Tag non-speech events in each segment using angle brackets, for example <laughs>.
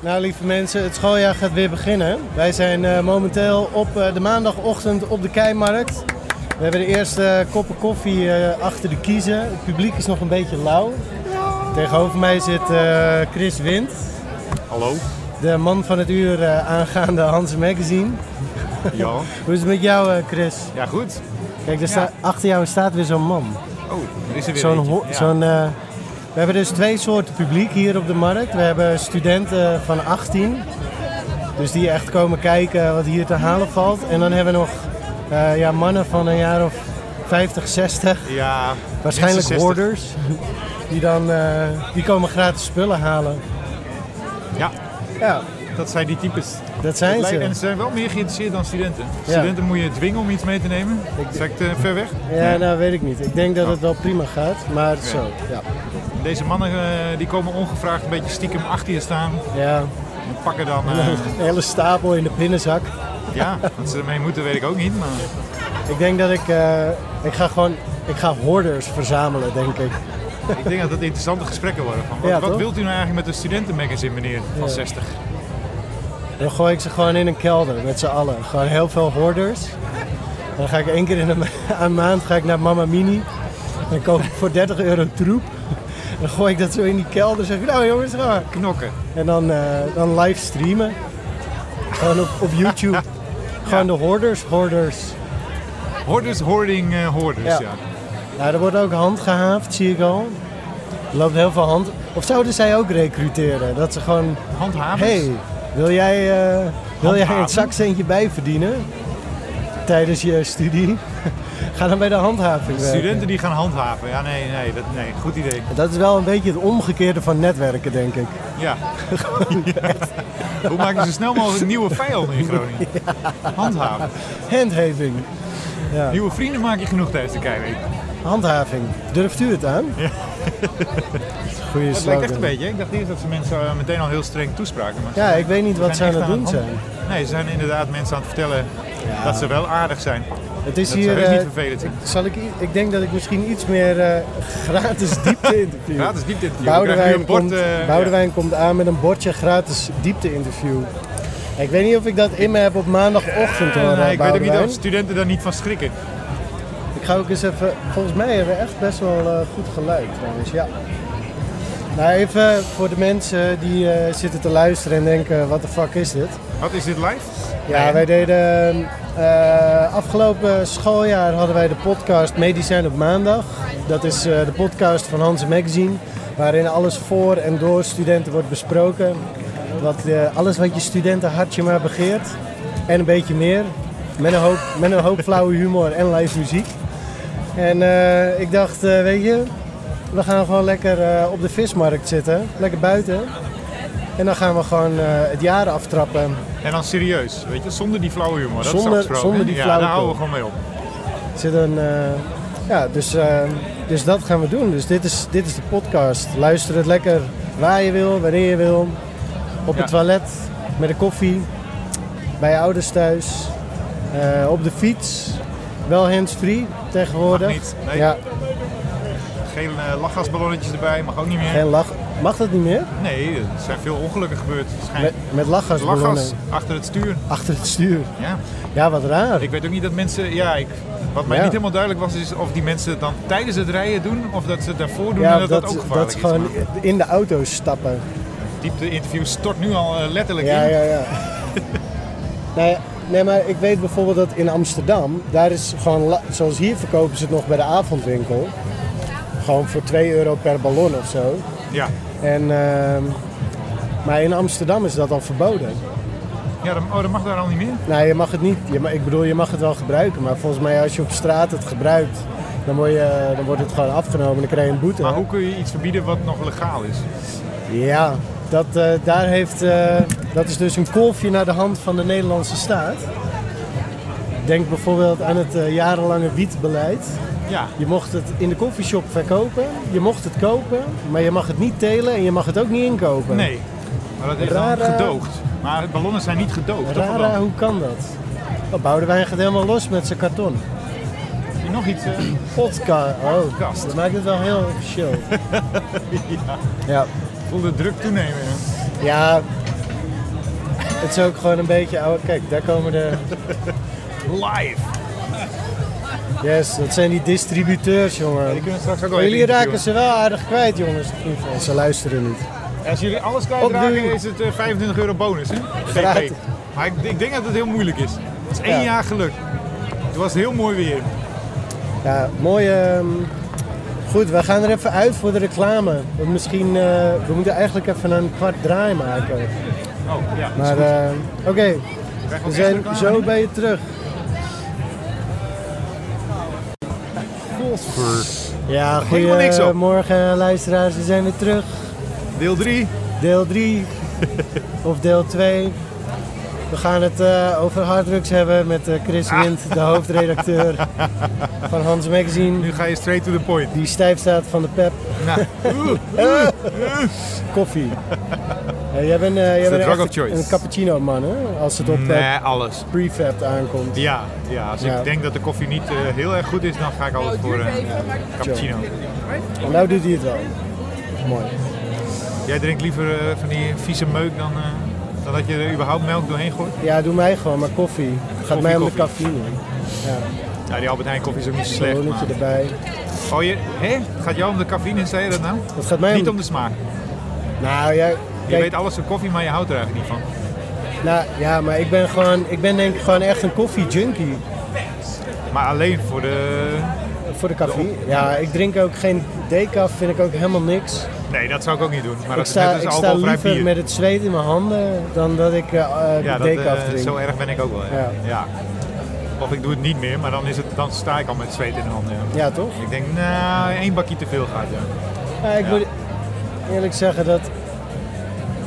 Nou, lieve mensen, het schooljaar gaat weer beginnen. Wij zijn eh, momenteel op eh, de maandagochtend op de Keimarkt. We hebben de eerste koppen koffie eh, achter de kiezen. Het publiek is nog een beetje lauw. Tegenover mij zit eh, Chris Wind, Hallo? de man van het uur eh, aangaande Hans Magazine. Ja. <laughs> Hoe is het met jou, eh, Chris? Ja, goed. Kijk, daar sta- achter jou staat weer zo'n man. Oh, er is er weer Zo'n eentje. ho- Ja. zo'n, eh, we hebben dus twee soorten publiek hier op de markt. We hebben studenten van 18, dus die echt komen kijken wat hier te halen valt. En dan hebben we nog eh, ja, mannen van een jaar of 50, 60, Ja. waarschijnlijk minstens 60. hoorders, <laughs> die dan eh, die komen gratis spullen halen. Ja, Ja, dat zijn die types. dat zijn Het lijkt- ze. En ze zijn wel meer geïnteresseerd dan studenten. Studenten moet je dwingen om iets mee te nemen. Zeg ik te ver weg? Oh. Ja, nou weet ik niet. Ik denk dat het wel prima gaat, maar zo. Ja. Deze mannen eh, die komen ongevraagd een beetje stiekem achter je staan. ja, En pakken dan... eh, <laughs> een hele stapel in de pinnenzak. ja, wat ze ermee moeten weet ik ook niet. Maar Ik denk dat ik, eh, ik ga gewoon, ik ga hoorders verzamelen, denk ik. ik denk dat het interessante gesprekken worden. Van, wat Ja, wat toch? wilt u nou eigenlijk met een studentenmagazine, meneer? Van 60. Dan gooi ik ze gewoon in een kelder met z'n allen. Gewoon heel veel hoorders. En Dan ga ik één keer in een, ma- <laughs> een maand ga ik naar Mama Mini. Dan koop ik voor 30 euro troep. Dan gooi ik dat zo in die kelder. Zeg ik, nou jongens, ga maar. Knokken. En dan, eh, dan live streamen. Gewoon op, op <laughs> YouTube. Gewoon de hoorders, hoorders. Hoorders, hoording, eh, hoorders. Ja. Ja. Nou, er wordt ook handgehaafd, zie ik al. Er loopt heel veel hand. Of zouden zij ook recruteren? Dat ze gewoon Handhavers. Hey, wil jij, eh, wil jij een Handhaven. zakcentje bijverdienen tijdens je studie? <laughs> Ga dan bij de handhaving werken. Studenten die gaan handhaven. Ja, nee, nee, dat, nee. Goed idee. Dat is wel een beetje het omgekeerde van netwerken, denk <laughs> ik. Ja. <laughs> Hoe maken ze zo snel mogelijk nieuwe vijanden in <laughs> Groningen? Handhaven. Handhaving. Ja, Nieuwe vrienden maak je genoeg tijdens de keiweek. handhaving. Durft u het aan? Ja. Goeie Het lijkt slogan. echt een beetje. hè? Ik dacht eerst dat ze mensen eh, meteen al heel streng toespraken. Maar ze Ja, ik weet niet wat ze zijn aan het echt doen zijn. hand- Nee, ze zijn inderdaad mensen aan het vertellen dat ze wel aardig zijn. Het is Dat hier... ze heus eh, niet vervelend zijn. zal ik, i- ik denk dat ik misschien iets meer eh, gratis diepte interview. Gratis diepte-interview. We krijgen Boudewijn, nu een bord, komt, eh, Boudewijn komt aan met een bordje gratis diepte-interview. Ik weet niet of ik dat in me heb op maandagochtend hoor, ja. Nee, eh, ik weet ook niet Boudewijn. of studenten daar niet van schrikken. Ik ga ook eens even... Volgens mij hebben we echt best wel eh, goed geluid trouwens, ja. Nou, even voor de mensen die eh, zitten te luisteren en denken, wat de fuck is dit? Wat is dit live? Ja, Nee. wij deden... eh, afgelopen schooljaar hadden wij de podcast Medicijn op Maandag. Dat is eh, de podcast van Hans Magazine. Waarin alles voor en door studenten wordt besproken. Wat, eh, alles wat je studentenhartje maar begeert. En een beetje meer. Met een hoop, met een hoop flauwe humor en live muziek. En eh, ik dacht, eh, weet je... We gaan gewoon lekker eh, op de vismarkt zitten. Lekker buiten. En dan gaan we gewoon eh, het jaar aftrappen. En dan serieus, weet je, zonder die flauwe humor. Dat is Zonder- afgesproken, zonder hè? die Ja, flauwe daar houden we humor. gewoon mee op. zit een. eh, ja, dus, eh, dus dat gaan we doen. Dus dit is, dit is de podcast. Luister het lekker waar je wil, wanneer je wil. Op Ja. het toilet, met een koffie, bij je ouders thuis, eh, op de fiets. Wel hands-free tegenwoordig. Mag niet, nee. Ja, Geen eh, lachgasballonnetjes erbij, mag ook niet meer. geen lach. Mag dat niet meer? Nee, er zijn veel ongelukken gebeurd. Waarschijnlijk. Met, met lachgasballonnen Lachgas achter het stuur. achter het stuur. Ja. Ja, wat raar. Ik weet ook niet dat mensen. Ja, ik, wat mij Ah. Ja. niet helemaal duidelijk was, is of die mensen het dan tijdens het rijden doen of dat ze het daarvoor doen ja, en dat dat, ook gevaarlijk dat is. gewoon Maar in de auto stappen. het diepte interview stort nu al eh, letterlijk Ja, in. ja, <laughs> ja. nee, nee, maar ik weet bijvoorbeeld dat in Amsterdam, daar is gewoon, la- zoals hier verkopen ze het nog bij de avondwinkel. Gewoon voor 2 euro per ballon of zo. Ja. En, ehm, maar in Amsterdam is dat al verboden. Ja, dan, oh, dat mag daar al niet meer. Nou, je mag het niet, je, ma- ik bedoel, je mag het wel gebruiken, maar volgens mij als je op straat het gebruikt, dan, word je, dan wordt het gewoon afgenomen en dan krijg je een boete. Maar hoe kun je iets verbieden wat nog legaal is? Ja, dat, eh, daar heeft, eh, dat is dus een kolfje naar de hand van de Nederlandse staat. Denk bijvoorbeeld aan het eh, jarenlange wietbeleid. Ja. Je mocht het in de koffieshop verkopen, je mocht het kopen, maar je mag het niet telen en je mag het ook niet inkopen. Nee. Maar dat is dan Rara- gedoogd. Maar ballonnen zijn niet gedoogd. toch? Rara, wel? hoe kan dat? Oh, Boudewijn gaat helemaal los met zijn karton. Nog iets. eh, Podcast. Oh, Podcast. dat maakt het wel heel <laughs> officieel. ja. <laughs> voelde druk toenemen. Ja, Het is ook gewoon een beetje oude. Kijk, daar komen de. Live. Yes, dat zijn die distributeurs, jongen. Die kunnen straks ook wel Maar jullie even raken ze wel aardig kwijt, jongens. of niet? Nee, Ze luisteren niet. interviewen. Als jullie alles Opnieuw. kwijtraken is het eh, 25 euro bonus. Hè? Gratis. GP. Maar ik, ik denk dat het heel moeilijk is. Het is één Ja. jaar geluk. Het was heel mooi weer. Ja, mooi. ehm, Goed, we gaan er even uit voor de reclame. Want Misschien, eh, we moeten eigenlijk even een kwart draai maken. Oh, ja. Maar eh, oké, Krijgen we ook zijn eerst reclame? zo bij je terug. Ja, Helemaal niks op. goedemorgen luisteraars, we zijn weer terug. Deel 3. Deel <laughs> 3 of deel 2. We gaan het eh, over harddrugs hebben met eh, Chris Ah. Wind, de <laughs> hoofdredacteur van Hans Magazine. Nu ga je straight to the point. Die stijf staat van de pep. Nou, oeh, <laughs> <laughs> Koffie. Eh, jij bent, eh, jij the bent drug echt of choice. een cappuccino man, hè? Als het op eh, nee, alles. prefab aankomt. Ja, ja, als Ja. ik denk dat de koffie niet eh, heel erg goed is, dan ga ik altijd voor een eh, cappuccino. En nou doet hij het wel. Mooi. Jij drinkt liever eh, van die vieze meuk dan, eh, dan dat je er überhaupt melk doorheen gooit? Ja, doe mij gewoon, maar koffie. Het gaat Koffie, mij om de koffie. cafeïne. Ja, Ja, die Albert Heijn koffie is ook niet zo slecht. een Maar... erbij. Oh, je, hè? Gaat jou om de cafeïne, zei je dat nou? Het gaat mij om... Niet om de smaak. Je Nou, jij... kijk, weet alles van koffie, maar je houdt er eigenlijk niet van. Nou ja, maar ik ben gewoon, ik ben denk ik gewoon echt een koffiejunkie Maar alleen voor de... voor de koffie. Ja, ik drink ook geen decaf, vind ik ook helemaal niks. Nee, dat zou ik ook niet doen. Maar Ik dat sta, is net ik als sta alcoholvrij liever bier. met het zweet in mijn handen dan dat ik eh, eh, ja, dat, decaf eh, drink. zo erg ben ik ook wel. Ja. Ja. Ja. Of ik doe het niet meer, maar dan, is het, dan sta ik al met zweet in de handen. ja. Ja, toch? Ik denk, nou, één bakje te veel gaat. Ja. Ja, ik Ja. moet eerlijk zeggen dat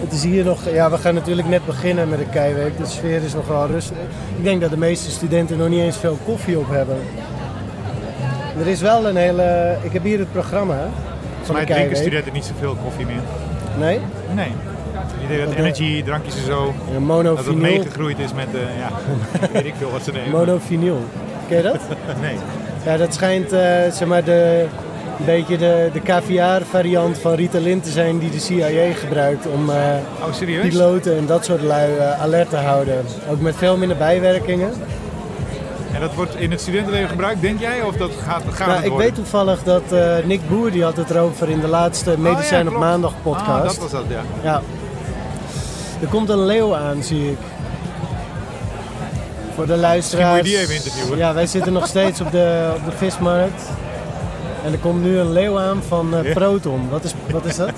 het is hier nog. Ja, we gaan natuurlijk net beginnen met de keiweek. De sfeer is nog wel rustig. Ik denk dat de meeste studenten nog niet eens veel koffie op hebben. Er is wel een hele. Ik heb hier het programma van de Maar drinken keiweek. studenten niet zoveel koffie meer. Nee, Nee. Ik denk dat Oké. energy, drankjes en zo, een dat het monofinyl. meegegroeid is met, eh, ja, <laughs> weet ik veel wat ze nemen. Monofinyl. Ken je dat? <laughs> Nee. Ja, dat schijnt eh, zeg maar de, een beetje de, de caviar-variant van Ritalin te zijn die de CIA gebruikt om eh, Oh, serieus? piloten en dat soort lui eh, alert te houden. Ook met veel minder bijwerkingen. En dat wordt in het studentenleven gebruikt, denk jij? Of dat gaat, gaat Nou, het ik worden? weet toevallig dat eh, Nick Boer die had het erover in de laatste Oh, ja, Medicijn op klopt. Maandag Ah, podcast. dat was dat, ja. Ja. Er komt een leeuw aan, zie ik. Voor de luisteraars. Misschien moet je die even interviewen. Ja, wij zitten nog steeds op de, op de vismarkt. En er komt nu een leeuw aan van eh, Ja. Proton. Wat is, wat is dat?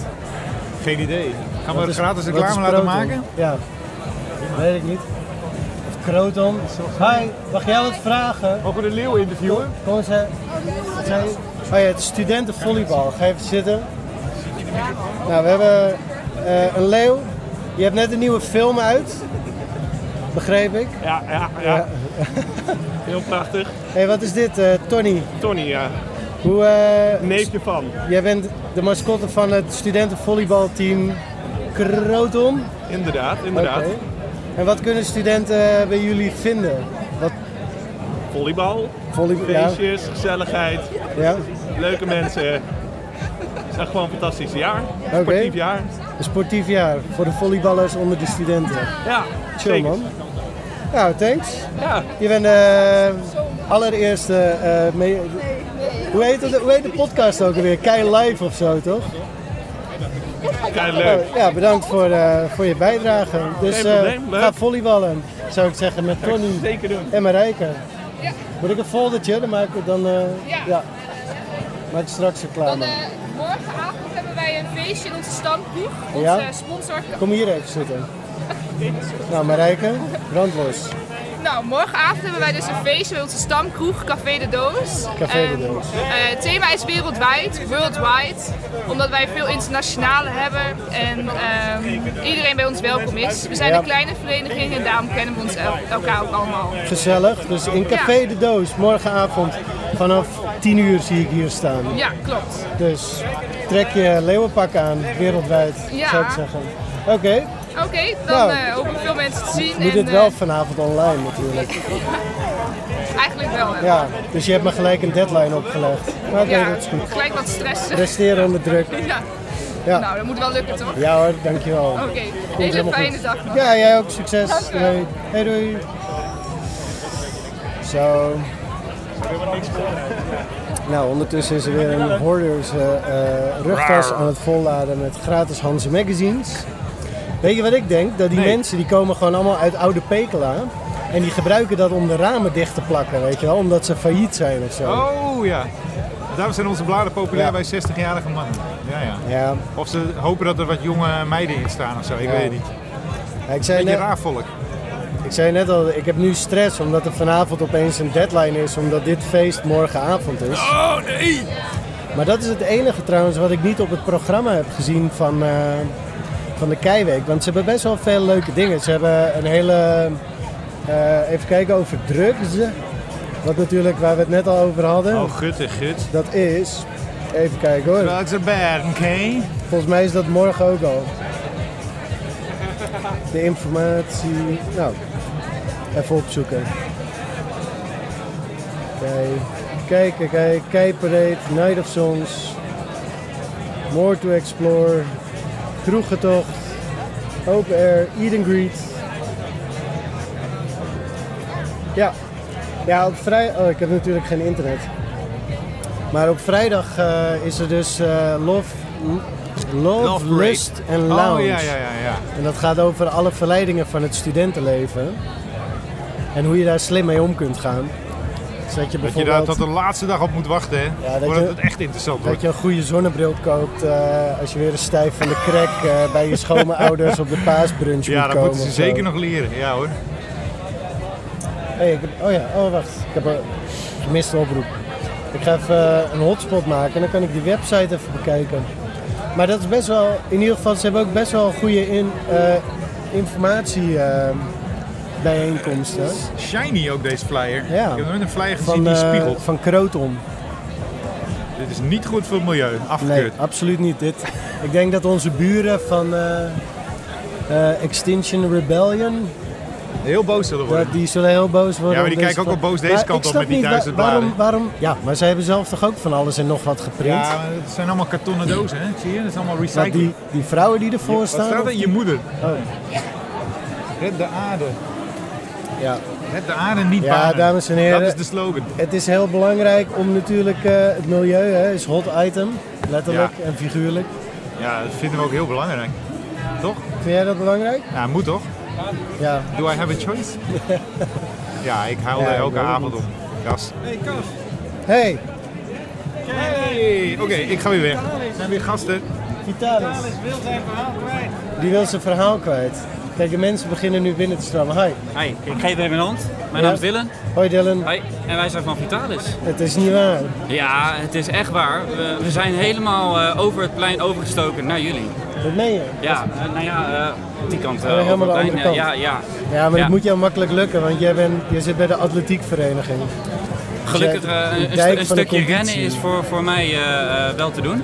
Geen idee. Gaan we Wat het is- gratis wat reclame is laten Proton? maken? Ja. Weet ik niet. Of Croton. Hi, mag jij wat vragen? Mogen we de leeuw interviewen? Kom eens. hè. Wat zei je? Oh ja, het is studentenvolleybal. Ga even zitten. Nou, we hebben eh, een leeuw. Je hebt net een nieuwe film uit. Begreep ik. Ja, ja, ja. <laughs> Heel prachtig. Hé, hey, wat is dit, eh, Tony? Tony, ja. Hoe, eh, Neefje van. Jij bent de mascotte van het studentenvolleybalteam Croton. Inderdaad, inderdaad. Oké. En wat kunnen studenten eh, bij jullie vinden? Wat Volleybal, volleybal? Ja. feestjes, gezelligheid, ja. leuke mensen. Het is echt gewoon een fantastisch jaar. Sportief jaar. Een sportief jaar voor de volleyballers onder de studenten. Ja, Chill zeker. man. Nou, thanks. Ja, Je bent de allereerste. eh, mee- hoe, heet het, hoe heet de podcast ook alweer? Kei Live of zo, toch? Oh, kei leuk. Ja, bedankt voor, eh, voor je bijdrage. Dus Geen eh, probleem, leuk. ga volleyballen, zou ik zeggen, met Tony Zeker doen. en Marijke. Moet ik een foldertje? Dan maak ik dan. eh, ja. Maak ik straks Dan reclame. eh, morgenavond hebben wij een feestje in onze standproef. Onze Ja? sponsor. Kom hier even zitten. Nou, Marijke, brandlos. Nou, morgenavond hebben wij dus een feestje bij onze stamkroeg Café de Doos. Café de En, Doos. eh, het thema is wereldwijd, worldwide. Omdat wij veel internationale hebben en ehm, iedereen bij ons welkom is. We zijn Ja. een kleine vereniging en daarom kennen we ons el- elkaar ook allemaal. Gezellig. Dus in Café de Doos, morgenavond vanaf 10 uur zie ik hier staan. Ja, klopt. Dus trek je leeuwenpak aan, wereldwijd, Ja. zou ik zeggen. Oké, Oké, dan Nou. eh, hopen veel mensen te zien. moet en, dit wel eh, vanavond online natuurlijk. eigenlijk wel. hè. Ja, dus je hebt me gelijk een deadline opgelegd. Maar Oké, Ja, dat is goed. gelijk wat stressen. Resteren onder druk. <laughs> Ja. Ja. Nou, dat moet wel lukken toch? Ja hoor, dankjewel. Oké, hele helemaal fijne goed. dag nog. Ja, jij ook. Succes. Dankjewel. Doei. Hey, doei. Zo. Nou, ondertussen is er weer een hoorders eh eh, rugtas aan het volladen met gratis Hanse magazines. Weet je wat ik denk? Dat die Nee. mensen die komen gewoon allemaal uit Oude Pekela. En die gebruiken dat om de ramen dicht te plakken, weet je wel? Omdat ze failliet zijn of zo. Oh ja. Daarom zijn onze bladen populair Ja. bij 60-jarige mannen. Ja, ja. Ja, Of ze hopen dat er wat jonge meiden in staan of zo. Ik Ja. weet het niet. Ja, ik zei, Beetje net, raar volk. ik zei net al, ik heb nu stress omdat er vanavond opeens een deadline is. Omdat dit feest morgenavond is. Oh nee! Maar dat is het enige trouwens wat ik niet op het programma heb gezien van, eh, van de Keiweek. Want ze hebben best wel veel leuke dingen. Ze hebben een hele. eh, even kijken over drugs. Wat natuurlijk, waar we het net al over hadden. Oh, gut en gut. Dat is. Even kijken hoor. Drugs are bad, oké? Volgens mij is dat morgen ook al. De informatie. Nou, even opzoeken. Kijk, kijk, kijk. Keiparade, Night of Sons. More to Explore. Kroegentocht. Open Air, Eat and Greet. Ja. Ja, op vrijdag... Oh, ik heb natuurlijk geen internet. Maar op vrijdag eh, is er dus eh, Love... Love, Love Parade. Lust en Lounge. Oh ja, ja, ja, ja. En dat gaat over alle verleidingen van het studentenleven. En hoe je daar slim mee om kunt gaan. Dus dat je Dat je daar bijvoorbeeld dat tot de laatste dag op moet wachten, hè? Ja, dat Voordat je- het echt interessant je, wordt. een goede zonnebril koopt eh, als je weer een stijf van de crack eh, bij je schoonouders op de paasbrunch Ja, moet dat komen. moeten ze of zo. zeker nog leren. Ja hoor. Hey, ik heb- oh ja, oh wacht. Ik heb een gemiste oproep. Ik ga even eh, een hotspot maken en dan kan ik die website even bekijken. Maar dat is best wel, in ieder geval, ze hebben ook best wel goede in, eh, informatie eh, bijeenkomsten. Shiny ook deze flyer. Ja. Ik heb nooit een flyer gezien Van, die eh, spiegelt. van Kroton. Dit is niet goed voor het milieu. Nee, Afgekeurd. absoluut niet. Dit, ik denk dat onze buren van eh, eh, Extinction Rebellion, Heel boos zullen worden. dat, die zullen heel boos worden. Ja, maar die op kijken ook vla- wel boos deze Maar kant ik op snap met die niet wa- duizend waarom, bladen. waarom? Ja, maar zij hebben zelf toch ook van alles en nog wat geprint? Ja, maar het zijn allemaal kartonnen dozen, hè? Zie je? Dat is allemaal Maar recycling. die, die vrouwen die ervoor Wat staan... staat of- er? Je moeder. Oh, Red de aarde. ja. Red de aarde, niet Ja, banen. dames en heren. Dat is de slogan. Het is heel belangrijk om natuurlijk... eh, het milieu hè, is hot item, letterlijk Ja. en figuurlijk. Ja, dat vinden we ook heel belangrijk. Toch? Vind jij dat belangrijk? Ja, moet toch? Ja. Do I have a choice? ja, ik huil Ja, er ik elke weet het avond niet. om. Gas. <laughs> Hey, Hey! Oké, ik ga weer weg. Er zijn weer gasten. Vitalis. Die wil zijn verhaal kwijt. Kijk, de mensen beginnen nu binnen te stromen. Hi. Hi, ik geef even een hand. Mijn Ja. naam is Dylan. Hoi Dylan. Hi, en wij zijn van Vitalis. Het is niet waar. Ja, het is echt waar. We, we zijn helemaal eh, over het plein overgestoken naar jullie. Dat meen je. Ja, eh, nou ja, eh, die kant. eh, Oh, helemaal over het de plein, andere eh, kant. Ja, ja. Ja, maar Ja. dat moet jou makkelijk lukken, want jij bent, je zit bij de atletiekvereniging. Gelukkig de eh, een- een, dijk stu- een van de stukje rennen competitie. is voor, voor mij eh, eh, wel te doen.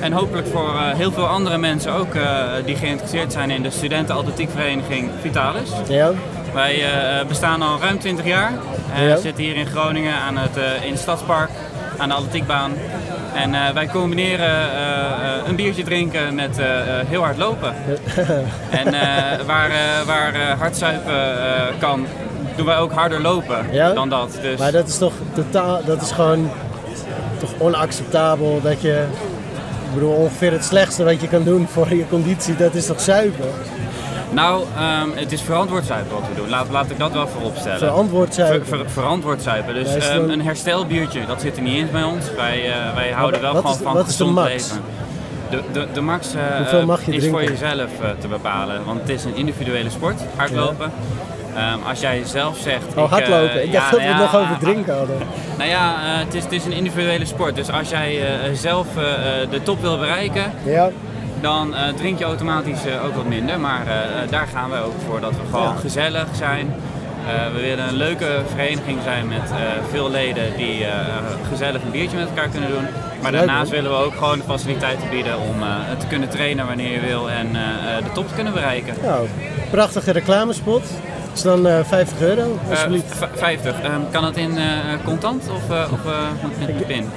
En hopelijk voor eh, heel veel andere mensen ook eh, die geïnteresseerd zijn in de studentenatletiekvereniging Vitalis. Ja? Wij eh, bestaan al ruim 20 jaar. Eh, Ja. We zitten hier in Groningen aan het, eh, in het Stadspark, aan de atletiekbaan. En eh, wij combineren eh, eh, een biertje drinken met eh, eh, heel hard lopen. en eh, waar, eh, waar eh, hard zuipen eh, kan, doen wij ook harder lopen Ja? dan dat. Dus Maar dat is toch totaal, dat is gewoon toch onacceptabel dat je, ik bedoel ongeveer het slechtste wat je kan doen voor je conditie, dat is toch zuipen? nou, ehm, het is verantwoord zuipen wat we doen. Laat, laat ik dat wel voorop stellen. Verantwoord zuipen. Ver- ver- verantwoord zuipen. Dus Ja, is ehm, dan- een herstelbiertje, dat zit er niet in bij ons. Wij, eh, wij houden Maar wel wat gewoon is- van wat is de gezond max? leven. De, de, de max eh, Hoeveel eh, mag je is drinken? voor jezelf eh, te bepalen. Want het is een individuele sport, hardlopen. Ehm, als jij zelf zegt... Oh, hardlopen. eh, Ik ja, dacht dat we nou het ja, nog over ah, drinken hadden. nou ja, eh, het, is, het is een individuele sport. Dus als jij eh, zelf eh, eh, de top wil bereiken, Ja, dan eh, drink je automatisch eh, ook wat minder. Maar eh, eh, daar gaan we ook voor dat we gewoon Ja. gezellig zijn. Eh, we willen een leuke vereniging zijn met eh, veel leden die eh, gezellig een biertje met elkaar kunnen doen. Maar Leuk, daarnaast hoor. willen we ook gewoon de faciliteiten bieden om eh, te kunnen trainen wanneer je wil en eh, eh, de top te kunnen bereiken. nou, prachtige reclamespot. Dat is dan eh, 50 euro, Eh, alsjeblieft. v- 50. Ehm, kan dat in eh, contant of, eh, of eh, met een pin?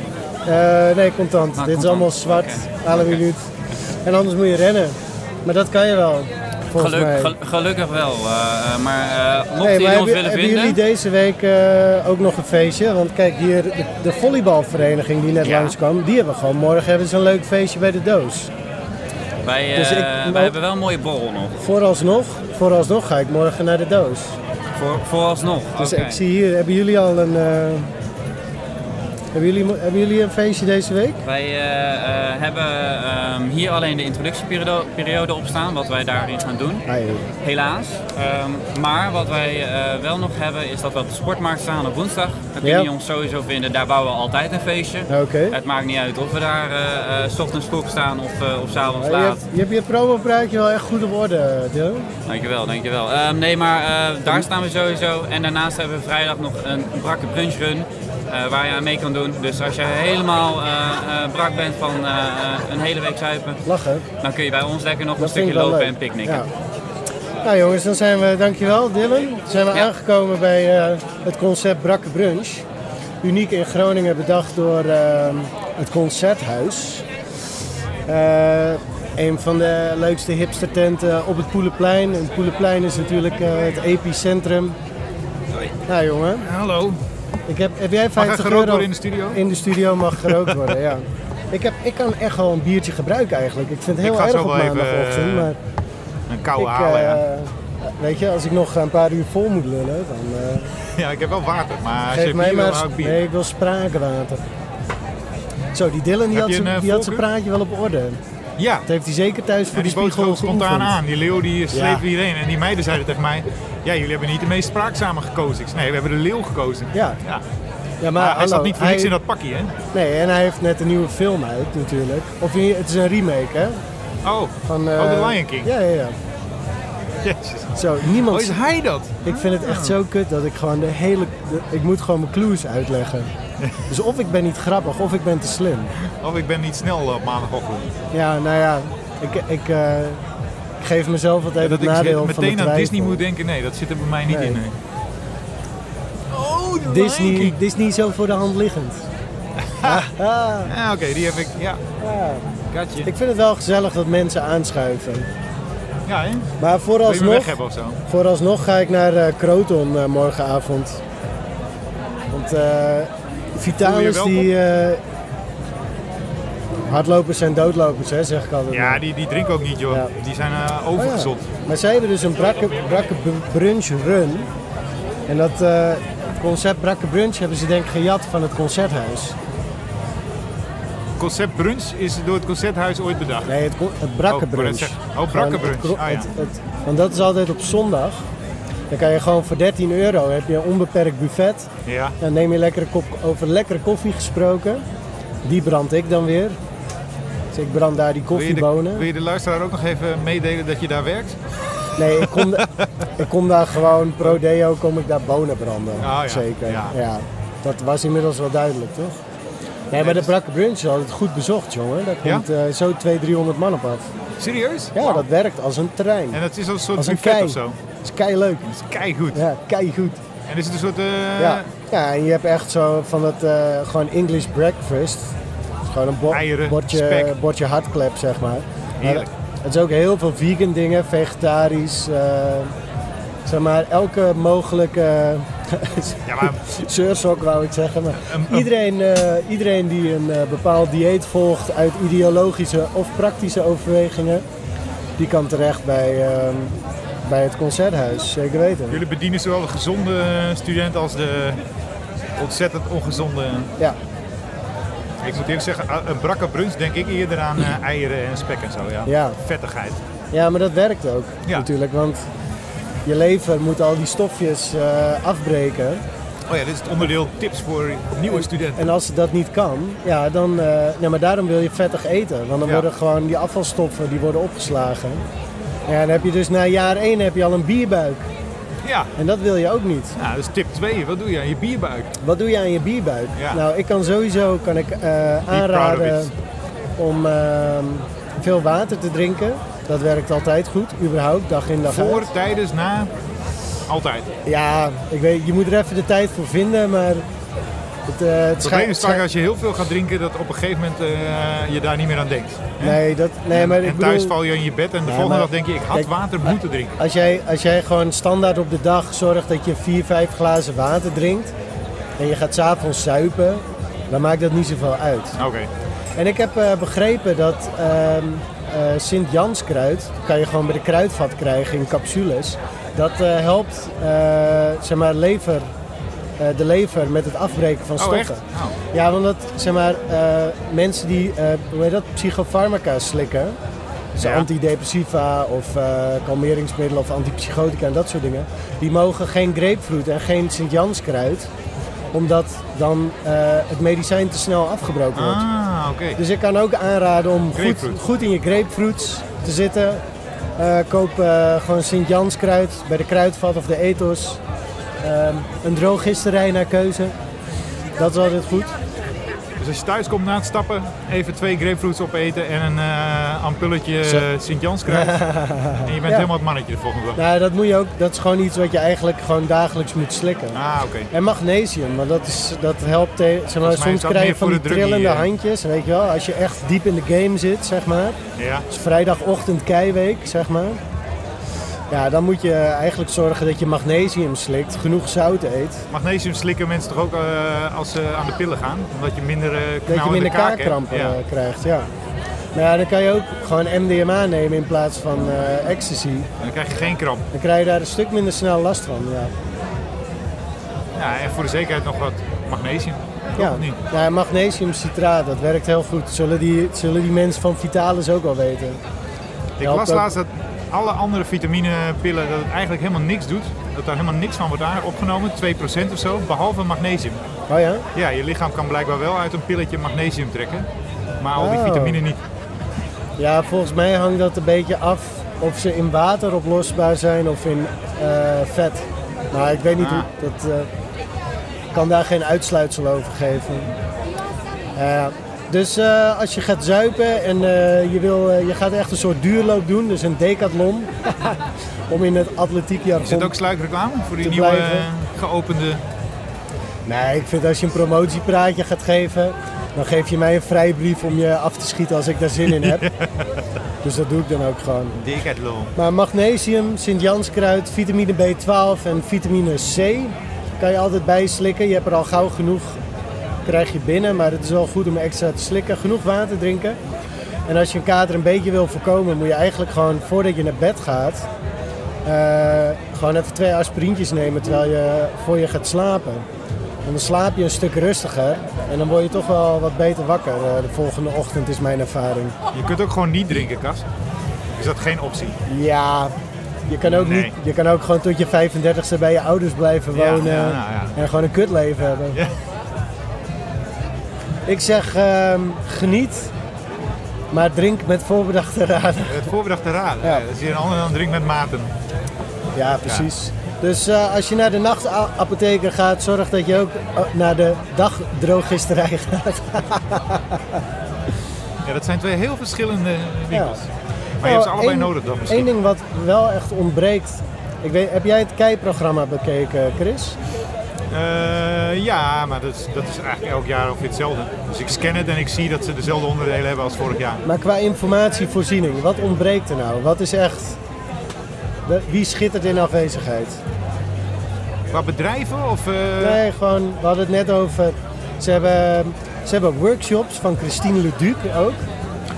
Eh, nee, contant. Ah, Dit is contant. allemaal zwart, Oké. alle minuut. En anders moet je rennen. Maar dat kan je wel. Volgens Geluk- mij. gel- gelukkig wel. eh, eh, maar eh mocht Nee, jullie maar ons hebben, willen hebben vinden... jullie deze week eh, ook nog een feestje? Want kijk, hier de, de volleybalvereniging die net Ja. langskwam, die hebben gewoon morgen hebben ze een leuk feestje bij de doos. Wij, eh, Dus ik- wij hebben wel een mooie borrel nog. Vooralsnog, vooralsnog ga ik morgen naar de doos. Voor, vooralsnog. Dus Oké. ik zie hier, hebben jullie al een. eh, hebben, jullie, hebben jullie een feestje deze week? Wij eh, eh, hebben ehm, hier alleen de introductieperiode periode op staan, wat wij daarin gaan doen. Nee. Helaas. Ehm, maar wat wij eh, wel nog hebben is dat we op de sportmarkt staan op woensdag. Dan kun je Ja. ons sowieso vinden. Daar bouwen we altijd een feestje. Oké. Het maakt niet uit of we daar eh, eh, s ochtends vroeg staan of, eh, of s Je avonds laat. hebt je, hebt je promopruikje wel echt goed op orde, Dylan. Dankjewel, dankjewel. Ehm, nee, maar eh, daar staan we sowieso. En daarnaast hebben we vrijdag nog een brakke brunchrun eh, waar je aan mee kan doen. Dus als je helemaal eh, eh, brak bent van eh, eh, een hele week zuipen, Lachen. dan kun je bij ons lekker nog een Dat vind stukje ik wel lopen leuk. en picknicken. Ja. Nou jongens, dan zijn we, dankjewel Dylan. Dan zijn we Ja. aangekomen bij eh, het concept Brakke Brunch. Uniek in Groningen bedacht door ehm, het Concerthuis. Eh, een van de leukste hipstertenten op het Poelenplein. En het Poelenplein is natuurlijk eh, het epicentrum. Nou jongen, Hallo. ik heb, heb jij Mag er 50 euro... gerookt worden in de studio? In de studio mag gerookt worden, <laughs> ja. Ik, heb, ik kan echt wel een biertje gebruiken eigenlijk. Ik vind het heel Ik ga erg zo op wel even, maandagochtend, eh, maar... Een koude Ik, halen, ja. eh, Weet je, als ik nog een paar uur vol moet lullen, dan eh, Ja, ik heb wel water, maar als je geef mij bier wil, maar... hou ik bier. Nee, ik wil sprakenwater. Zo, die Dylan die Heb had, je zijn- een, eh, die had zijn voorkeur? praatje wel op orde. Ja, Dat heeft hij zeker thuis voor Ja, die die boot spiegel schoot spontaan geoefend. aan. Die leeuw die sleepte Ja. iedereen. En die meiden zeiden tegen mij, ja, jullie hebben niet de meest spraakzame gekozen. Ik zei, nee, we hebben de leeuw gekozen. Ja. ja. Ja, Maar, maar hij zat hallo, niet voor niks in dat pakje, hè? Nee, en hij heeft net een nieuwe film uit natuurlijk. Of in- het is een remake, hè? Oh, Van, oh eh, de Lion King. Ja, ja, ja. Jezus. Zo, Oh, niemand... is hij dat? Ik vind het Ah. echt zo kut dat ik gewoon de hele... de- ik moet gewoon mijn clues <laughs> uitleggen. Dus of ik ben niet grappig, of ik ben te slim. Of ik ben niet snel eh, op maandagochtend. Ja, nou ja, ik, ik, eh, ik geef mezelf altijd dat het ik nadeel van de meteen aan twijfel. Disney moet denken, nee, dat zit er bij mij niet Nee. in. nee. Oh, de Lion Disney, King. Disney zo voor de hand liggend. Haha. Ja, oké, die heb ik, ja, Ja. katje. Ah. Ik vind het wel gezellig dat mensen aanschuiven. Ja, Maar hè? Wil je me weg vooralsnog, hebben of zo? vooralsnog ga ik naar eh, Croton eh, morgenavond. Want eh, Vitalis Voel je je die... eh, hardlopers zijn doodlopers, hè, zeg ik altijd. Ja, die, die drinken ook niet, joh. Ja. Die zijn eh, Oh ja. overgezond. Maar zij hebben dus een brakke, brakke br- brunch run. En dat eh, concept brakke brunch hebben ze denk ik gejat van het concerthuis. Concept brunch is door het Concerthuis ooit bedacht. Nee, het, con- het brakke Oh, ik wou net brunch. zeggen. Oh, Gewoon brakke het brunch. kro- Ah, ja. het- het- want dat is altijd op zondag. Dan kan je gewoon voor 13 euro heb je een onbeperkt buffet. Ja. Dan neem je lekkere kop, over lekkere koffie gesproken. Die brand ik dan weer. Dus ik brand daar die Wil je, de, koffiebonen. wil je de luisteraar ook nog even meedelen dat je daar werkt? Nee, ik kom, da- ik kom daar gewoon pro deo, kom ik daar bonen branden. Oh, ja, Zeker. Ja. ja. dat was inmiddels wel duidelijk, toch? Nee, maar de Brakke Brunch is altijd goed bezocht, jongen. Daar dus- Ja? komt eh, zo 200, 300 man op af. Serieus? Ja, dat werkt als een trein. En dat is als een als soort een buffet kei. of zo. Dat is kei leuk. Dat is keigoed. Ja, kei goed. En is het een soort... eh, Ja. ja, en je hebt echt zo van dat eh, gewoon English breakfast. Dat is gewoon een bo- Eieren, bordje, spek. bordje hardklep, zeg maar. Maar Heerlijk. het is ook heel veel vegan dingen, vegetarisch. eh, zeg maar, elke mogelijke <laughs> Ja, maar zeursok wou ik zeggen. Maar Een- een- iedereen, eh, iedereen die een eh, bepaald dieet volgt uit ideologische of praktische overwegingen, die kan terecht bij, ehm, bij het concerthuis, zeker weten. jullie bedienen zowel de gezonde eh, student als de ontzettend ongezonde... Ja. Ik moet eerlijk zeggen, een brakke brunch denk ik eerder aan eh, eieren en spek en zo. Ja. Ja. Vettigheid. Ja, maar dat werkt ook Ja. natuurlijk, want je lever moet al die stofjes eh, afbreken. Oh ja, dit is het onderdeel tips voor nieuwe studenten. En als het dat niet kan, ja, dan, eh, nee, maar daarom wil je vettig eten. Want dan Ja. worden gewoon die afvalstoffen die worden opgeslagen. Ja, dan heb je dus na jaar één heb je al een bierbuik. Ja. En dat wil je ook niet. Nou, dat is tip 2. Wat doe je aan je bierbuik? Wat doe je aan je bierbuik? Ja. Nou, ik kan sowieso kan ik, eh, aanraden it. om ehm, veel water te drinken. Dat werkt altijd goed, überhaupt, dag in dag uit. Voor, tijdens, na? Altijd. Ja, ik weet, je moet er even de tijd voor vinden, maar Het, eh, het Het probleem schijnt- is vaak als je heel veel gaat drinken, dat op een gegeven moment eh, je daar niet meer aan denkt. Nee, dat, nee maar ik en thuis bedoel, val je in je bed en de Ja, volgende maar- dag denk je, ik had Kijk, water moeten drinken. als jij, als jij gewoon standaard op de dag zorgt dat je 4, 5 glazen water drinkt en je gaat s'avonds zuipen, dan maakt dat niet zoveel uit. Oké. En ik heb eh, begrepen dat ehm, eh, Sint-Janskruid, kan je gewoon bij de kruidvat krijgen in capsules. Dat eh, helpt eh, zeg maar, lever, eh, de lever met het afbreken van Oh, stoffen. echt? Nou, Ja, want dat, zeg maar, eh, mensen die, eh, hoe heet dat, psychofarmaca slikken. Dus Ja. antidepressiva of eh, kalmeringsmiddelen of antipsychotica en dat soort dingen. Die mogen geen grapefruit en geen Sint-Janskruid. Omdat dan eh, het medicijn te snel afgebroken wordt. ah, oké. Dus ik kan ook aanraden om goed, Grapefruit. goed in je grapefruits te zitten. Eh, koop eh, gewoon Sint-Janskruid bij de Kruidvat of de Ethos. Ehm, een drogisterij naar keuze. Dat is altijd goed. Dus als je thuis komt na het stappen, even twee grapefruits opeten en een eh, ampulletje Zo. eh, <laughs> Sint-Jans krijgt. en je bent Ja. helemaal het mannetje de volgende dag. Nou, dat moet je ook. Dat is gewoon iets wat je eigenlijk gewoon dagelijks moet slikken. Ah, oké. En magnesium, want dat, is, dat helpt tegen. Zeg maar, Volgens mij is soms dat krijg je meer van die voor de druggie, trillende eh. handjes. Weet je wel, als je echt diep in de game zit, zeg maar. Ja. Het is vrijdagochtend keiweek, zeg maar. Ja, dan moet je eigenlijk zorgen dat je magnesium slikt, genoeg zout eet. Magnesium slikken mensen toch ook eh, als ze aan de pillen gaan? Omdat je minder eh Dat je knauwende minder kaak hebt. kaakkrampen Ja. eh, krijgt, ja. Maar ja, dan kan je ook gewoon MDMA nemen in plaats van eh, ecstasy. En Dan krijg je geen kramp. Dan krijg je daar een stuk minder snel last van, ja. Ja, en voor de zekerheid nog wat magnesium. Ja, of niet? ja magnesium citraat, dat werkt heel goed. Zullen die, zullen die mensen van Vitalis ook wel weten? Ik Helpt las ook. laatst dat alle andere vitaminepillen dat het eigenlijk helemaal niks doet. Dat daar helemaal niks van wordt aan- opgenomen, 2% of zo, behalve magnesium. Oh ja? Ja, je lichaam kan blijkbaar wel uit een pilletje magnesium trekken, maar al die Oh. vitamine niet. Ja, volgens mij hangt dat een beetje af of ze in water oplosbaar zijn of in eh, vet. Maar ik weet niet Ah. hoe. Dat, eh, ik kan daar geen uitsluitsel over geven. Eh, dus eh, als je gaat zuipen en eh, je, wil, eh, je gaat echt een soort duurloop doen, dus een decathlon. <laughs> om in het atletiek Is het ook sluikreclame voor die Te nieuwe blijven. eh, geopende... Nee, ik vind als je een promotiepraatje gaat geven, dan geef je mij een vrijbrief om je af te schieten als ik daar zin in <laughs> heb. Dus dat doe ik dan ook gewoon. Decathlon. Maar magnesium, Sint-Janskruid, vitamine B12 en vitamine C kan je altijd bij slikken. Je hebt er al gauw genoeg, krijg je binnen, maar het is wel goed om extra te slikken. Genoeg water drinken. En als je een kater een beetje wil voorkomen, moet je eigenlijk gewoon voordat je naar bed gaat, eh, gewoon even twee aspirintjes nemen terwijl je voor je gaat slapen. Want dan slaap je een stuk rustiger en dan word je toch wel wat beter wakker eh, de volgende ochtend, is mijn ervaring. Je kunt ook gewoon niet drinken, Kas. Is dat geen optie? Ja, je kan ook, Nee. niet, je kan ook gewoon tot je 35ste bij je ouders blijven Ja, wonen. ja, nou ja. En gewoon een kutleven hebben. Ja. <laughs> Ik zeg, ehm, geniet, maar drink met voorbedachte raden. <laughs> Het voorbedachte raden. Ja. Ja. Dat is hier een ander dan drink met maten. Ja, precies. Dus eh, als je naar de nachtapotheker gaat, zorg dat je ook eh, naar de dagdrogisterij <laughs> gaat. Ja, dat zijn twee heel verschillende winkels. Maar Nou, je hebt ze allebei één- nodig dan misschien. Eén ding wat wel echt ontbreekt. Ik weet, heb jij het KEI-programma bekeken, Chris? Eh, ja, maar dat is, dat is eigenlijk elk jaar ongeveer hetzelfde. Dus ik scan het en ik zie dat ze dezelfde onderdelen hebben als vorig jaar. Maar qua informatievoorziening, wat ontbreekt er nou? Wat is echt. de- Wie schittert in afwezigheid? Qua bedrijven of... eh, Nee, gewoon, we hadden het net over. Ze hebben, ze hebben workshops van Christine Leduc ook.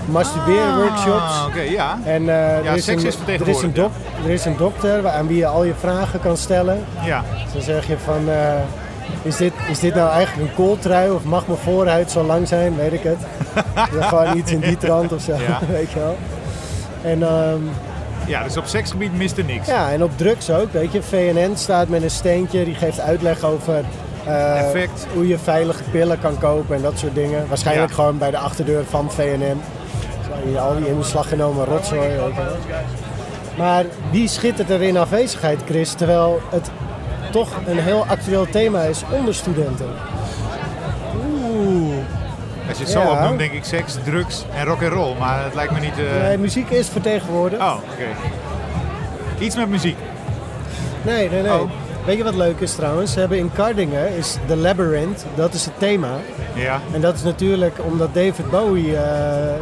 Masturberen Ah, workshops. Oké, ja. En eh, er, is seks een, is er, is een vertegenwoordigd, dok, er is een dokter aan wie je al je vragen kan stellen. ja. Dus Dan zeg je van, eh, is, dit, is dit nou eigenlijk een kooltrui of mag mijn voorhuid zo lang zijn? Weet ik het. Ja, gewoon iets in die trant of zo, Ja. <laughs> weet je wel. En ehm, Ja, dus op seksgebied mist er niks. ja, en op drugs ook, weet je. VNN staat met een steentje, die geeft uitleg over eh, Effect. hoe je veilige pillen kan kopen en dat soort dingen. Waarschijnlijk Ja. gewoon bij de achterdeur van VNN. Zo, hier Al die in beslag genomen rotzooi. weet je wel. Maar die schittert er in afwezigheid, Chris, terwijl het toch een heel actueel thema is onder studenten. Oeh. Als je het zo Ja. opnoemt, denk ik seks, drugs en rock and roll. Maar het lijkt me niet... eh, Nee, muziek is vertegenwoordigd. Oh, oké. Iets met muziek. Nee, nee, nee. Oh. Weet je wat leuk is trouwens? Ze hebben in Kardingen is The Labyrinth, dat is het thema. Ja. En dat is natuurlijk omdat David Bowie eh,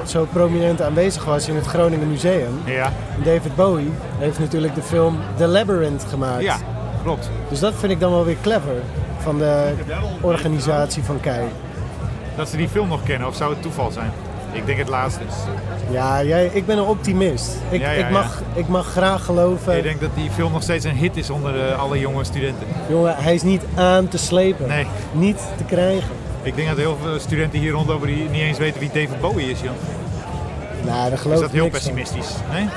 zo prominent aanwezig was in het Groningen Museum. Ja. David Bowie heeft natuurlijk de film The Labyrinth gemaakt. Ja, klopt. Dus dat vind ik dan wel weer clever van de organisatie van Kei. Dat ze die film nog kennen, of zou het toeval zijn? Ik denk het laatste. Ja, jij, ik ben een optimist. Ik, Ja, ja, ik, mag, ik mag graag geloven. Ik denk dat die film nog steeds een hit is onder eh, alle jonge studenten. Jongen, hij is niet aan te slepen. Nee. Niet te krijgen. Ik denk dat heel veel studenten hier rondlopen die niet eens weten wie David Bowie is, joh. Nou, daar geloof Is ik dat heel niks van. pessimistisch? Nee?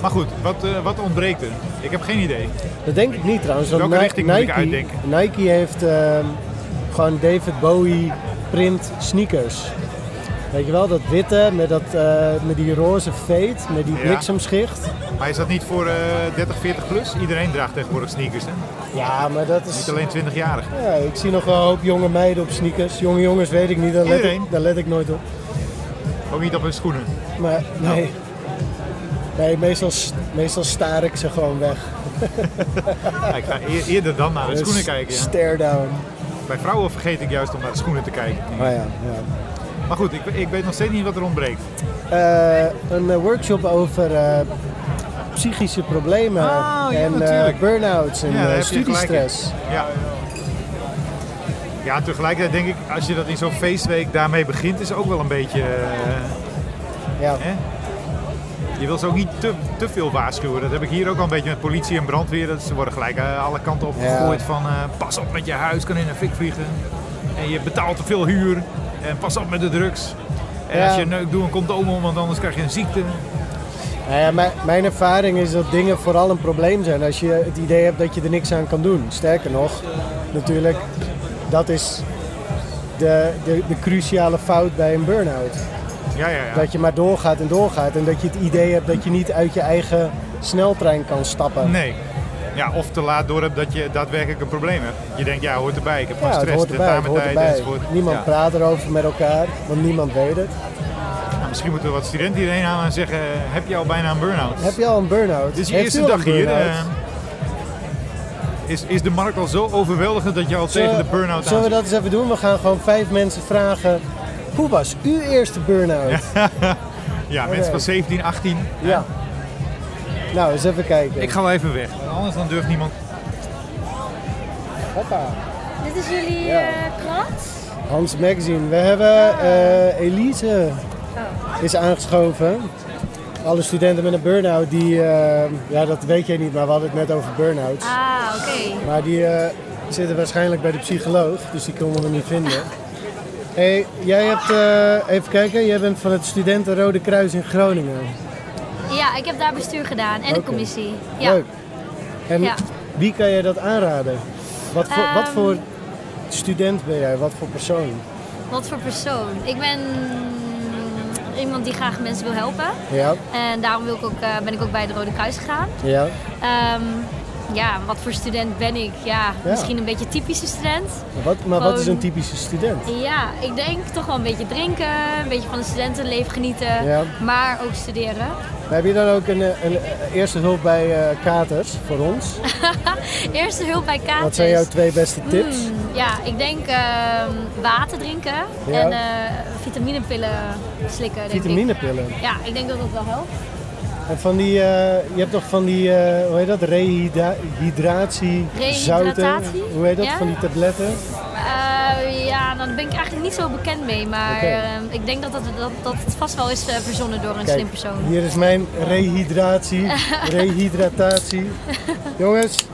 Maar goed, wat, eh, wat ontbreekt er? Ik heb geen idee. Dat denk ik niet trouwens. Want Welke Ni- richting moet Nike, ik uitdenken? Nike heeft ehm, gewoon David Bowie print sneakers. Weet je wel, dat witte met, dat, eh, met die roze fade, met die Ja. bliksemschicht. Maar is dat niet voor eh, 30, 40 plus? Iedereen draagt tegenwoordig sneakers, hè? Ja, maar dat is... Niet alleen 20-jarigen. Ja, ik zie nog wel een hoop jonge meiden op sneakers. Jonge jongens weet ik niet, daar let ik, Iedereen. daar let ik nooit op. Ook niet op hun schoenen. Maar Nou. nee. Nee, meestal, s- meestal staar ik ze gewoon weg. Ja, ik ga eer- eerder dan naar de schoenen S- kijken. Ja. Stare down. Bij vrouwen vergeet ik juist om naar de schoenen te kijken. Oh ja, ja. Maar goed, ik, ik weet nog steeds niet wat er ontbreekt. Eh, een eh, workshop over eh, psychische problemen Ah, ja, en eh, natuurlijk. burn-outs en Ja, daar eh, heb je studiestress. gelijk in. Ja. ja, tegelijkertijd denk ik, als je dat in zo'n feestweek daarmee begint, is ook wel een beetje. eh, Ja. hè? Je wil ze ook niet te, te veel waarschuwen. Dat heb ik hier ook al een beetje met politie en brandweer. Dat ze worden gelijk eh, alle kanten opgegooid Ja. van eh, pas op met je huis, kan in een fik vliegen. En je betaalt te veel huur. En pas op met de drugs. En Ja. als je neukt, doe een condoom om, want anders krijg je een ziekte. Nou ja, mijn, mijn ervaring is dat dingen vooral een probleem zijn als je het idee hebt dat je er niks aan kan doen. Sterker nog, natuurlijk, dat is de, de, de cruciale fout bij een burn-out. Ja, ja, ja. Dat je maar doorgaat en doorgaat en dat je het idee hebt dat je niet uit je eigen sneltrein kan stappen. Nee. Ja, of te laat door hebt dat je daadwerkelijk een probleem hebt. Je denkt, ja, hoort erbij. Ik heb gewoon Ja, het stress, hoort de erbij, het hoort tamentijd erbij. enzovoort. Niemand Ja. praat erover met elkaar, want niemand weet het. Nou, misschien moeten we wat studenten hierheen halen en zeggen, eh, heb je al bijna een burn-out? Heb je al een burn-out? Dit is je Heeft u eerste al dag een hier. burn-out? eh, is, is de markt al zo overweldigend dat je al tegen de Zullen- burn-out Zullen we aan dat eens even doen? We gaan gewoon vijf mensen vragen. Hoe was uw eerste burn-out? Ja. <laughs> Ja, mensen van 17, 18. Nou, eens even kijken. Eh, Ik ga wel even weg. Anders dan durft niemand. Hoppa. Dit is jullie Ja. eh, krant? Hans Magazine. We hebben eh, Elise Oh. is aangeschoven. Alle studenten met een burn-out die, eh, ja dat weet jij niet, maar we hadden het net over burn-outs. Ah, oké. Maar die eh, zitten waarschijnlijk bij de psycholoog, dus die konden we niet vinden. hey, jij hebt, eh, even kijken, jij bent van het Studenten Rode Kruis in Groningen. Ja, ik heb daar bestuur gedaan en de Oké. commissie. Ja. Leuk. En Ja. wie kan jij dat aanraden? Wat voor, wat Ehm. voor student ben jij? Wat voor persoon? Wat voor persoon? Ik ben mm, iemand die graag mensen wil helpen. Ja, En daarom wil ik ook, eh, ben ik ook bij het Rode Kruis gegaan. ja, Ehm, ja, wat voor student ben ik? Ja, Ja. misschien een beetje typische student. wat, maar wat is Gewoon- een typische student? Ja, ik denk toch wel een beetje drinken, een beetje van het studentenleven genieten, Ja. maar ook studeren. <laughs> Maar heb je dan ook een, eh, een eh, eerste hulp bij eh, katers voor ons? Eerste hulp bij katers. Wat zijn jouw twee beste tips? Mm, ja, ik denk ehm, water drinken en eh, vitaminepillen slikken. Denk ik. Vitaminepillen. Ja, ik denk dat dat wel helpt. En van die, eh, je hebt toch van die, eh, hoe heet dat, rehydratie, zouten, Rehydratatie? hoe heet dat, Ja. van die tabletten? Eh, ja, nou, daar ben ik eigenlijk niet zo bekend mee, maar Oké. ehm, ik denk dat, dat, dat, dat het vast wel is eh, verzonnen door een slim persoon. hier is mijn <laughs> rehydratie, rehydratatie. Jongens,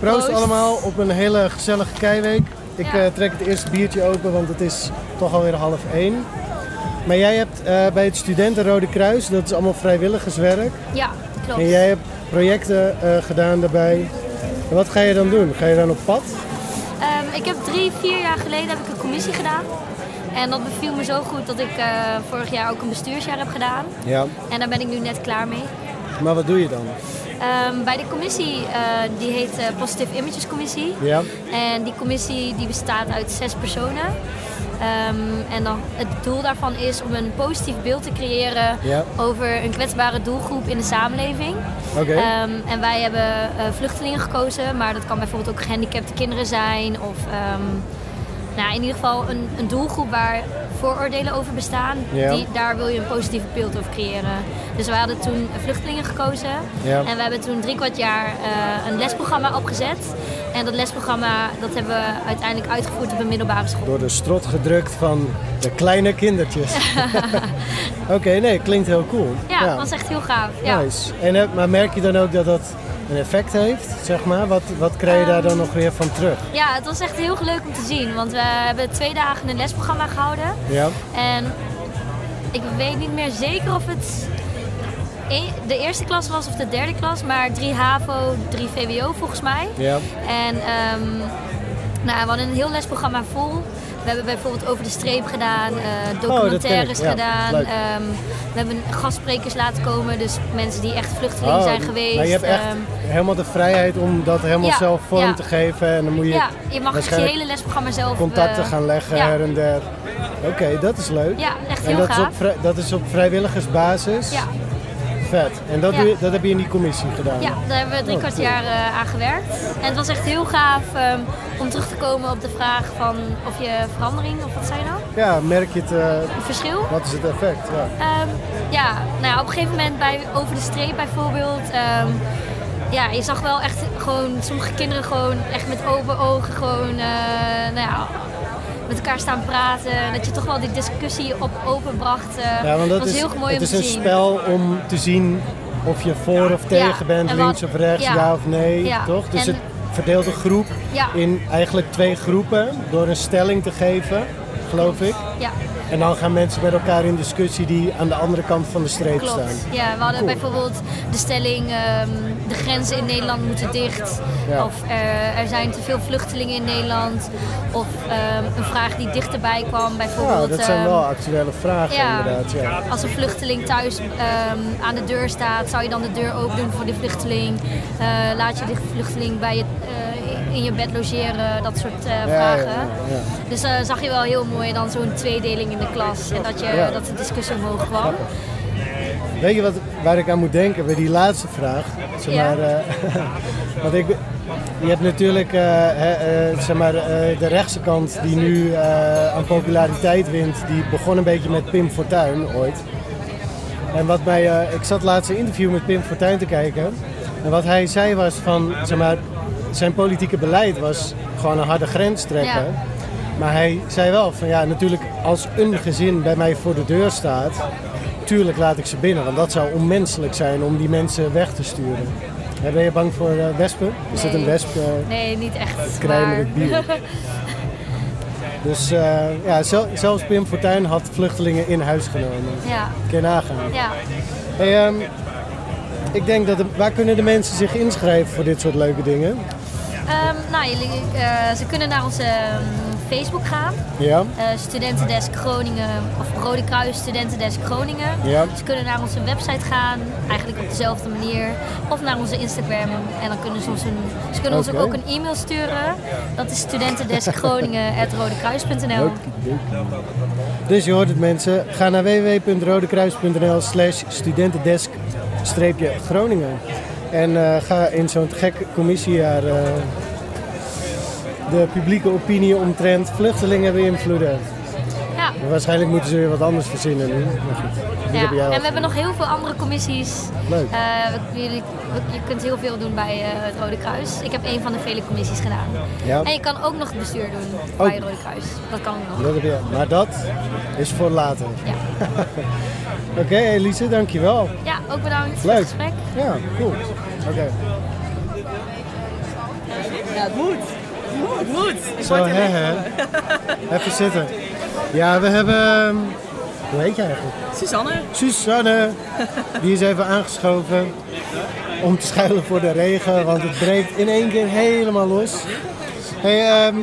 proost, Proost. allemaal op een hele gezellige keiweek. Ik Ja. eh, trek het eerste biertje open, want het is toch alweer half één. Maar jij hebt eh, bij het Studenten Rode Kruis, dat is allemaal vrijwilligerswerk. Ja, klopt. En jij hebt projecten eh, gedaan daarbij. En wat ga je dan doen? Ga je dan op pad? Ehm, ik heb drie, vier jaar geleden heb ik een commissie gedaan. En dat beviel me zo goed dat ik eh, vorig jaar ook een bestuursjaar heb gedaan. Ja. En daar ben ik nu net klaar mee. Maar wat doe je dan? Ehm, bij de commissie, eh, die heet eh Positive Images Commissie. Ja. En die commissie die bestaat uit zes personen. Ehm, en dan, het doel daarvan is om een positief beeld te creëren Ja. over een kwetsbare doelgroep in de samenleving. Oké. Ehm, en wij hebben eh, vluchtelingen gekozen, maar dat kan bijvoorbeeld ook gehandicapte kinderen zijn. Of ehm, nou, in ieder geval een, een doelgroep waar vooroordelen over bestaan. Ja. Die, daar wil je een positief beeld over creëren. Dus wij hadden toen vluchtelingen gekozen. Ja. En we hebben toen drie kwart jaar eh, een lesprogramma opgezet. En dat lesprogramma dat hebben we uiteindelijk uitgevoerd op een middelbare school. <laughs> Door de strot gedrukt van de kleine kindertjes. Oké, nee, klinkt heel cool. Ja, was echt heel gaaf. Ja. Nice. En, eh, maar merk je dan ook dat dat een effect heeft, zeg maar? Wat, wat krijg je daar Ehm, dan nog weer van terug? ja, het was echt heel leuk om te zien. Want we hebben twee dagen een lesprogramma gehouden. Ja, En ik weet niet meer zeker of het e- de eerste klas was of de derde klas, maar drie HAVO, drie VWO volgens mij. ja, En ehm, nou, we hadden een heel lesprogramma vol. We hebben bijvoorbeeld over de streep gedaan, Oh, eh, documentaires ken ik, ja. gedaan. Leuk. ehm, we hebben gastsprekers laten komen, dus mensen die echt vluchteling Oh, zijn geweest. Maar je hebt echt ehm, helemaal de vrijheid om dat helemaal Ja, zelf vorm ja. te geven. En dan moet je, ja, je mag echt je waarschijnlijk hele lesprogramma zelf... contacten eh, gaan leggen ja. her en der. Oké, dat is leuk. Ja, echt en heel dat is, gaaf. op, vrij- dat is op vrijwilligersbasis. Ja. Vet. En dat, Ja. doe je- dat heb je in die commissie gedaan. Ja, daar hebben we drie Oh, kwart cool. jaar eh, aan gewerkt. En het was echt heel gaaf ehm, om terug te komen op de vraag van of je verandering, of wat zei je nou? Ja, merk je het. eh, Een verschil? wat is het effect? Ja. Ehm, ja, nou ja, op een gegeven moment bij Over de Streep bijvoorbeeld. ehm, ja, je zag wel echt gewoon sommige kinderen gewoon echt met open ogen gewoon, eh, nou ja, met elkaar staan praten. En Dat je toch wel die discussie op open bracht. eh, ja, want dat was is, heel mooi het om is te een zien. spel om te zien of je voor of tegen Ja, bent, en wat- links of rechts, ja, ja. of nee, Ja, toch? Dus en- het verdeelt een groep Ja. in eigenlijk twee groepen door een stelling te geven, geloof ik. Ja. En dan gaan mensen met elkaar in discussie die aan de andere kant van de streep staan. Klopt. Ja, we hadden Cool. bijvoorbeeld de stelling ehm, de grenzen in Nederland moeten dicht. Ja. Of eh, er zijn te veel vluchtelingen in Nederland. Of ehm, een vraag die dichterbij kwam, bijvoorbeeld. Ja, dat zijn ehm, wel actuele vragen ja. inderdaad. Ja. als eh, een vluchteling thuis ehm, aan de deur staat, zou je dan de deur open doen voor die vluchteling? Eh, laat je de vluchteling bij je, eh, in je bed logeren? Dat soort eh, vragen. ja, ja. Dus eh, zag je wel heel mooi dan zo'n tweedeling in de klas. En dat, je, Ja. dat de discussie omhoog kwam. Weet je wat, waar ik aan moet denken bij die laatste vraag? Zeg Ja. maar, eh, <laughs> want ik, be- je hebt natuurlijk eh, hè, eh, zeg maar, eh, de rechtse kant die nu eh, aan populariteit wint. Die begon een beetje met Pim Fortuyn ooit. En wat mij, eh, ik zat laatst een interview met Pim Fortuyn te kijken. En wat hij zei was van, zeg maar, zijn politieke beleid was gewoon een harde grens trekken. Ja. Maar hij zei wel van ja, natuurlijk als een gezin bij mij voor de deur staat, tuurlijk laat ik ze binnen. Want dat zou onmenselijk zijn om die mensen weg te sturen. Hè, Ben je bang voor eh, wespen? Is dat een Nee. wesp? eh? Nee, niet echt. Kruimerig maar- Dus eh, ja, zel- zelfs Pim Fortuyn had vluchtelingen in huis genomen. <laughs> ja, Kun je nagaan. ja. Hey, ehm, ik denk dat, de- waar kunnen de mensen zich inschrijven voor dit soort leuke dingen? Ehm, nou, jullie, eh, ze kunnen naar onze ehm, Facebook gaan. Ja, Eh, Studentendesk Groningen of Rode Kruis Studentendesk Groningen. Dus Ja. Ze kunnen naar onze website gaan, eigenlijk op dezelfde manier. Of naar onze Instagram. En dan kunnen ze ons, een, ze kunnen ons Oké. ook een e-mail sturen. Dat is <laughs> studentendeskgroningen.rodekruis.nl leuk. leuk. Dus je hoort het mensen. Ga naar www.rodekruis.nl slash studentendesk streepje Groningen. En eh, ga in zo'n te gek commissiejaar eh, de publieke opinie omtrent vluchtelingen beïnvloeden. Ja, Waarschijnlijk moeten ze weer wat anders verzinnen nu. Maar goed, ja. die heb jij al En we hebben nog heel veel andere commissies. Leuk. Eh, we- jullie, we- je kunt heel veel doen bij eh, het Rode Kruis. Ik heb een van de vele commissies gedaan. Ja. En je kan ook nog het bestuur doen Ook. bij het Rode Kruis. Dat kan ook nog. Dat heb je- Maar dat is voor later. Ja, <laughs> Oké, Elise, dankjewel. ja ook bedankt voor Leuk. het gesprek. Ja, cool. Oké. Ja, het moet. Het moet, het moet. Ik Zo, word er hè, mee hè. <laughs> gevallen. Even <laughs> zitten. Ja, we hebben... ehm, Hoe heet je eigenlijk? Susanne, Susanne. Die is even aangeschoven om te schuilen voor de regen, want het breekt in één keer helemaal los. Hey, ehm,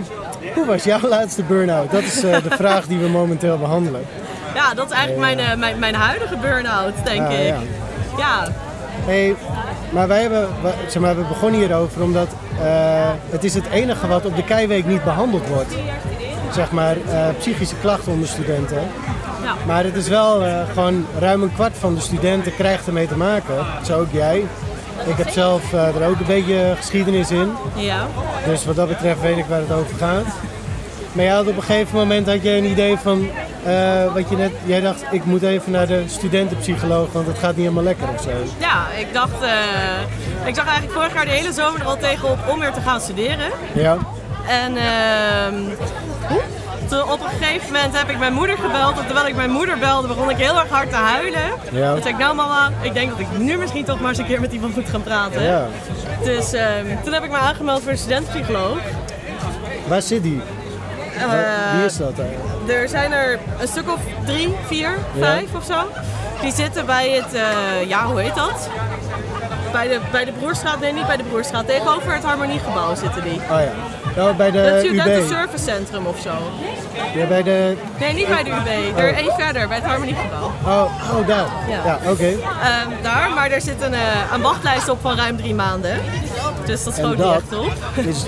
hoe was jouw laatste burn-out? Dat is eh, <laughs> de vraag die we momenteel behandelen. ja, dat is eigenlijk mijn, eh, mijn, mijn huidige burn-out, denk Ja, ik. Ah, ja. Ja. Hey, maar wij hebben, we- zeg maar, we begonnen hierover omdat eh, het is het enige wat op de Keiweek niet behandeld wordt. zeg maar, eh, psychische klachten onder studenten. Nou. Maar het is wel eh, gewoon ruim een kwart van de studenten krijgt ermee te maken. Zo ook jij. Ik heb zelf eh, er ook een beetje geschiedenis in. Ja. Dus wat dat betreft weet ik waar het over gaat. Maar jij had op een gegeven moment had jij een idee van eh, wat je net. Jij dacht, ik moet even naar de studentenpsycholoog, want het gaat niet helemaal lekker of zo. Ja, ik dacht, eh, ik zag eigenlijk vorig jaar de hele zomer er al tegen op om weer te gaan studeren. Ja. En ehm, toen op een gegeven moment heb ik mijn moeder gebeld. En terwijl ik mijn moeder belde, begon ik heel erg hard te huilen. Ja. Toen zei ik, nou mama, ik denk dat ik nu misschien toch maar eens een keer met iemand moet gaan praten. Ja. Dus ehm, toen heb ik me aangemeld voor een studentpsycholoog. Waar zit die? Eh, Wie is dat eigenlijk? Er zijn er een stuk of drie, vier, vijf of zo. Die zitten bij het, eh, ja hoe heet dat? Bij de, bij de Broerstraat, nee niet bij de Broerstraat, tegenover het Harmoniegebouw zitten die. Oh ja. Nou, bij Dat de Studenten UB. Service Centrum of zo. Ja, bij de. Nee, niet bij de UB. Er één verder, bij het Harmoniegebouw. Oh, oh daar. Ja, Ja. oké. Ehm, daar, maar daar zit een, eh, een wachtlijst op van ruim drie maanden. Dus dat En schoot dat- niet echt op. Is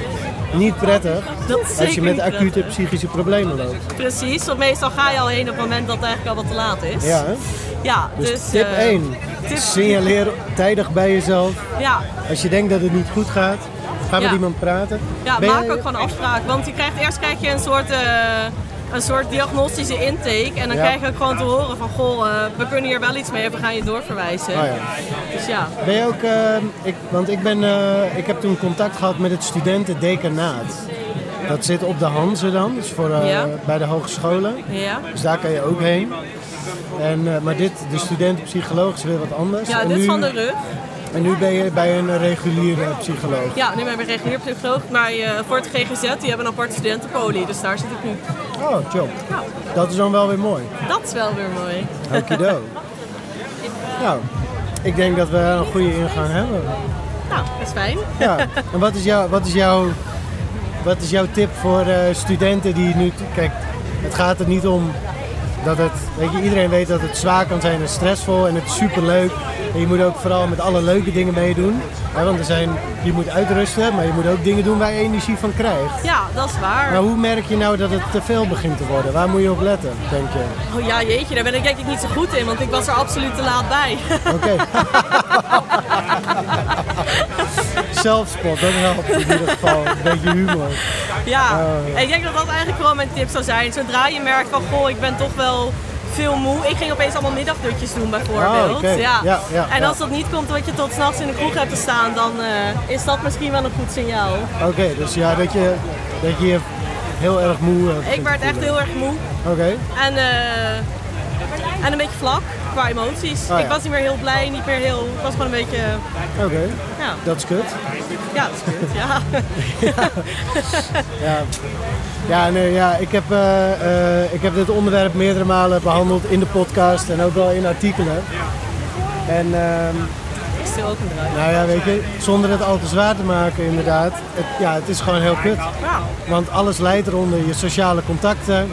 niet prettig Dat is als je zeker met niet acute psychische problemen loopt. Precies, want meestal ga je al heen op het moment dat het eigenlijk al wat te laat is. Ja, hè? Ja, Dus, dus, tip eh, 1. tip- Signaleer tijdig bij jezelf. Ja, Als je denkt dat het niet goed gaat, ga met Ja. iemand praten. ja Ben maak jij- ook gewoon afspraak. Want je krijgt, eerst krijg je een soort, eh, een soort diagnostische intake. En dan Ja. krijg je ook gewoon te horen van, goh, eh, we kunnen hier wel iets mee, we gaan je doorverwijzen. Oh ja. Dus ja. Ben je ook, eh, ik, want ik, ben, eh, ik heb toen contact gehad met het studentendecanaat. Dat zit op de Hanze dan, dus voor, eh, Ja. bij de hogescholen. Ja. Dus daar kan je ook heen. En, eh, maar dit, de studentenpsycholoog is weer wat anders. ja, en dit Dus nu, van de rug. En nu ben je bij een reguliere psycholoog. Ja, nu ben ik weer regulier psycholoog, maar eh, voor het GGZ, die hebben een aparte studentenpolie, dus daar zit ik nu. Oh, chill. Ja, Dat is dan wel weer mooi. dat is wel weer mooi. <laughs> Okido. nou, ik denk dat we er een goede ingang hebben. Nou, dat is fijn. Ja. En wat is, jou, wat is, jou, wat is jouw tip voor eh, studenten die nu... Kijk, het gaat er niet om dat het... Weet je, iedereen weet dat het zwaar kan zijn en stressvol en het is superleuk. En je moet ook vooral met alle leuke dingen meedoen. Hè, want er zijn, je moet uitrusten, maar je moet ook dingen doen waar je energie van krijgt. Ja, dat is waar. Maar hoe merk je nou dat het te veel begint te worden? Waar moet je op letten, denk je? <laughs> Oh ja, jeetje, daar ben ik denk ik niet zo goed in, want ik was er absoluut te laat bij. Oké. Zelfspot, dat helpt in ieder geval. Een beetje humor. Oh. ja, en ik denk dat dat eigenlijk vooral mijn tip zou zijn. Zodra je merkt van, goh, ik ben toch wel veel moe. Ik ging opeens allemaal middagdutjes doen bijvoorbeeld. Ah, oké. Ja, ja, en ja. als dat niet komt omdat je tot s'nachts in de kroeg hebt te staan, dan eh, is dat misschien wel een goed signaal. Oké, dus ja, dat je, dat je je heel erg moe eh, begint Ik werd te echt voelen. heel erg moe. Oké, En, eh, en een beetje vlak qua emoties. Oh, ja. Ik was niet meer heel blij, niet meer heel. Ik was gewoon een beetje. oké. Ja, Dat is kut. ja dat is goed. <laughs> Ja. Ja, ja, nee, ja ik, heb, eh, eh, ik heb dit onderwerp meerdere malen behandeld in de podcast en ook wel in artikelen. En... ehm, <laughs> Ik stil ook een draai. Nou ja, weet je, zonder het al te zwaar te maken inderdaad. Het, ja, het is gewoon heel kut. Want alles leidt eronder. Je sociale contacten,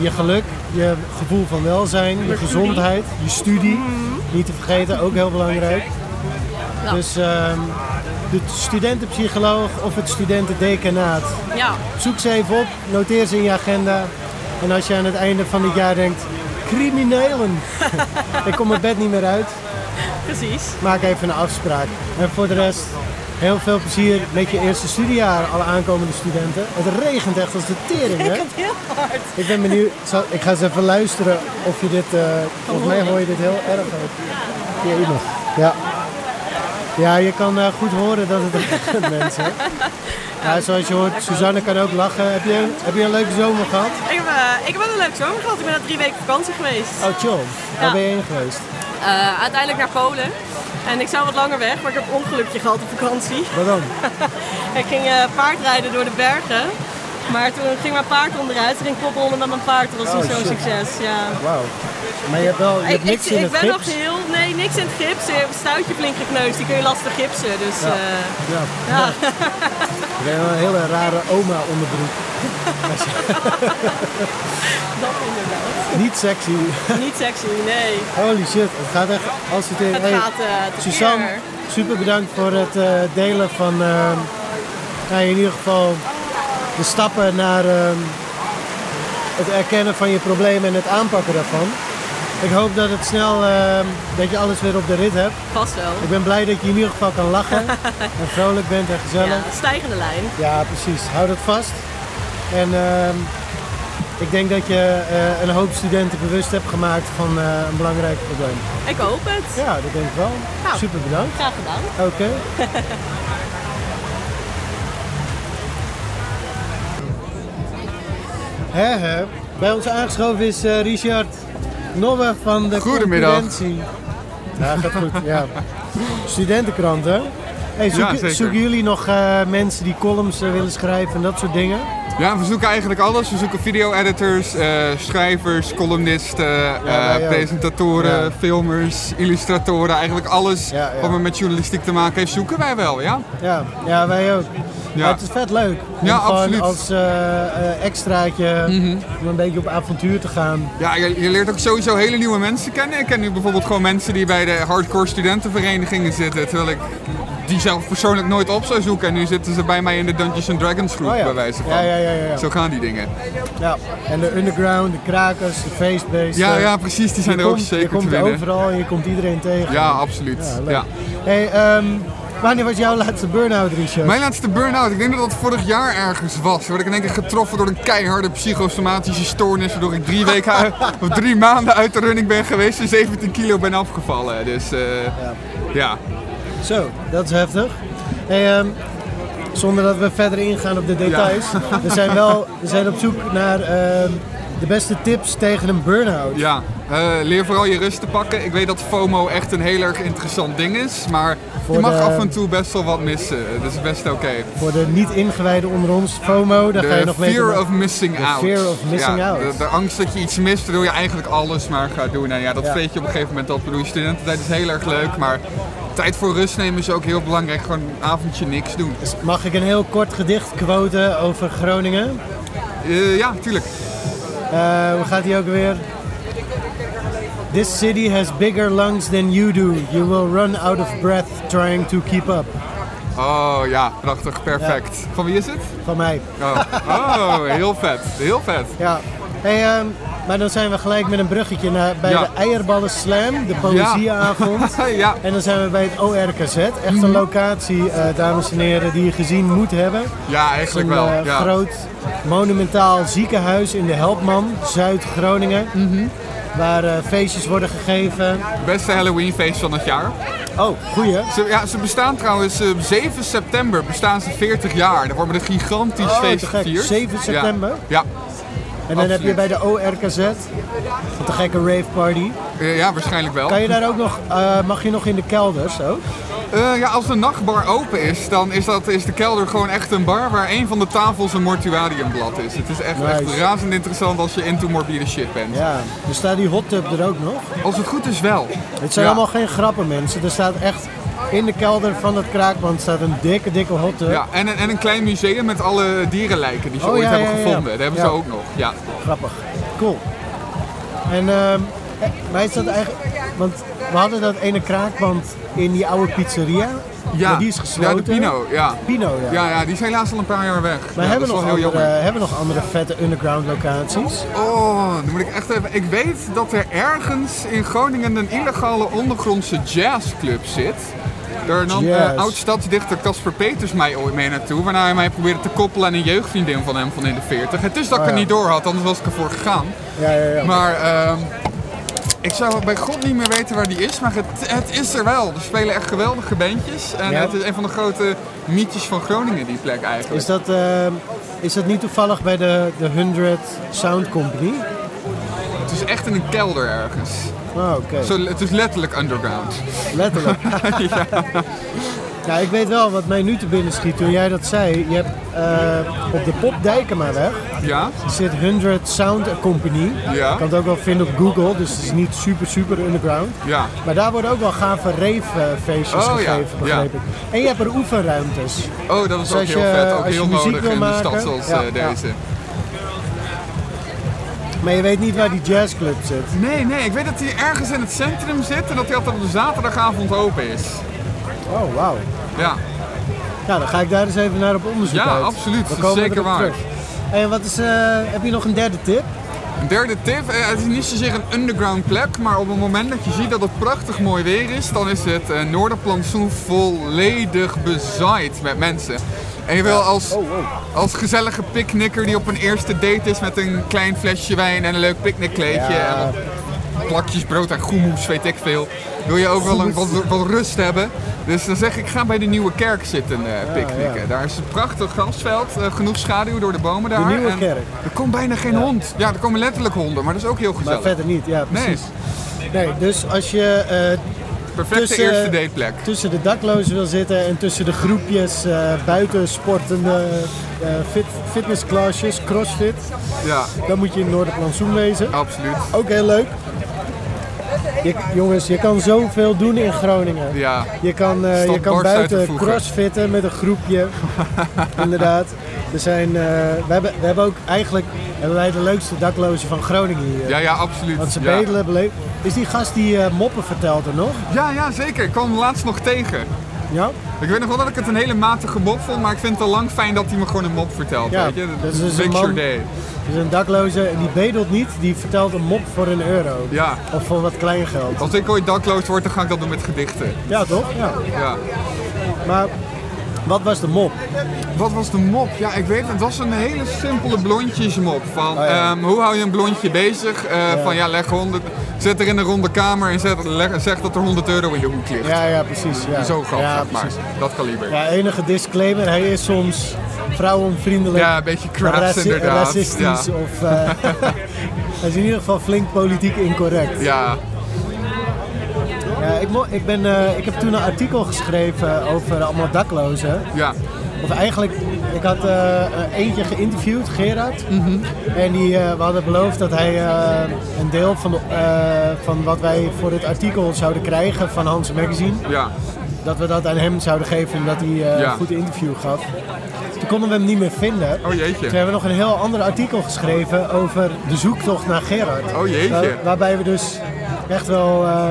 je geluk, je gevoel van welzijn, je gezondheid, je studie. Niet te vergeten, ook heel belangrijk. Dus ehm, de studentenpsycholoog of het studentendecanaat. Ja, Zoek ze even op, noteer ze in je agenda. En als je aan het einde van het jaar denkt, criminelen. <laughs> Ik kom mijn bed niet meer uit precies. maak even een afspraak. En voor de rest, heel veel plezier met je eerste studiejaar, alle aankomende studenten. Het regent echt als de <laughs> tering, hè? Heel hard. Ik ben benieuwd. Zal- ik ga eens even luisteren of je dit... eh volgens mij hoor je dit heel erg ook. Hier, iemand. Ja. Ja, je kan eh, goed horen dat het <laughs> regent, <laughs> mensen. Ja, zoals je hoort, Suzanne kan ook lachen. Heb je, een- heb je een leuke zomer gehad? Ik heb, eh, ik heb wel een leuk zomer gehad. Ik ben na drie weken vakantie geweest. Oh, chill. Waar Ja. ben je heen geweest? Eh, uiteindelijk naar Polen. En ik zou wat langer weg, maar ik heb een ongelukje gehad op vakantie. Wat dan? <laughs> ik ging eh, paardrijden door de bergen. Maar toen ging mijn paard onderuit. Toen ging ik koppelen met mijn paard. Dat was Oh, niet shit. zo'n succes. Ja. Wauw. Maar je hebt wel je Oh. Ik, hebt ik, niks in ik het ben nog gips. heel, nee, niks in het gips. Ik heb een stuitje flink gekneusd. Die kun je lastig gipsen. Dus Ja. ja, Ja. ja. Ik ben wel een hele rare oma onderbroek. <laughs> <laughs> <laughs> dat inderdaad. Niet sexy. Niet sexy, nee. Holy shit, het gaat echt als het in. Het Hey, gaat eh te Suzanne, ver. super bedankt voor het eh, delen van eh, ehm, nou, in ieder geval de stappen naar ehm, het erkennen van je probleem en het aanpakken daarvan. Ik hoop dat het snel, eh, dat je alles weer op de rit hebt. Vast wel. Ik ben blij dat je in ieder geval kan <laughs> lachen en vrolijk bent en gezellig. Ja, stijgende lijn. Ja, precies. Houd het vast. En ehm, ik denk dat je eh, een hoop studenten bewust hebt gemaakt van eh, een belangrijk probleem. Ik hoop het. Ja, dat denk ik wel. Nou. Super bedankt. Graag gedaan. Oké. <laughs> Hè, hè. Bij ons aangeschoven is eh, Richard Nobbe van de Goedemiddag. Concurrentie. Ja, gaat goed. ja. Studentenkrant, hè? Hey, zoek- Ja, zeker. zoeken jullie nog eh, mensen die columns eh, willen schrijven en dat soort dingen? Ja, we zoeken eigenlijk alles. We zoeken video-editors, eh, schrijvers, columnisten, eh, wij ook. presentatoren, Ja. filmers, illustratoren. Eigenlijk alles Ja, ja. wat maar met journalistiek te maken heeft, zoeken wij wel, ja? Ja, ja wij ook. Ja. Maar het is vet leuk. Om Ja, gewoon absoluut. Mhm. als eh, eh, extraatje om een beetje op avontuur te gaan. Ja, je, je leert ook sowieso hele nieuwe mensen kennen. Ik ken nu bijvoorbeeld gewoon mensen die bij de hardcore studentenverenigingen zitten. Terwijl ik die zelf persoonlijk nooit op zou zoeken. En nu zitten ze bij mij in de Dungeons and Dragons groep, Oh ja. bij wijze van. Ja, ja, ja, ja, ja. Zo gaan die dingen. Ja. En de underground, de krakers, de feestbeesten. Ja, ja, precies. Die zijn je er ook komt, zeker Je komt te winnen. overal en je komt iedereen tegen. Ja, absoluut. Ja, leuk. ja. Hey, ehm, wanneer was jouw laatste burn-out, Richard? Mijn laatste burn-out, ik denk dat dat vorig jaar ergens was. Word ik in één keer getroffen door een keiharde psychosomatische stoornis. Waardoor ik drie, weken <laughs> uit- of drie maanden uit de running ben geweest en 17 kilo ben afgevallen. Dus eh, ja. Zo, dat is heftig. Hey, ehm, zonder dat we verder ingaan op de <laughs> details. We zijn wel we zijn op zoek naar ehm, de beste tips tegen een burn-out. Ja, eh, leer vooral je rust te pakken. Ik weet dat FOMO echt een heel erg interessant ding is, maar Voor je mag de- af en toe best wel wat missen. Dat is best oké. Voor de niet-ingewijden onder ons, FOMO, Oh, daar ga je De nog mee. te fear maken. of missing The out. fear of missing Ja, out. De, de angst dat je iets mist, waardoor je eigenlijk alles maar gaat doen. En ja, dat Ja. vreet je op een gegeven moment op. Ik bedoel, studententijd is heel erg leuk, maar tijd voor rust nemen is ook heel belangrijk. Gewoon een avondje niks doen. Dus Mag ik een heel kort gedicht quoten over Groningen? Eh, ja, tuurlijk. Eh, hoe gaat die ook weer? This city has bigger lungs than you do. You will run out of breath trying to keep up. Oh ja, prachtig, perfect. Van wie is het? Van mij. Oh, oh heel vet, heel vet. Ja. Hey, ehm, maar dan zijn we gelijk met een bruggetje naar, bij Ja. de Eierballen Slam, de poëzieavond. <laughs> ja. Mhm. En dan zijn we bij het ORKZ. Echt een locatie, eh, dames en heren, die je gezien moet hebben. Ja, Het is eigenlijk een wel. eh, ja. groot monumentaal ziekenhuis in de Helpman, Zuid-Groningen. Waar eh, feestjes worden gegeven. Beste Halloweenfeest van het jaar. Oh, goeie. Ze, ja, ze bestaan trouwens, eh, op 7 september bestaan ze 40 jaar. Daar wordt met een gigantisch Oh, feest te gek. gevierd. 7 Ja. september? Ja. En dan heb je Absoluut. bij de ORKZ, wat een gekke rave party. Eh, ja, waarschijnlijk wel. Kan je daar ook nog, eh, mag je nog in de kelder zo? Eh, ja, als de nachtbar open is, dan is, dat, is de kelder gewoon echt een bar waar een van de tafels een mortuariumblad is. Het is echt, echt Nice. razend interessant als je into morbide shit bent. Ja. Er staat die hot tub er ook nog. Als het goed is wel. Het zijn Ja. allemaal geen grappen mensen. Er staat echt, in de kelder van het kraakband staat een dikke, dikke hot tub. Ja, en, een- en een klein museum met alle dierenlijken die ze Oh, ooit ja, hebben ja, ja. gevonden. Dat hebben Ja. ze ook nog. Ja. Grappig. Cool. En ehm mij is dat eigenlijk... Want we hadden dat ene kraakband in die oude pizzeria. Ja. Maar die is gesloten. Ja, de Pino. Ja. Pino, ja. Ja, ja, die is helaas al een paar jaar weg. Maar ja, hebben, dat is nog wel heel andere, jammer. hebben nog andere vette underground locaties? Oh, dan moet ik echt even. Ik weet dat er ergens in Groningen een illegale ondergrondse jazzclub zit. Daar nam Jazz. eh oud-stadsdichter Casper Peters mij ooit mee naartoe. Waarna hij mij probeerde te koppelen aan een jeugdvriendin van hem van in de 40. Het is dat ik Oh ja. er niet door had, anders was ik ervoor gegaan. Ja, ja, ja. Maar ehm, ik zou bij God niet meer weten waar die is, maar het, het is er wel. Er spelen echt geweldige bandjes. En Ja. het is een van de grote mythes van Groningen, die plek eigenlijk. Is dat, ehm, is dat niet toevallig bij de, de 100 Sound Company? Het is echt in een kelder ergens. Oh, oké. Zo, het is letterlijk underground. <laughs> Letterlijk. ja, ik weet wel wat mij nu te binnen schiet. Toen jij dat zei, je hebt eh, op de Pop Dijkemaweg Ja? zit 100 Sound Company. Ja. Je kan het ook wel vinden op Google, dus het is niet super, super underground. Ja. Maar daar worden ook wel gave rave eh, feestjes Oh, ja, gegeven, begreep ja. ik. En je hebt er oefenruimtes. Oh, dat is Dus ook als heel je- vet. als Ook je heel muziek nodig wil in de maken, stad zoals ja, eh, ja. deze. Maar je weet niet waar die jazzclub zit. Nee, nee, ik weet dat hij ergens in het centrum zit en dat hij altijd op de zaterdagavond open is. Oh, wauw. Ja. Nou, dan ga ik daar eens even naar op onderzoek Ja, uit. absoluut. We Dat is komen zeker erop waar. terug. En wat is, eh, heb je nog een derde tip? Een derde tip, eh, het is niet zozeer een underground plek, maar op het moment dat je ziet dat het prachtig mooi weer is, dan is het eh Noorderplantsoen volledig bezaaid met mensen. En je wil als, Oh, als gezellige picknicker die op een eerste date is met een klein flesje wijn en een leuk picknickkleedje en wat plakjes brood en goemoes, weet ik veel, wil je ook wel een, <laughs> wat, wat rust hebben. Dus dan zeg ik, ga bij de Nieuwe Kerk zitten eh, picknicken. Daar is een prachtig grasveld, eh, genoeg schaduw door de bomen daar. Nieuwe en Kerk. Er komt bijna geen hond. Ja, er komen letterlijk honden, maar dat is ook heel Maar gezellig. verder niet, ja nee, precies. Nee, dus als je eh, perfecte Tussen- eerste dateplek. tussen de daklozen wil zitten en tussen de groepjes eh buiten sportende eh, fit, fitnessclassjes, crossfit, Ja, dan moet je in Noorderplantsoen wezen. absoluut. Ook heel leuk. Je, jongens, je kan zoveel doen in Groningen. Ja. Je kan, eh, je Stond kan borst uit te buiten voegen. crossfitten met een <laughs> groepje. Inderdaad. Er zijn, eh, we, hebben, we hebben ook eigenlijk hebben wij de leukste daklozen van Groningen hier. Ja, ja, absoluut. Want ze ja. bedelen beleefd. Is die gast die eh, moppen vertelt er nog? Ja, ja, zeker. Ik kwam hem laatst nog tegen. Ja? Ik weet nog wel dat ik het een hele matige mop vond, maar ik vind het al lang fijn dat hij me gewoon een mop vertelt. Ja, weet je? dat is dus Makes een man- your day. Dus een dakloze en die bedelt niet, die vertelt een mop voor een euro. Ja. Of voor wat kleingeld. Als ik ooit dakloos word, dan ga ik dat doen met gedichten. Ja, toch? Ja. Ja. Maar wat was de mop? Wat was de mop? Ja, ik weet het. Het was een hele simpele blondjesmop. Van, Oh, ja. ehm, hoe hou je een blondje bezig? Eh, Van ja, leg 100... Zet er in een ronde kamer en zet, leg- zeg dat er 100 euro in je hoek ligt. Ja, ja, precies. Ja. Zo groot, ja, zeg maar. precies. Dat kaliber. Ja, enige disclaimer, hij is soms vrouwenvriendelijk. Ja, een beetje crass, raci- inderdaad. Racistisch Ja. of... eh, <laughs> hij is in ieder geval flink politiek incorrect. Ja, Ja, ik, mo- ik, ben, eh, ik heb toen een artikel geschreven over allemaal daklozen. ja. Of eigenlijk, ik had eh, eh, eentje geïnterviewd, Gerard. Mhm. En die, eh, we hadden beloofd dat hij eh, een deel van, de, eh, van wat wij voor het artikel zouden krijgen van Hans Magazine... ja. dat we dat aan hem zouden geven omdat hij eh, Ja. een goed interview gaf. Toen konden we hem niet meer vinden. Oh, jeetje. Toen hebben we nog een heel ander artikel geschreven over de zoektocht naar Gerard. Oh, jeetje. Waar- waarbij we dus echt wel, eh,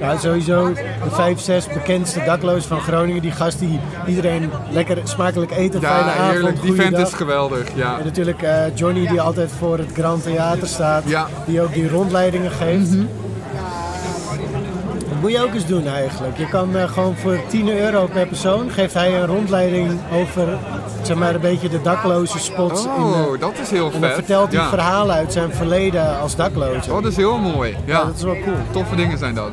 ja, sowieso de vijf, zes bekendste daklozen van Groningen. Die gast die iedereen lekker smakelijk eten, fijne Ja, avond, heerlijk. Die goeiedag. vent is geweldig. Ja. En natuurlijk eh, Johnny die altijd voor het Grand Theater staat. Ja. Mhm. Die ook die rondleidingen geeft. Dat moet je ook eens doen eigenlijk. Je kan eh, gewoon voor 10 euro per persoon geeft hij een rondleiding over zeg maar een beetje de dakloze spots. in, eh, Oh, dat is heel en dan vet. vertelt hij ja. verhalen uit zijn verleden als dakloze. Oh, dat is heel mooi. Ja, Ja. dat is wel cool. Toffe dingen zijn dat.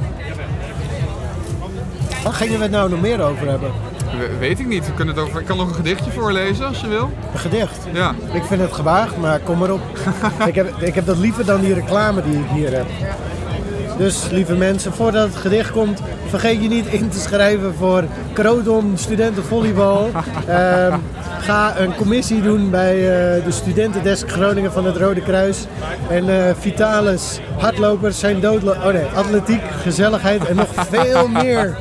Waar gingen we het nou nog meer over hebben? We- weet ik niet. We kunnen het over... Ik kan nog een gedichtje voorlezen als je wil. Een gedicht. Ja. Ik vind het gewaagd, maar kom maar op. ik, heb, ik heb dat liever dan die reclame die ik hier heb. Dus lieve mensen, voordat het gedicht komt, vergeet je niet in te schrijven voor Kroton Studentenvolleybal. Ehm, ga een commissie doen bij eh, de studentendesk Groningen van het Rode Kruis. En eh, Vitalis, hardlopers zijn doodlo. Oh nee, atletiek, gezelligheid en nog <laughs> veel meer.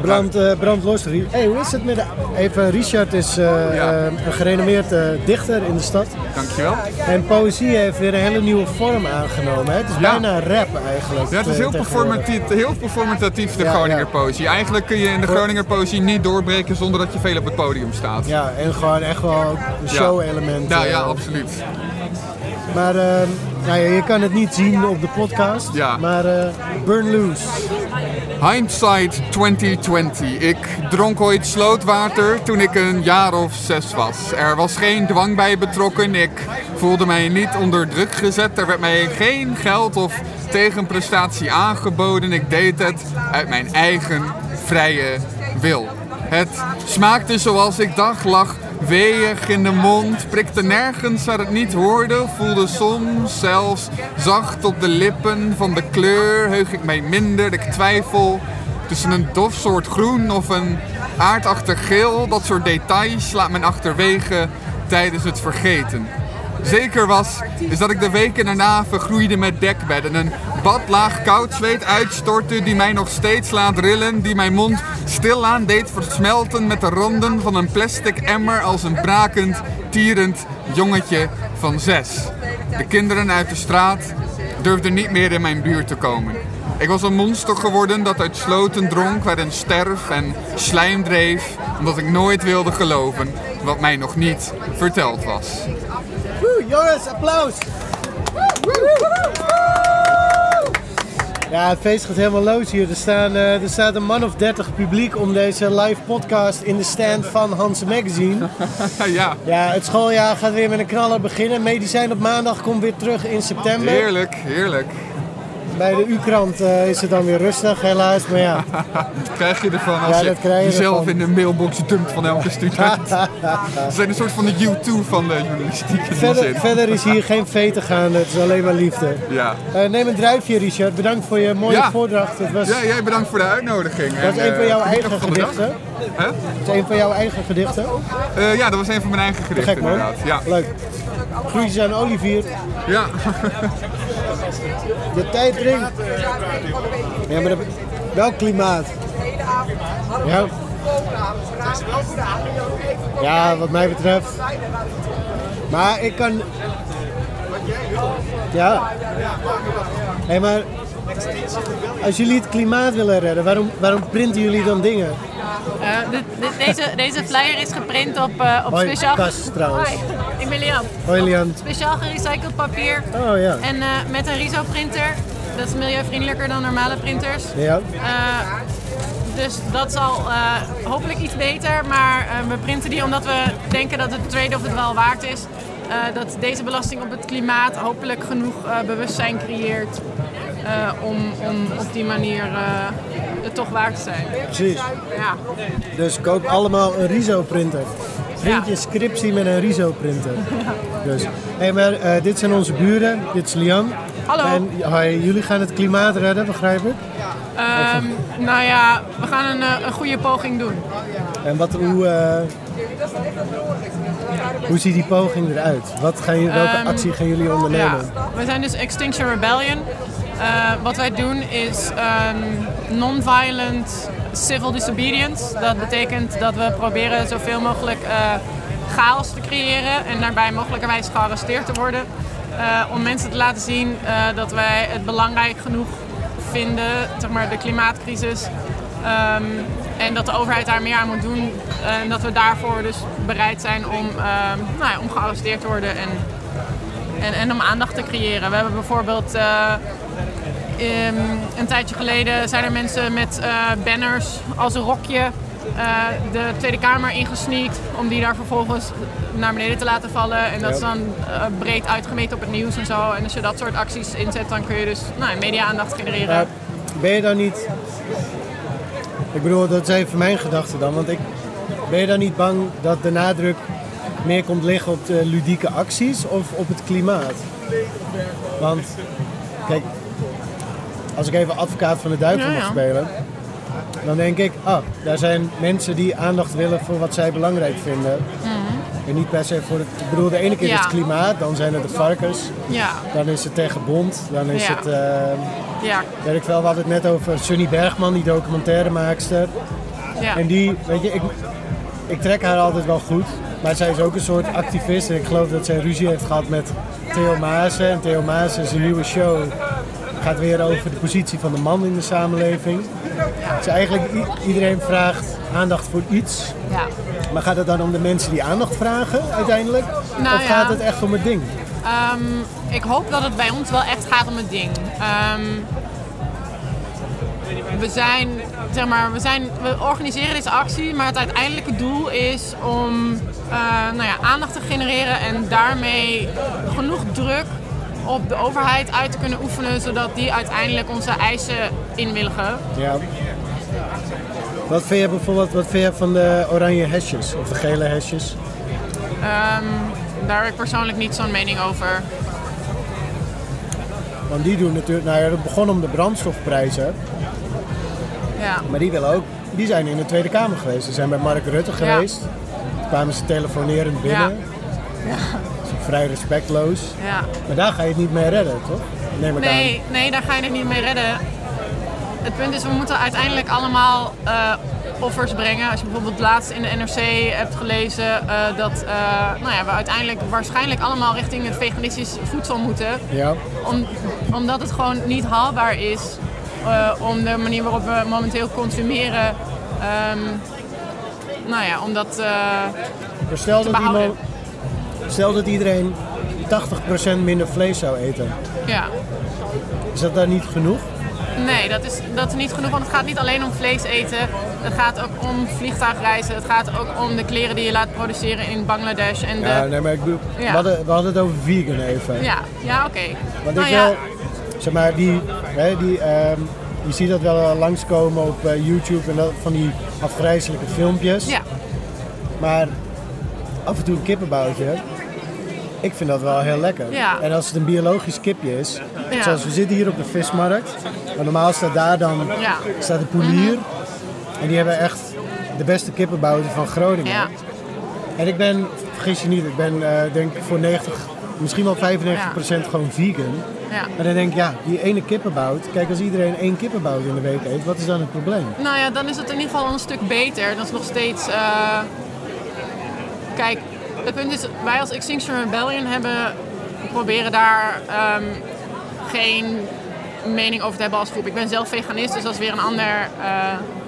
Brand, eh brand los. Rie- Hey, hoe is het met de... Even, Richard is eh, Ja. eh, een gerenommeerd eh, dichter in de stad. Dankjewel. En poëzie heeft weer een hele nieuwe vorm aangenomen. Hè? Het is Ja. bijna rap eigenlijk. Ja, het is heel eh, tegenwoordig. performatief, heel performatief de Ja, Groninger ja. poëzie. Eigenlijk kun je in de Voor- Groninger poëzie niet doorbreken zonder dat je veel op het podium staat. Ja, en gewoon echt wel ook een show-element. Ja, Nou eh, ja, absoluut. Maar ehm, nou ja, je kan het niet zien op de podcast. Ja. Maar eh, Burn Loose. Hindsight 2020. Ik dronk ooit slootwater toen ik een jaar of zes was. Er was geen dwang bij betrokken. Ik voelde mij niet onder druk gezet. Er werd mij geen geld of tegenprestatie aangeboden. Ik deed het uit mijn eigen vrije wil. Het smaakte zoals ik dacht, lag weeg in de mond, prikte nergens waar het niet hoorde, voelde soms zelfs zacht op de lippen van de kleur, heug ik mij minder, ik twijfel tussen een dof soort groen of een aardachtig geel, dat soort details laat men achterwege tijdens het vergeten zeker was, is dat ik de weken daarna vergroeide met dekbedden. Een badlaag koud zweet uitstortte die mij nog steeds laat rillen. Die mijn mond stilaan deed versmelten met de randen van een plastic emmer als een brakend, tierend jongetje van zes. De kinderen uit de straat durfden niet meer in mijn buurt te komen. Ik was een monster geworden dat uit sloten dronk, waarin sterf en slijm dreef, omdat ik nooit wilde geloven wat mij nog niet verteld was. Woe, Joris, applaus! Ja, het feest gaat helemaal los hier. Er, staan, eh, er staat een man of 30 publiek om deze live podcast in de stand van Hans Magazine. <laughs> ja, Ja, het schooljaar gaat weer met een knaller beginnen. Medicijn op maandag komt weer terug in september. heerlijk, heerlijk. <laughs> Bij de U-krant eh, is het dan weer rustig, helaas. Maar <laughs> ja, Dat krijg je ervan als Ja, je dat krijg je jezelf ervan. in een mailbox dumpt van elke <laughs> student. Ze zijn een soort van de U2 van de journalistiek in die verder, zin. verder is hier geen vete gaande. Het is alleen maar liefde. <laughs> Ja. Eh, neem een druifje, Richard. Bedankt voor je mooie Ja. voordracht. Het was, ja, jij bedankt voor de uitnodiging. het was En, een van eh, jouw geniet nog eigen van de dag. gedichten. Hè? Het is een van jouw eigen gedichten. Eh, ja, dat was een van mijn eigen gedichten Gek man. inderdaad. Ja. Leuk. Groetjes aan Olivier. Ja. De tijd dringt. Ja, maar dat... Welk klimaat? Ja. ja, wat mij betreft. Maar ik kan... Ja. Hé, maar... Als jullie het klimaat willen redden, waarom, waarom printen jullie dan dingen? Eh, dit- dit- deze, deze flyer is geprint op, eh, op Hoi, speciaal... Cas trouwens. Hi, ik ben Liam. Hoi, Lian. Speciaal gerecycled papier. Oh ja. En eh, met een riso printer. Dat is milieuvriendelijker dan normale printers. Ja. Eh, dus dat zal eh, hopelijk iets beter. Maar eh, we printen die omdat we denken dat de trade-off het wel waard is. Eh, dat deze belasting op het klimaat hopelijk genoeg eh, bewustzijn creëert. eh, om, om op die manier eh, het toch waard te zijn. Precies. Ja. Dus koop allemaal een Riso-printer. Print je Ja. scriptie met een Riso-printer. Dus. Hey, maar eh, dit zijn onze buren. Dit is Lian. Hallo. En hi, jullie gaan het klimaat redden, begrijp ik. Ehm, nou ja, we gaan een, eh, een goede poging doen. En wat, hoe, eh, hoe ziet die poging eruit? Wat gaan jullie, welke Ehm, actie gaan jullie Ja, ondernemen? we zijn dus Extinction Rebellion. Eh, wat wij doen is ehm, non-violent civil disobedience. Dat betekent dat we proberen zoveel mogelijk eh, chaos te creëren en daarbij mogelijkerwijs gearresteerd te worden. Eh, om mensen te laten zien eh, dat wij het belangrijk genoeg vinden, zeg maar de klimaatcrisis. ehm, en dat de overheid daar meer aan moet doen. En dat we daarvoor dus bereid zijn om, ehm, nou ja, om gearresteerd te worden en en, en om aandacht te creëren. We hebben bijvoorbeeld eh, ehm, een tijdje geleden zijn er mensen met eh, banners als een rokje eh, de Tweede Kamer ingesneakt om die daar vervolgens naar beneden te laten vallen. En dat is dan eh, breed uitgemeten op het nieuws en zo. En als je dat soort acties inzet, dan kun je dus nou, media-aandacht genereren. Maar ben je dan niet... Ik bedoel, dat is even mijn gedachte dan. Want ik, ben je dan niet bang dat de nadruk meer komt liggen op de ludieke acties of op het klimaat? Want, kijk, als ik even advocaat van de duivel Ja, mag ja. spelen... Dan denk ik, ah, daar zijn mensen die aandacht willen voor wat zij belangrijk vinden. Mhm. En niet per se voor het... Ik bedoel, de ene keer Ja. is het klimaat, dan zijn het de varkens. Ja, Dan is het tegen Bond, dan is Ja. het... eh, ja, Weet ik wel, we hadden het net over Sunny Bergman, die documentairemaakster. ja. En die, weet je, ik, ik trek haar altijd wel goed. Maar zij is ook een soort activist. En ik geloof dat zij ruzie heeft gehad met Theo Maassen. En Theo Maassen, zijn nieuwe show, gaat weer over de positie van de man in de samenleving. Dus eigenlijk, i- iedereen vraagt aandacht voor iets. ja. Maar gaat het dan om de mensen die aandacht vragen uiteindelijk? Nou of ja. gaat het echt om het ding? Ehm, ik hoop dat het bij ons wel echt gaat om het ding. Ehm, we zijn, zeg maar, we, zijn, we organiseren deze actie, maar het uiteindelijke doel is om eh, nou ja, aandacht te genereren en daarmee genoeg druk op de overheid uit te kunnen oefenen, zodat die uiteindelijk onze eisen inwilligen. Ja. Wat vind je bijvoorbeeld wat vind je van de oranje hesjes of de gele hesjes? Ehm, daar heb ik persoonlijk niet zo'n mening over. Want die doen natuurlijk, nou ja, dat begon om de brandstofprijzen, Ja. maar die willen ook, die zijn in de Tweede Kamer geweest. Ze zijn bij Mark Rutte geweest, Toen kwamen ze telefonerend binnen. Ja. Dat is vrij respectloos. Ja. Maar daar ga je het niet mee redden, toch? Neem ik aan. Nee, nee, daar ga je het niet mee redden. Het punt is, we moeten uiteindelijk allemaal eh, offers brengen. Als je bijvoorbeeld laatst in de NRC hebt gelezen eh, dat eh, nou ja, we uiteindelijk waarschijnlijk allemaal richting het veganistisch voedsel moeten. Ja, Om, omdat het gewoon niet haalbaar is eh, om de manier waarop we momenteel consumeren. ehm, nou ja, omdat. eh, maar stel Te dat, behouden. iemand, stel dat iedereen 80% minder vlees zou eten. Ja. Is dat daar niet genoeg? Nee, dat is, dat is niet genoeg, want het gaat niet alleen om vlees eten. Het gaat ook om vliegtuigreizen. Het gaat ook om de kleren die je laat produceren in Bangladesh. En de... Ja, nee, maar ik bedoel, we, Ja. hadden, we hadden het over vegan even. Ja, ja oké. Want Nou ik ja, wil, zeg maar, die, hè, die, ehm, je ziet dat wel eh, langskomen op eh, YouTube en dat, van die afgrijzelijke filmpjes. Ja. Maar af en toe een kippenboutje, ik vind dat wel heel lekker. Ja. En als het een biologisch kipje is, Ja. zoals we zitten hier op de vismarkt, maar normaal staat daar dan Ja. staat de poelier. En die hebben echt de beste kippenbouten van Groningen. Ja. En ik ben, vergis je niet, ik ben eh, denk ik voor 90, misschien wel 95% gewoon vegan. Ja. En dan denk ik, ja, die ene kippenbout. Kijk, als iedereen één kippenbout in de week eet, wat is dan het probleem? Nou ja, dan is het in ieder geval een stuk beter. Dat is nog steeds. eh, Kijk, het punt is, wij als Extinction Rebellion hebben proberen daar ehm, geen mening over te hebben als groep. Ik ben zelf veganist, dus dat is weer een ander. eh,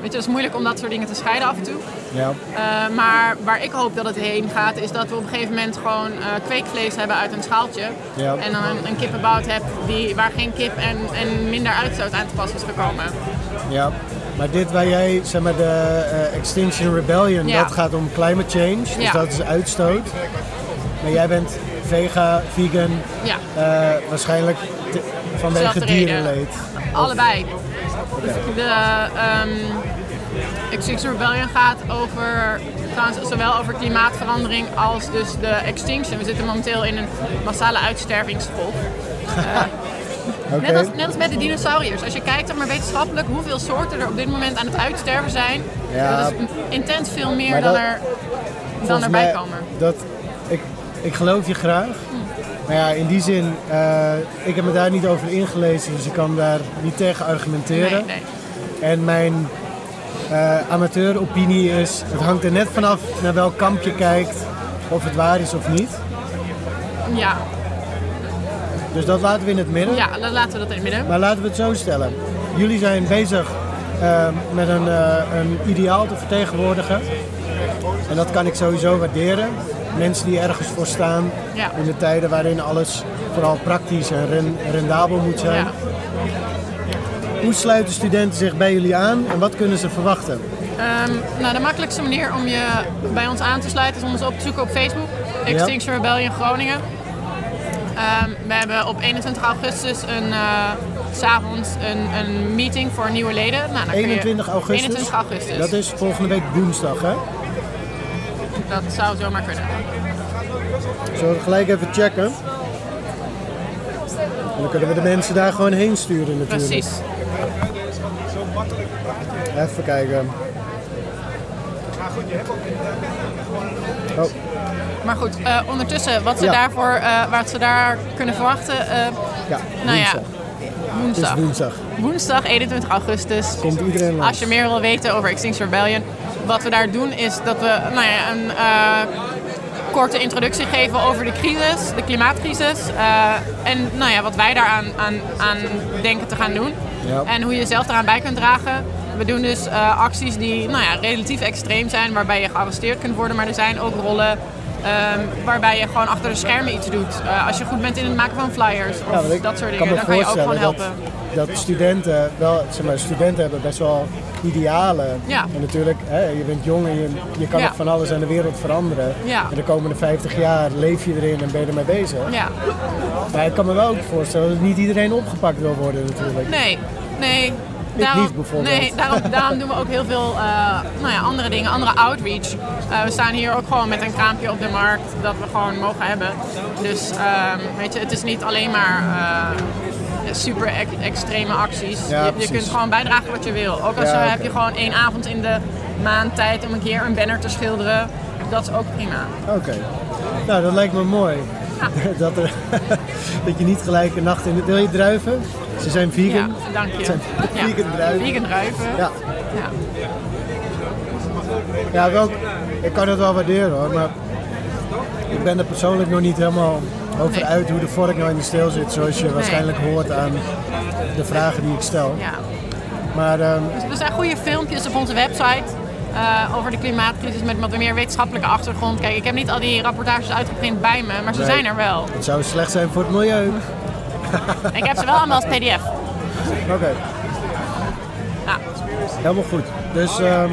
weet je, dat is moeilijk om dat soort dingen te scheiden af en toe. <laughs> Ja. Eh, maar waar ik hoop dat het heen gaat, is dat we op een gegeven moment gewoon eh, kweekvlees hebben uit een schaaltje. Ja. En dan een, een kippenbout hebt die, waar geen kip en, en minder uitstoot aan te pas is gekomen. Ja. Maar dit waar jij, zeg maar, de eh, Extinction Rebellion, Ja. dat gaat om climate change. Dus Ja. dat is uitstoot. Maar jij bent vega, vegan, Ja, eh, waarschijnlijk te- vanwege Zelfde reden. dierenleed. allebei. Dus De ehm Extinction Rebellion gaat over, trouwens, zowel over klimaatverandering als dus de extinction. We zitten momenteel in een massale uitstervingsgolf. <laughs> Oké. Eh, Net als, net als met de dinosauriërs. Als je kijkt zeg maar wetenschappelijk hoeveel soorten er op dit moment aan het uitsterven zijn, Ja. dat is intens veel meer Maar dan, dat- er, dan Volgens erbij mij- komen. Hm. Dat, ik, ik geloof je graag. Maar ja, in die zin, eh, ik heb me daar niet over ingelezen, dus ik kan daar niet tegen argumenteren. Nee, nee. En mijn eh, amateuropinie is, het hangt er net vanaf naar welk kamp je kijkt, of het waar is of niet. Ja, Dus dat laten we in het midden. ja, dan laten we dat in het midden. Maar laten we het zo stellen. Jullie zijn bezig eh, met een, eh, een ideaal te vertegenwoordigen. En dat kan ik sowieso waarderen. Mensen die ergens voor staan Ja. in de tijden waarin alles vooral praktisch en ren- rendabel moet zijn. Ja. Hoe sluiten studenten zich bij jullie aan en wat kunnen ze verwachten? Ehm, nou, de makkelijkste manier om je bij ons aan te sluiten is om ons op te zoeken op Facebook. Extinction Rebellion Groningen. Ehm, we hebben op 21 augustus een, eh, s avonds een, een meeting voor nieuwe leden. Nou, dan kun je- 21 augustus. 21 augustus. Dat is volgende week woensdag, hè? dat zou zomaar kunnen. Zullen we gelijk even checken? En dan kunnen we de mensen daar gewoon heen sturen natuurlijk. Precies. Even kijken. Oh. Maar goed, eh, ondertussen, wat ze, Ja. daarvoor, eh, wat ze daar kunnen verwachten, eh, Ja, nou ja, woensdag. Het is woensdag. woensdag. Woensdag 21 augustus. Komt iedereen langs. Als je meer wil weten over Extinction Rebellion, wat we daar doen is dat we nou ja, een eh, korte introductie geven over de crisis, de klimaatcrisis. eh, en nou ja, wat wij daaraan aan, aan denken te gaan doen. Ja. En hoe je zelf daaraan bij kunt dragen. We doen dus eh, acties die nou ja, relatief extreem zijn, waarbij je gearresteerd kunt worden. Maar er zijn ook rollen ehm, waarbij je gewoon achter de schermen iets doet. Eh, als je goed bent in het maken van flyers Ja, of want ik dat soort kan dingen, me dan kan je ook gewoon voorstellen helpen. Dat, dat studenten, wel, zeg maar, studenten hebben best wel idealen. Ja. En natuurlijk, hè, je bent jong en je, je kan Ja. ook van alles aan de wereld veranderen. Ja. En de komende 50 jaar leef je erin en ben je ermee bezig. Ja, Maar ik kan me wel ook voorstellen dat niet iedereen opgepakt wil worden natuurlijk. nee, nee. niet bijvoorbeeld. nee, daarom, daarom doen we ook heel veel eh, nou ja, andere dingen, andere outreach. Eh, we staan hier ook gewoon met een kraampje op de markt dat we gewoon mogen hebben. Dus ehm, weet je, het is niet alleen maar eh, super ex- extreme acties. Ja, je, je precies. kunt gewoon bijdragen wat je wil. Ook als Ja, je, oké. heb je gewoon één avond in de maand tijd om een keer een banner te schilderen. Dat is ook prima. Oké. Nou, dat lijkt me mooi. <laughs> dat, er, dat je niet gelijk een nacht in de... Wil je druiven? Ze zijn vegan. Ja, dank je. Het zijn <laughs> vegan druiven. Vegan druiven. Ja. Ja. Ja, wel, ik kan het wel waarderen hoor, maar ik ben er persoonlijk nog niet helemaal over Nee. uit hoe de vork nou in de steel zit, zoals je waarschijnlijk hoort aan de vragen die ik stel. ja. Maar ehm, Er zijn goede filmpjes op onze website. eh, over de klimaatcrisis met wat meer wetenschappelijke achtergrond. Kijk, ik heb niet al die rapportages uitgeprint bij me, maar ze Nee. zijn er wel. Het zou slecht zijn voor het milieu. Ik heb ze wel allemaal als pdf. Oké, Ja, helemaal goed. Dus ehm,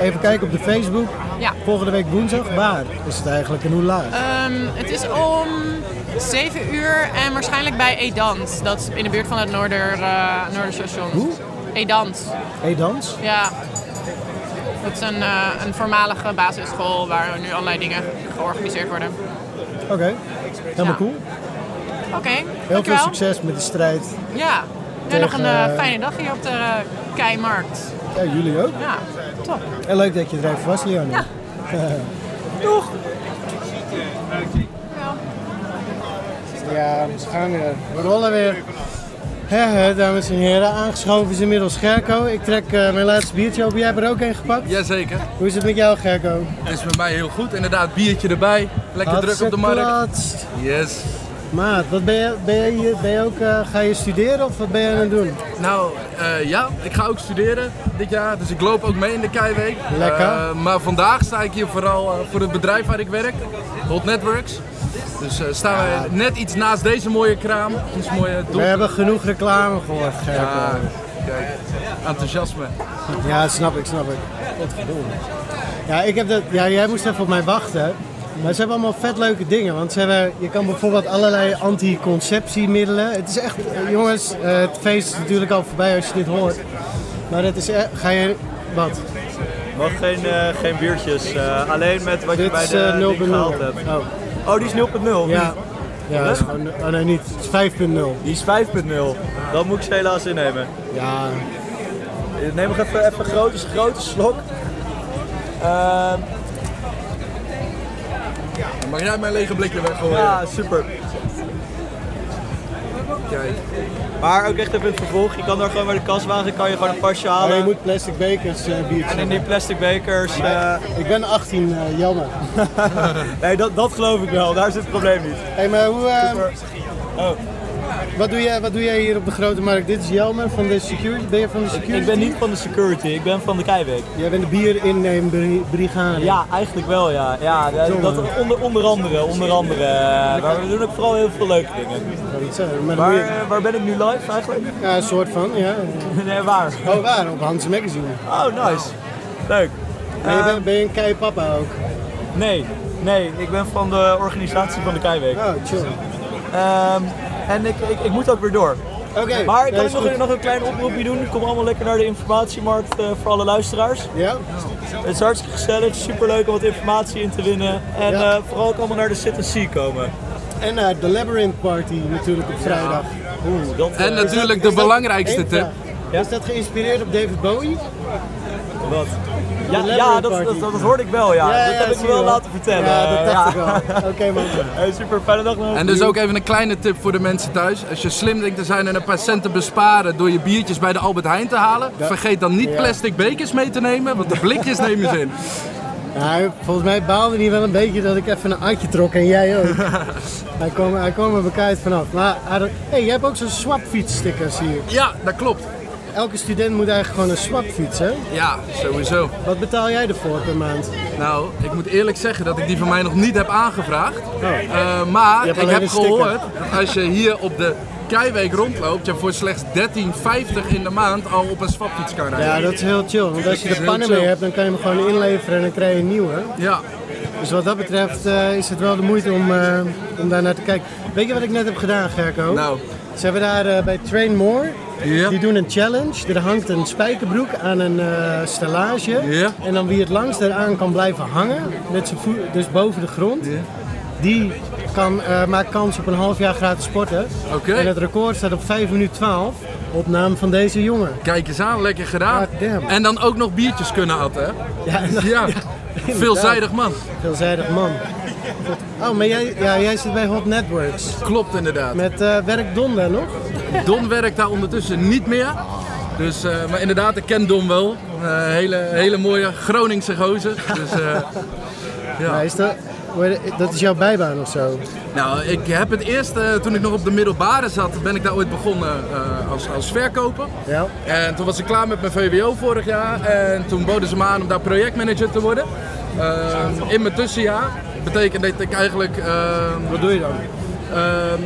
even kijken op de Facebook. ja. Volgende week woensdag, waar is het eigenlijk en hoe laat? Ehm, het is om 7 uur en waarschijnlijk bij Edans. Dat is in de buurt van het Noorder, eh Noorderstation. Hoe? Edans, E-dans? ja. Dat is een, eh, een voormalige basisschool waar nu allerlei dingen georganiseerd worden. Oké, helemaal Ja. cool. Oké, Heel veel dankjewel. succes met de strijd. Ja, en Tegen, nog een eh, eh, fijne dag hier op de eh, Keimarkt. Ja, jullie ook. Ja, top. En leuk dat je er even was, Leon. <laughs> Doeg! <laughs> Ja, we gaan weer. We rollen weer. Ja, hè, dames en heren, aangeschoven is inmiddels Gerco. Ik trek eh, mijn laatste biertje open. Jij hebt er ook een gepakt. Jazeker. Hoe is het met jou, Gerco? Het is met mij heel goed. Inderdaad, biertje erbij. Lekker druk op de markt. Hartstikke Yes. Maat, wat ben je, ben je, hier- ben je ook, eh, ga je studeren of wat ben je aan het doen? Nou, eh, ja, ik ga ook studeren dit jaar. Dus ik loop ook mee in de Keiweek. Lekker. Eh, maar vandaag sta ik hier vooral eh, voor het bedrijf waar ik werk. Hot Networks. Dus eh, staan wij net iets naast deze mooie kraam. Ons mooie We doel. hebben genoeg reclame gehoord, Gerco. Ja, Ja, kijk. Enthousiasme. snap ik, snap ik. Wat verdomme. Ja, ik heb dat, ja, jij moest even op mij wachten. Maar ze hebben allemaal vet leuke dingen. Want ze hebben, je kan bijvoorbeeld allerlei anticonceptiemiddelen. Het is echt, eh, jongens, eh, het feest is natuurlijk al voorbij als je dit hoort. Maar het is echt, ga je, wat? Mag geen, eh, geen biertjes, eh, alleen met wat je Dit bij is de eh, 0.0. ding gehaald hebt. Oh, Oh, die is 0.0? ja. Ja, Huh? dat is gewoon, oh nee, niet. Het is 5.0. Die is 5.0. Dat moet ik ze helaas innemen. Ja, Neem nog even, even een grote, grote slok. Ehm, Mag jij mijn lege blikje weggooien? ja, super. Kijk. Maar ook echt even het vervolg. Je kan daar gewoon bij de kaswagen kan je gewoon een pasje maar halen. Oh, je moet plastic bekers eh biertjes En in die hebben. plastic bekers. eh, Ik ben 18, eh, jammer. <laughs> nee, dat, dat geloof ik wel. Daar zit het probleem niet. hey, maar hoe, eh, Super. Oh. wat, doe jij, wat doe jij hier op de Grote Markt? Dit is Jelmer van de security. Ben je van de security? Ik ben niet van de security, ik ben van de Keiweek. Jij bent de bierinneembrigade. Ja, eigenlijk wel ja. ja eh, dat, dat- onder, onder andere, onder andere. eh, Maar we doen ook vooral heel veel leuke dingen. Ik zou het zeggen, Maar dan Waar, moet je- eh, waar ben ik nu live eigenlijk? ja, een soort van, ja. <laughs> Nee, waar? Oh, waar? Op Hans Magazine. Oh, nice. Leuk. Eh, Maar je bent, ben je een kei papa ook? Nee, nee, ik ben van de organisatie van de Keiweek. Oh, chill. Ehm, en ik, ik, ik moet ook weer door. Oké, Maar ik nee, kan is ook nog, goed. nog een klein oproepje doen. Kom allemaal lekker naar de informatiemarkt eh, voor alle luisteraars. Ja? Het is hartstikke gezellig, superleuk om wat informatie in te winnen. En Ja. eh, vooral ook allemaal naar de Sit and See komen. En naar de Labyrinth Party natuurlijk op vrijdag. Oeh, dat, En eh, natuurlijk Is dat- de belangrijkste één tip. vraag. Is dat geïnspireerd op David Bowie? Wat? Ja, Labyrinth ja dat, Party. dat, dat hoorde ik wel, ja. dat heb ik zie me wel je laten vertellen. Ja, dat Ja. dacht ik <laughs> wel. Oké, man. Hey, super, fijne dag nog. En dus ook even een kleine tip voor de mensen thuis. Als je slim denkt te zijn en een paar cent te besparen door je biertjes bij de Albert Heijn te halen, vergeet dan niet plastic bekers mee te nemen, want de blikjes nemen <laughs> ze in. Nou, volgens mij baalde hij wel een beetje dat ik even een atje trok en jij <laughs> ook. hij, kwam, hij kwam er bekijkt vanaf. Maar hij had- hey, jij hebt ook zo'n swapfietsstickers hier. Ja, dat klopt. Elke student moet eigenlijk gewoon een swapfiets, hè? Ja, sowieso. Wat betaal jij ervoor per maand? Nou, ik moet eerlijk zeggen dat ik die van mij nog niet heb aangevraagd. Eh, maar Oh. Je hebt ik alleen heb een sticker. gehoord dat als je hier op de Keiweek rondloopt, je voor slechts 13,50 in de maand al op een swapfiets kan rijden. Ja, dat is heel chill. Want als je de Heel pannen chill. mee hebt, dan kan je hem gewoon inleveren en dan krijg je een nieuwe. Ja. Dus wat dat betreft eh, is het wel de moeite om, eh, om daar naar te kijken. Weet je wat ik net heb gedaan, Gerco? Nou. Ze hebben daar eh, bij Train More, Ja. die doen een challenge. Er hangt een spijkerbroek aan een eh stellage. Ja. En dan wie het langst eraan kan blijven hangen, met zijn voet, dus boven de grond, die kan, eh, maakt kans op een half jaar gratis sporten. Oké. En het record staat op 5 minuten 12, op naam van deze jongen. Kijk eens aan, lekker gedaan. God damn. En dan ook nog biertjes kunnen atten, hè? Ja, en dan- <laughs> Ja, veelzijdig man. Veelzijdig man. Oh, maar jij, ja, jij zit bij Hot Networks. Klopt inderdaad. Met eh, werk Don daar nog? <laughs> Don werkt daar ondertussen niet meer. Dus, eh, maar inderdaad, ik ken Don wel. Eh hele, hele mooie Groningse gozer. Dus, eh, ja. Ja, is dat- hoe heet het, dat is jouw bijbaan of zo? Nou, ik heb het eerst, eh, toen ik nog op de middelbare zat, ben ik daar ooit begonnen eh, als, als verkoper. Ja. En toen was ik klaar met mijn VWO vorig jaar. En toen boden ze me aan om daar projectmanager te worden. Ehm, in mijn tussenjaar betekent dat ik eigenlijk... ehm, Wat doe je dan?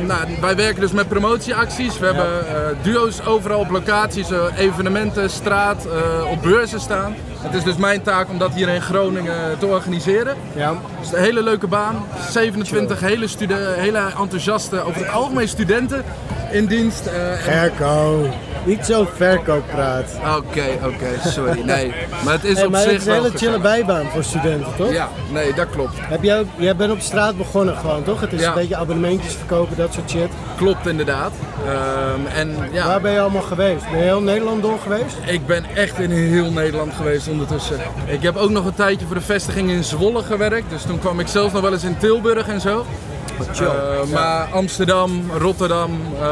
nou, wij werken dus met promotieacties. We hebben eh, duo's overal op locaties, eh, evenementen, straat, eh, op beurzen staan. Het is dus mijn taak om dat hier in Groningen te organiseren. Ja. Het is een hele leuke baan. 27 hele, stude- hele enthousiaste, over het algemeen studenten in dienst. eh, en- Verkoop. Niet zo verkooppraat. Oké, oké, sorry. Nee, maar het is Hey, op maar zich het is een wel hele chille gezellig. bijbaan voor studenten, toch? Ja, nee, dat klopt. Heb jij, jij bent op straat begonnen gewoon, toch? Het is Ja. een beetje abonnementjes verkopen, dat soort shit. Klopt inderdaad. Ehm, en ja, Waar ben je allemaal geweest? Ben je heel Nederland door geweest? ik ben echt in heel Nederland geweest ondertussen. Ik heb ook nog een tijdje voor de vestiging in Zwolle gewerkt. Dus toen kwam ik zelf nog wel eens in Tilburg en zo. chill. Eh, Ja. Maar Amsterdam, Rotterdam, eh,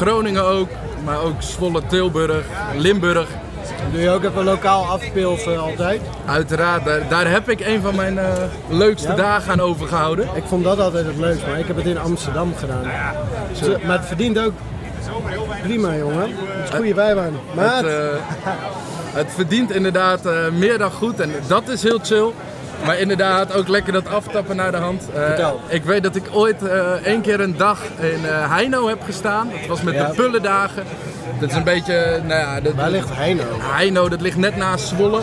Groningen ook. Maar ook Zwolle, Tilburg, Limburg. Doe je ook even lokaal afpilsen altijd? Uiteraard, daar, daar heb ik een van mijn eh, leukste Ja? dagen aan overgehouden. Ik vond dat altijd het leukst, maar ik heb het in Amsterdam gedaan. Zo, maar het verdient ook prima, jongen. Het is een goede bijbaan. Maar Het, eh, het verdient inderdaad eh, meer dan goed en dat is heel chill. Maar inderdaad, ook lekker dat aftappen naar de hand. Eh, Vertel. ik weet dat ik ooit eh, één keer een dag in eh, Heino heb gestaan. Het was met Ja. de pullendagen. Dat is een beetje, nou ja... Dat, Waar ligt Heino? Heino, dat ligt net naast Zwolle.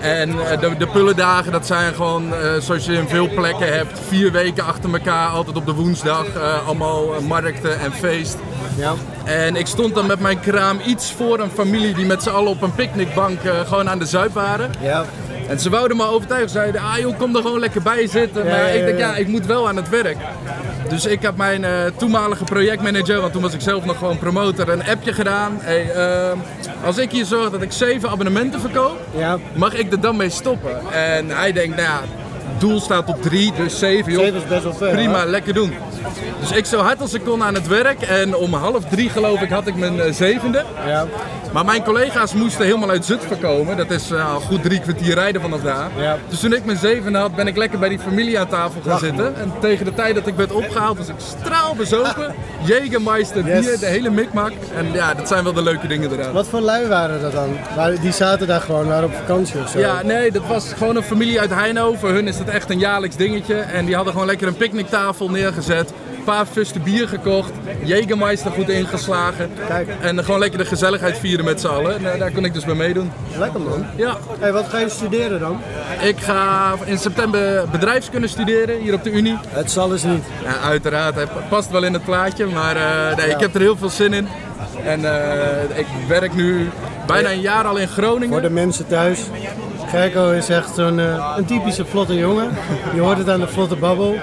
En eh, de, de pullendagen, dat zijn gewoon, eh, zoals je in veel plekken hebt, vier weken achter elkaar, altijd op de woensdag, eh, allemaal eh, markten en feest. Ja. En ik stond dan met mijn kraam iets voor een familie die met z'n allen op een picknickbank eh, gewoon aan de zuip waren. Ja. En ze wouden me overtuigen, zeiden, ah joh, kom er gewoon lekker bij zitten. Maar Ja, ja, ik dacht, ja. ja, ik moet wel aan het werk. Dus ik heb mijn eh, toenmalige projectmanager, want toen was ik zelf nog gewoon promotor, een appje gedaan. Hey, ehm, als ik hier zorg dat ik zeven abonnementen verkoop, Ja. mag ik er dan mee stoppen? En hij denkt, nou ja, doel staat op drie, dus zeven joh. Zeven is best wel veel, Prima, hè? lekker doen. Dus ik zo hard als ik kon aan het werk en om half drie geloof ik had ik mijn eh, zevende. Ja. Maar mijn collega's moesten helemaal uit Zutphen komen. Dat is eh, al goed drie kwartier rijden vanaf daar. Ja. Dus toen ik mijn zevende had, ben ik lekker bij die familie aan tafel gaan Lach, zitten. En tegen de tijd dat ik werd opgehaald, was ik straal <laughs> bezopen. Jägermeister, Yes. bier, de hele mikmak. En ja, dat zijn wel de leuke dingen eraan. Wat voor lui waren dat dan? Waren- Die zaten daar gewoon, waren op vakantie of zo? Ja, nee, dat was gewoon een familie uit Heino. Voor hun is dat echt een jaarlijks dingetje. En die hadden gewoon lekker een picknicktafel neergezet. Een paar fusten bier gekocht. Jägermeister goed ingeslagen. Kijk. En gewoon lekker de gezelligheid vieren met z'n allen. En eh, daar kon ik dus bij meedoen. Lekker man. Ja. Hey, wat ga je studeren dan? Ik ga in september bedrijfskunde studeren hier op de Unie. Het zal eens niet. Ja, uiteraard, het past wel in het plaatje, maar eh, nee, ik heb er heel veel zin in. En eh, ik werk nu bijna een jaar al in Voor Groningen. de mensen thuis. Gerko is echt zo'n eh, een typische vlotte jongen. Je hoort het aan de vlotte babbel.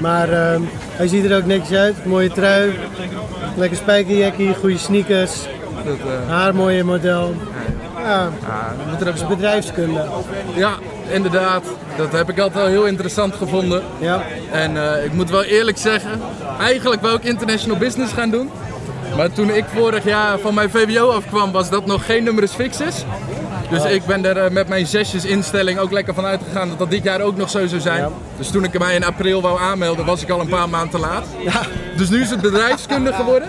Maar ehm, hij ziet er ook niks uit. Mooie trui. Lekker spijkerjackie, goede sneakers. Dat, eh, Haar mooie model. Ja, we moeten dat er- is bedrijfskunde. ja, inderdaad. Dat heb ik altijd wel heel interessant gevonden. Ja. En eh, ik moet wel eerlijk zeggen, eigenlijk wou ik international business gaan doen. Maar toen ik vorig jaar van mijn VWO afkwam, was dat nog geen numerus fixus. Dus Oh. ik ben er eh, met mijn zesjes instelling ook lekker van uitgegaan dat dat dit jaar ook nog zo zou zijn. Ja. Dus toen ik mij in april wou aanmelden, was ik al een paar maanden te laat. Dus nu is het bedrijfskunde geworden.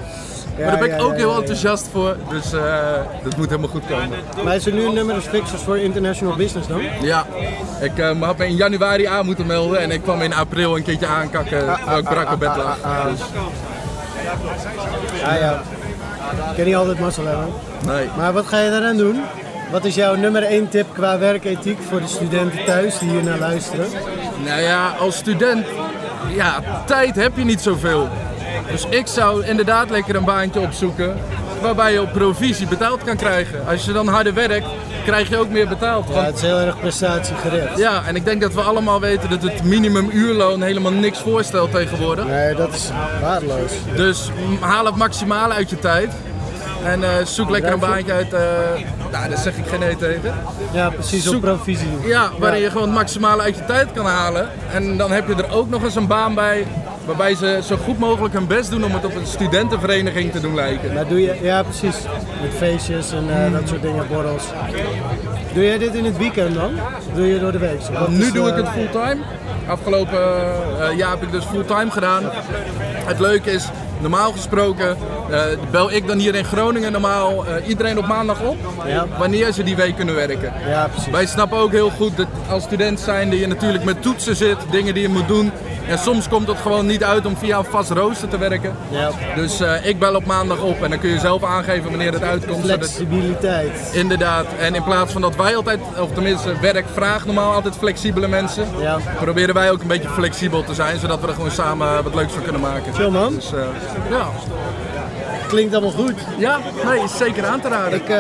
maar daar ben ik ja, ook ja, heel ja, ja. enthousiast voor. Dus eh, dat moet helemaal goed komen. Maar is er nu een nummer als fixers voor international business dan? Ja, ik eh, had me in januari aan moeten melden en ik kwam in april een keertje aankakken Ah, terwijl ik brak op bed lag. Dus, Ja, ja. Ik kan niet altijd mazzel hebben. nee. Maar wat ga je daaraan doen? Wat is jouw nummer één tip qua werkethiek voor de studenten thuis die hier naar luisteren? Nou ja, als student, ja, tijd heb je niet zoveel. Dus ik zou inderdaad lekker een baantje opzoeken waarbij je op provisie betaald kan krijgen. Als je dan harder werkt, krijg je ook meer betaald. Ja, Want, het is heel erg prestatiegericht. ja, en ik denk dat we allemaal weten dat het minimumuurloon helemaal niks voorstelt tegenwoordig. Nee, dat is waardeloos. Dus m- haal het maximale uit je tijd. En eh, zoek lekker een baantje uit. eh, nou, daar zeg ik geen nee tegen. Ja, precies op Zoek- provisie. Ja, waarin je gewoon het maximale uit je tijd kan halen. En dan heb je er ook nog eens een baan bij. Waarbij ze zo goed mogelijk hun best doen om het op een studentenvereniging te doen lijken. Maar doe je, ja precies, met feestjes en eh, dat soort dingen, borrels. Doe jij dit in het weekend dan? Doe je door de week? Of wat Nou, Nu is, doe ik eh, het fulltime. Afgelopen eh, jaar heb ik dus fulltime gedaan. Het leuke is, normaal gesproken eh, bel ik dan hier in Groningen normaal eh, iedereen op maandag op. Wanneer ze die week kunnen werken. Wij snappen ook heel goed dat als student zijn dat je natuurlijk met toetsen zit, dingen die je moet doen. En soms komt het gewoon niet uit om via een vast rooster te werken. Dus eh, ik bel op maandag op en dan kun je zelf aangeven wanneer het uitkomt. zodat- Flexibiliteit. Inderdaad, en in plaats van dat wij altijd, of tenminste werk vraagt normaal altijd flexibele mensen, proberen wij ook een beetje flexibel te zijn, zodat we er gewoon samen wat leuks van kunnen maken. Chill man. Dus, eh, ja. Klinkt allemaal goed. Ja, nee, is zeker aan te raden. Ik eh,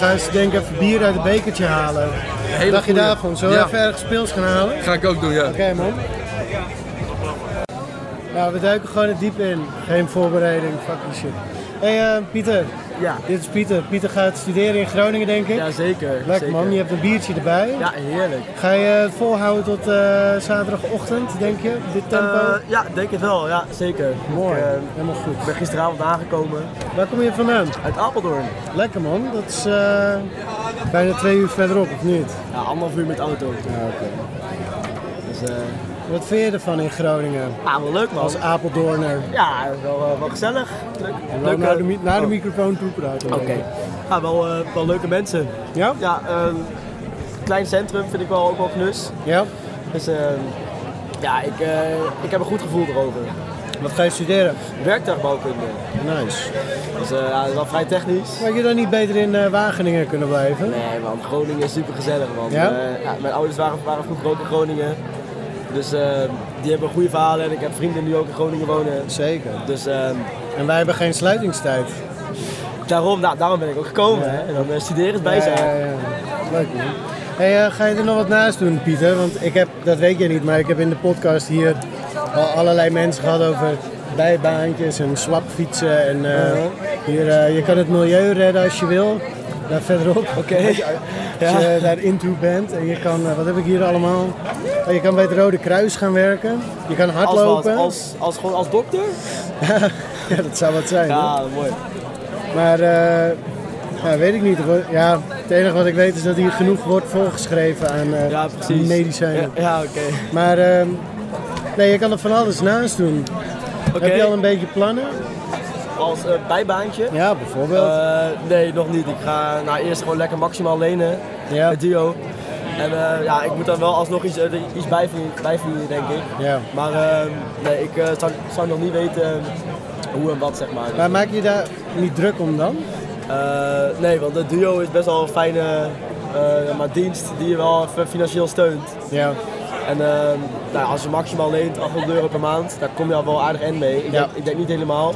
ga eens denk ik even bier uit het bekertje halen. hele Dag je goeie. daarvan? Zullen we Ja. even ergens pils gaan halen? Ga ik ook doen, ja. Oké man. Ja, Nou, we duiken gewoon het diep in. Geen voorbereiding, fuck die shit. Hé hey, eh, Pieter. Ja. Dit is Pieter. Pieter gaat studeren in Groningen denk ik. Ja zeker. Lekker man, je hebt een biertje erbij. Ja, heerlijk. Ga je het volhouden tot eh, zaterdagochtend denk je? Dit tempo? Eh, ja, denk het wel. Ja, zeker. Mooi. Helemaal goed. Ik ben gisteravond aangekomen. Waar kom je vandaan? Uit Apeldoorn. Lekker man, dat is eh, bijna twee uur verderop of niet? Ja, anderhalf uur met auto. Ja, oké. Dus, eh, Wat vind je ervan in Groningen? Ah, wel leuk man. Als Apeldoorner. ja, wel, eh, wel gezellig. Leuk. En wel Leuke- naar de, mi- naar de Oh. microfoon toe praten. Oké. Ja, wel, eh, wel leuke mensen. Ja? Ja, ehm, klein centrum vind ik wel ook wel knus. Ja? Dus ehm, ja, ik, eh, ik heb een goed gevoel erover. Wat ga je studeren? Werktuigbouwkunde. Nice. Dus eh, ja, dat is wel vrij technisch. Zou je dan niet beter in eh, Wageningen kunnen blijven? Nee man, Groningen is super gezellig man. Ja? Eh, ja, mijn ouders waren, waren vroeger ook in Groningen. Dus eh, die hebben goede verhalen en ik heb vrienden die ook in Groningen wonen. Zeker. Dus, en wij hebben geen sluitingstijd. Daarom, nou, daarom ben ik ook gekomen. Ja. hè. En dan eh, studeren is bijzaak. Ja, ja, ja. Leuk man. Hey, eh, ga je er nog wat naast doen, Pieter? Want ik heb, dat weet je niet, maar ik heb in de podcast hier al allerlei mensen gehad over bijbaantjes en swapfietsen. En eh, Mhm. hier, eh, je kan het milieu redden als je wil. Daar verderop. <laughs> Oké. Als je Ja. daar into bent. En je kan, eh, wat heb ik hier allemaal? Eh, je kan bij het Rode Kruis gaan werken. Je kan Als, wat? hardlopen. als, als, gewoon als dokter? ja, dat zou wat zijn. Ja, hoor. dat is mooi. Maar eh, ja, weet ik niet. hoor. Ja, het enige wat ik weet is dat hier genoeg wordt voorgeschreven aan eh, medicijnen. Ja, ja, oké. Maar ehm, nee, je kan er van alles naast doen. Heb je al een beetje plannen? Als eh, bijbaantje? Eh, Ja, bijvoorbeeld. nee, nog niet. Ik ga nou, eerst gewoon lekker maximaal lenen. Ja. Het duo. En eh, ja, ik moet daar wel alsnog iets, eh, iets bij verdienen- bij verdienen, denk ik. Ja. Maar ehm, nee, ik eh, zou, zou nog niet weten ehm, hoe en wat, zeg maar. Maar maak je daar niet druk om dan? Eh, nee, want het duo is best wel een fijne eh, maar dienst die je wel even financieel steunt. Ja. En ehm, nou, als je maximaal leent 800 euro per maand, daar kom je al wel aardig end mee. Ik, denk, ik denk niet helemaal.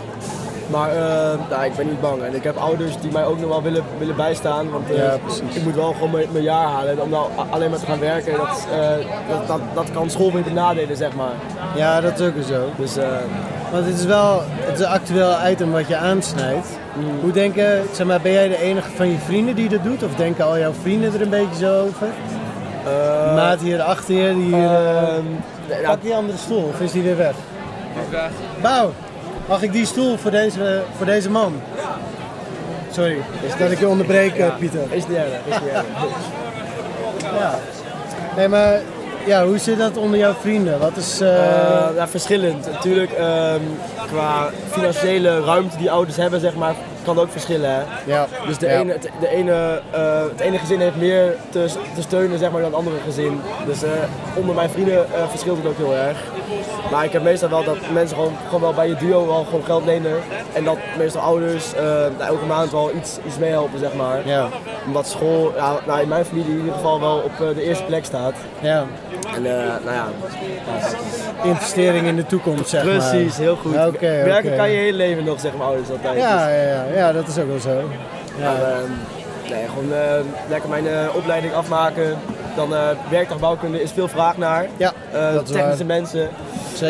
Maar ehm, nou, ik ben niet bang. En ik heb ouders die mij ook nog wel willen, willen bijstaan. Want eh, Ja, ik moet wel gewoon mijn, mijn jaar halen. En om nou a- alleen maar te gaan werken, dat, is, eh, dat, dat, dat kan school weer benadelen, zeg maar. Ja, dat is ook weer zo. eh, Dus, Want het is wel het is een actueel item wat je aansnijdt. Hmm. Hoe denken, zeg maar, ben jij de enige van je vrienden die dat doet? Of denken al jouw vrienden er een beetje zo over? Eh, ehm, nou. Maat hier achter je, die hier... eh, ja. pak die andere stoel, of is die weer weg? Bouw, mag ik die stoel voor deze, voor deze man? Sorry, dat ik je onderbreek, eh, Ja, Pieter. Is niet erg, is niet erg. Ja. Nee, maar ja, hoe zit dat onder jouw vrienden? Wat is... eh, Eh, ja, verschillend. Natuurlijk, ehm, qua financiële ruimte die ouders hebben, zeg maar, kan het ook verschillen. Hè? Ja. Dus de Ja. ene, het, de ene, eh, het ene gezin heeft meer te, te steunen zeg maar, dan het andere gezin. Dus eh, onder mijn vrienden eh, verschilt het ook heel erg. Maar ik heb meestal wel dat mensen gewoon, gewoon wel bij je duo wel gewoon geld lenen. En dat meestal ouders eh, nou, elke maand wel iets, iets meehelpen, zeg maar. Ja. Omdat school, ja, nou, in mijn familie in ieder geval wel op eh, de eerste plek staat. Ja. En eh, nou ja. investering in de toekomst, zeg maar. Precies, heel goed. Oké, Werken oké. kan je hele leven nog, zeg maar, ouders altijd. Ja, Dus, ja, ja, ja, dat is ook wel zo. Ja. maar, ehm, nee, gewoon eh, lekker mijn eh, opleiding afmaken. Dan eh werktuigbouwkunde is veel vraag naar. Ja, Eh, dat is Technische waar. mensen.